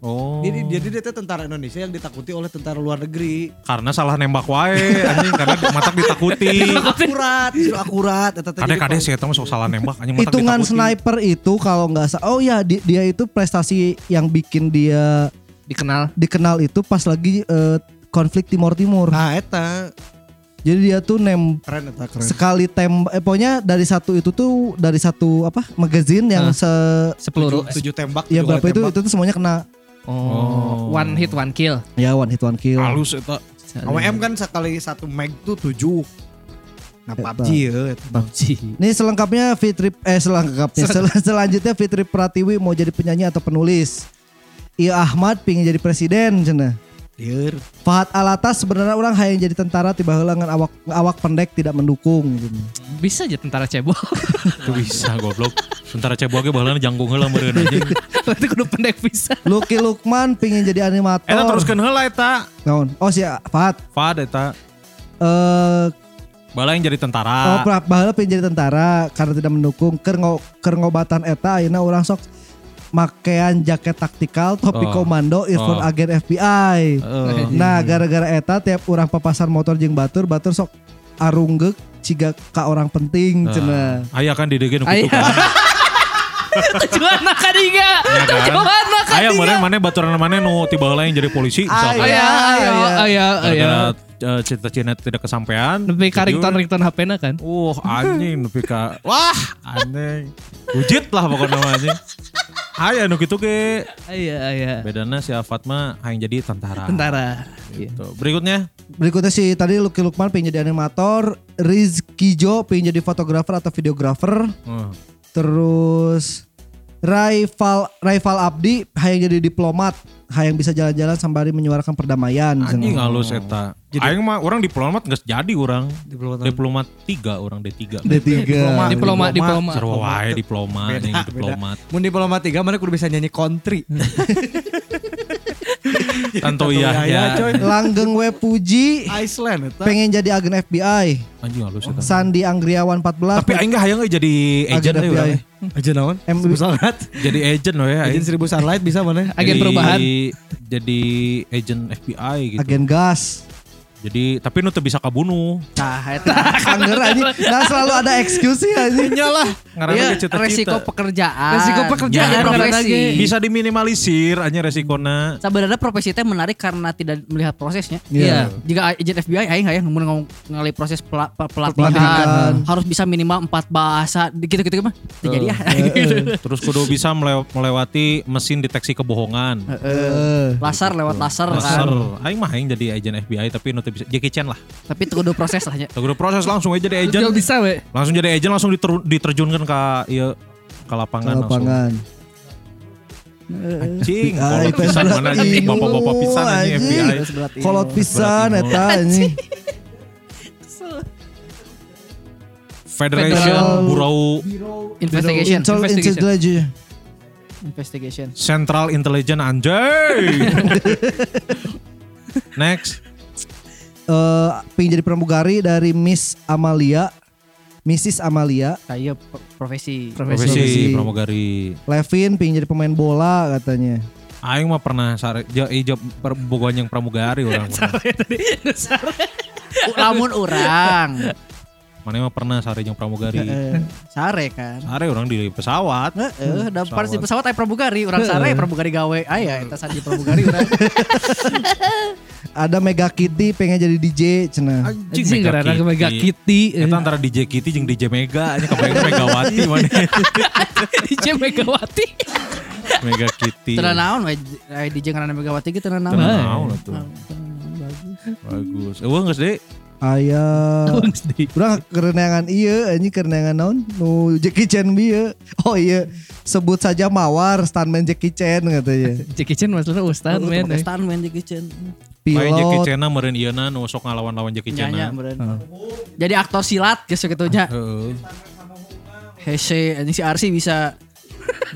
Oh. Jadi jadi dia teh tentara Indonesia yang ditakuti oleh tentara luar negeri. karena salah nembak wae anjing karena matak [laughs] ditakuti. Akurat, justru akurat. Eta teh jadi Kadang-kadang saya tahu sok salah nembak anjing matak Hitungan ditakuti. sniper itu kalau nggak salah oh ya di- dia itu prestasi yang bikin dia Dikenal. dikenal itu pas lagi eh, konflik Timor Timur. Nah, eta Jadi dia tuh nem keren eta keren. sekali tembak eh, pokoknya dari satu itu tuh dari satu apa magazine yang Ah. se Sepeluru. Tujuh- tujuh tembak. ya tujuh berapa kali itu Nah. tembak. itu tuh semuanya kena Oh. One hit one kill. ya one hit one kill. halus eta. Iya. AWM kan sekali satu meg tuh tujuh. Nah Eta. PUBG ya. eta. PUBG. Ini selengkapnya Fitri eh selengkapnya sel- selanjutnya Fitri Pratiwi mau jadi penyanyi atau penulis. Iya Ahmad pingin jadi presiden cenah. Dir. Fahad Alatas sebenarnya orang hayang jadi tentara tiba heula ngan awak awak pendek tidak mendukung cenah. Bisa aja tentara cebol. [laughs] Itu bisa goblok. Oh. Sementara cebok ge baheulana jangkung heula meureun [laughs] anjing. Berarti kudu pendek bisa. Lucky Lukman pingin jadi animator. Eta teruskeun heula eta. Naon? Oh si Fahad Fad eta. eh Bala yang jadi oh tentara. pra- baheula pingin jadi tentara karena tidak mendukung keur ngo- keur ngobatan eta ayeuna urang sok makean jaket taktikal topi Oh. komando earphone Oh. agen FBI. Heeh. Nah gara-gara eta tiap orang papasan motor jeung batur batur sok Ah. arunggek ciga ka orang penting cenah. [laughs] Aya kan di deui nu Aya. kitu kan. [laughs] tujuan nak kadiga Iya kan? tujuan nak Aya kadiga mana mana baturan mana nu tiba lain jadi polisi misalkan. ayo ayo ayo ayo Iya, Gara-gara Iya. eh, cita-cita tidak kesampaian. lebih jujur. karington rington hp na kan Wah anjing nepi ka wah anjing. Wujud lah pokoknya mah anjing. Aya nu kitu anu gitu, ge. ayo ayo Bedana si Fatma hayang jadi tentara. tentara Gitu. Berikutnya Berikutnya sih tadi Lucky Lukman pengen jadi animator, Rizky Jo pengen jadi fotografer atau videografer, hmm, terus Raifal Raifal Abdi hayang jadi diplomat, hayang bisa jalan-jalan sambari menyuarakan perdamaian. anjing Cenah. halus eta. Aing mah orang diplomat geus jadi orang. Diplomat. Diplomat tiga orang D3. D3. Diplomat. diploma diploma Sarwa wae diploma, anjing Beda, diplomat. Mun diploma tiga mana kudu bisa nyanyi country. [laughs] Tanto iya ya. coy. Langgeng We Puji Iceland eta. pengen jadi agen FBI, Anjing halus eta. Sandi Anggriawan 14. Tapi aing nggak hayang euy jadi agent Agent euy FBI. urang. Aja naon? M- Seribu sangat. Jadi agent we aing. Aja seribu sunlight bisa mana? agen Jadi- perubahan Jadi agent FBI gitu. agen [laughs] gas. Jadi tapi nu teu bisa kabunuh. Nah, eta. Angger anjing. Nah selalu ada excuse sih anjing. Nyalah, ngaranna Iya, ge cita-cita. resiko pekerjaan. Resiko pekerjaan, Jadi karena profesi. Iya. lagi. bisa diminimalisir anjing resikonya. Sebenarnya profesi itu menarik karena tidak melihat prosesnya. Iya. Jika agent FBI aing hayang mun ngomong ngalih proses pela- pe- pelatihan, Pelatihan. harus bisa minimal empat bahasa gitu-gitu mah. Itu jadi ya. Iya. [laughs] Gitu. Terus kudu bisa melew- melewati mesin deteksi kebohongan. Heeh. Laser lewat laser, Laser. kan. Aing mah aing jadi agent FBI tapi nu teu bisa Jackie Chan lah. Tapi itu kudu proses lah ya. nya. Teu kudu proses langsung aja jadi agent. Jauh bisa we Langsung jadi agent langsung diteru- diterjunkan ke ieu ke Ke lapangan, langsung. lapangan. Anjing, Ah, kolot itu pisan berat mana anjing ilmu, bapak-bapak pisan anjing anjing. FBI. Kolot pisan Berat ilmu. eta anjing. Federation Federal- Bureau Investigation. Intel Investigation. Intelligence. Investigation. Central Intelligence anjay. Next. Eh, pengen jadi pramugari dari Miss Amalia. Mrs. Amalia. Kayak pe- profesi. Profesi. Profesi pramugari. Levin pengen jadi pemain bola katanya. Aing mah pernah sare ja, eh, ja, per- bogoan yang pramugari orang. U- Lamun orang. Mana mah pernah sare yang pramugari. Eh, Sare kan. Sare orang di pesawat. Heeh, da Pesawat. part di pesawat aya pramugari, urang sare pramugari gawe. Aya eta saat di pramugari urang. [laughs] Ada Mega Kitty pengen jadi DJ cenah. anjing karena ke Mega Kitty. Kitty [laughs] Eta antara DJ Kitty jeung DJ Mega, nya kebayang Megawati mana. DJ Megawati Mega Kitty. Tenan naon we aya DJ ngaranna Megawati ge tenan naon. Tenang naon atuh. Bagus. Eueuh geus deui. Aya. Urang kerenangan iya anjing kerenangan naon? Nu Jackie Chan bieu. Oh iya, sebut saja Mawar stuntman Jackie Chan katanya. Jackie Chan maksudnya ustad men eh. Stan men di kitchen. Lain Jackie Pilot. Chan meureun ieuna nu sok ngalawan-lawan Jackie Chan. Nyanya meureun. Jadi aktor silat geus kitu nya. Heeh. Hese anjing si Arsi bisa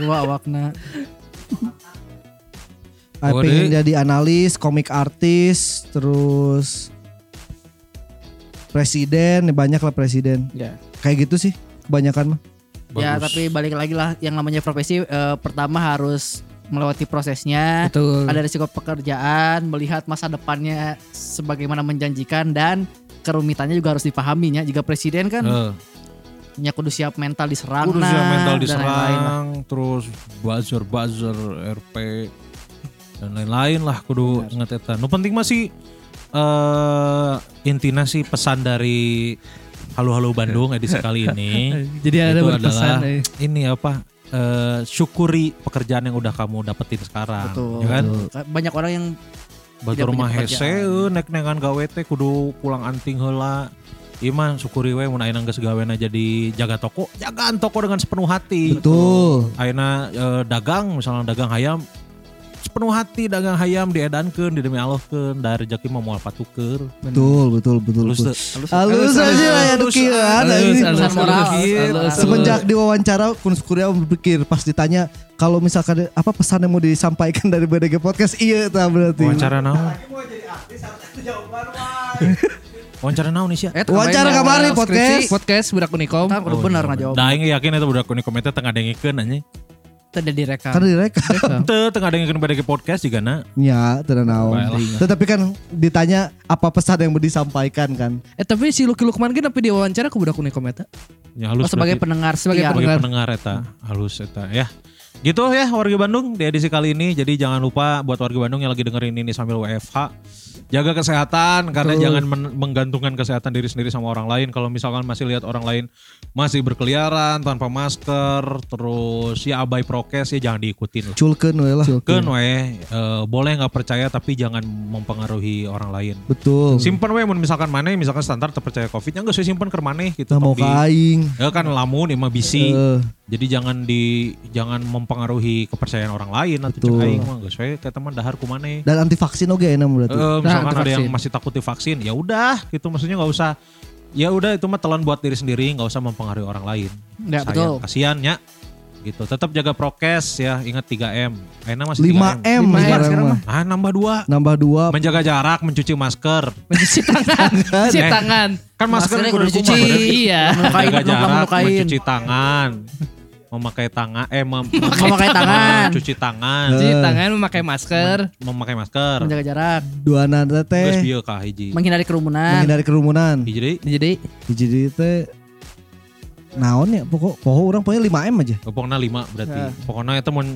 dua awakna. Ah, Oh, pengen Dek. jadi analis, komik artis, terus presiden, ya banyak lah presiden. Ya. Kayak gitu sih kebanyakan mah. Ya, Bagus. tapi balik lagi lah yang namanya profesi eh, pertama harus melewati prosesnya. betul ada risiko pekerjaan, melihat masa depannya sebagaimana menjanjikan dan kerumitannya juga harus dipahaminya. Jika presiden kan Heeh. nya kudu siap mental diserang, Kudu nah, siap mental dan lain-lain lah. diserang, terus buzzer buzzer RP dan lain-lain lah kudu ingat eta. Nu penting masih eh intina sih pesan dari Halo-halo Bandung [laughs] edisi kali ini jadi itu ada berpesan adalah eh. ini apa eh, syukuri pekerjaan yang udah kamu dapetin sekarang, Betul. ya kan? Banyak orang yang Batu Tidak punya rumah pekerjaan. hese, nek-nekan gawe teh kudu pulang anting heula. Ima syukuri we mun ayeuna geus gawena jadi jaga toko, jagaan toko dengan sepenuh hati. Betul. Ayeuna eh, dagang misalnya dagang hayam sepenuh hati dagang hayam diedankeun di demi Allah keun da rezeki mah moal patukeur. Betul, betul, betul. Terus betul. teu- Halus aja lah ya dukiran. anjing. halus, moral. halus. Semenjak diwawancara Kunus Kurya berpikir pas ditanya kalau misalkan apa pesan yang mau disampaikan dari BDG Podcast iya tah berarti. wawancara naon? [laughs] Wawancara naon Isya? Eh, Wawancara kamari, podcast. podcast budak unikom kan kudu Oh, benar ngajawab. Da iya, aing yakin eta budak kuning komentar tengah dengikeun anjing. Tidak direkam. Karena direkam. Teu tengah dengikeun BDG podcast juga na. [laughs] Ya, tidak naon. Baiklah. Tetapi kan ditanya apa pesan yang mau disampaikan kan. eh tapi si Lucky Lukman kan tapi diwawancara ke budak unikom eta Ya, halus Oh, sebagai berarti- pendengar Sebagai Iya. setia. sebagai pendengar eta halus eta ya. Gitu ya warga Bandung di edisi kali ini. Jadi jangan lupa buat warga Bandung yang lagi dengerin ini sambil WFH jaga kesehatan karena jangan men- menggantungkan kesehatan diri sendiri sama orang lain. Kalau misalkan masih lihat orang lain masih berkeliaran tanpa masker, terus ya abai prokes ya jangan diikutin lah. culken we lah Kan we, eh, boleh nggak percaya tapi jangan mempengaruhi orang lain. betul Simpen we mun misalkan mana misalkan standar terpercaya covid-nya enggak sih simpen ke mana gitu. nah mau Tapi- ke aing Ya kan lamun emang bisi. Eh, Jadi jangan di jangan mempengaruhi kepercayaan orang lain atau Betul. cek aing mah geus we teh teman dahar kumane. dan anti vaksin oke enak berarti Nah, Eh, misalkan anti ada yang vaksin. masih takut divaksin, ya udah gitu maksudnya nggak usah ya udah itu mah telan buat diri sendiri nggak usah mempengaruhi orang lain. Ya, betul. Kasihan ya. Gitu. Tetap jaga prokes ya, ingat 3M. Aina masih 5 3M. m sekarang sekarang mah Ah, nambah dua nambah dua Menjaga jarak, mencuci masker. Mencuci tangan, [laughs] mencuci Eh, tangan. Kan masker Maskernya kudu kudu dikumah, dicuci. bener. Iya. Melukain, Menjaga melukain, jarak, melukain. mencuci tangan. Memakai tangan, eh mem- Memakai tangan. Mencuci tangan. Mencuci tangan memakai masker. memakai masker Menjaga jarak, dua nanda terus teh bieu ka hiji menghindari kerumunan. menghindari kerumunan jadi Jadi Eh. jadi teh naon ya pokok pokok orang pokoknya 5 m aja pokoknya lima berarti Iya. pokoknya itu mun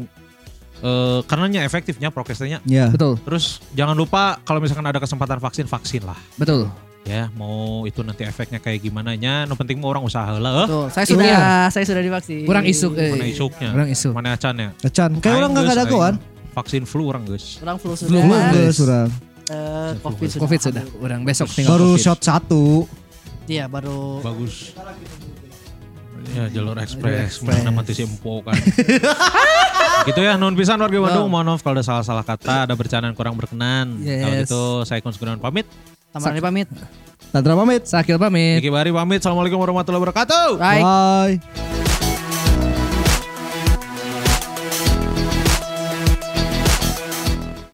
eh, karena nya efektifnya prokesnya ya betul, terus jangan lupa kalau misalkan ada kesempatan vaksin vaksin lah betul. ya mau itu nanti efeknya kayak gimana nya no penting mah orang usaha lah eh Tuh, saya sudah saya sudah divaksin. iya. Kurang isuk. eh. mana isuknya Kurang isuk. mana acannya Ecan, kayak orang nggak Aing ada geus, kawan. aing. vaksin flu orang guys Kurang flu sudah. Flu Belum Geus. geus urang. Eh, Covid sudah. Covid sudah. Orang besok tinggal. Baru Covid. shot satu. Iya, baru bagus ya jalur ekspres mana mati si empo [laughs] kan gitu ya non pisan warga Bandung mohon maaf kalau ada salah-salah kata ada bercandaan kurang berkenan kalau Yes. gitu saya Kun Gunawan pamit Tamarani pamit. Tantra pamit. Sakil pamit. Niki Bari pamit assalamualaikum warahmatullahi wabarakatuh Bye. Bye.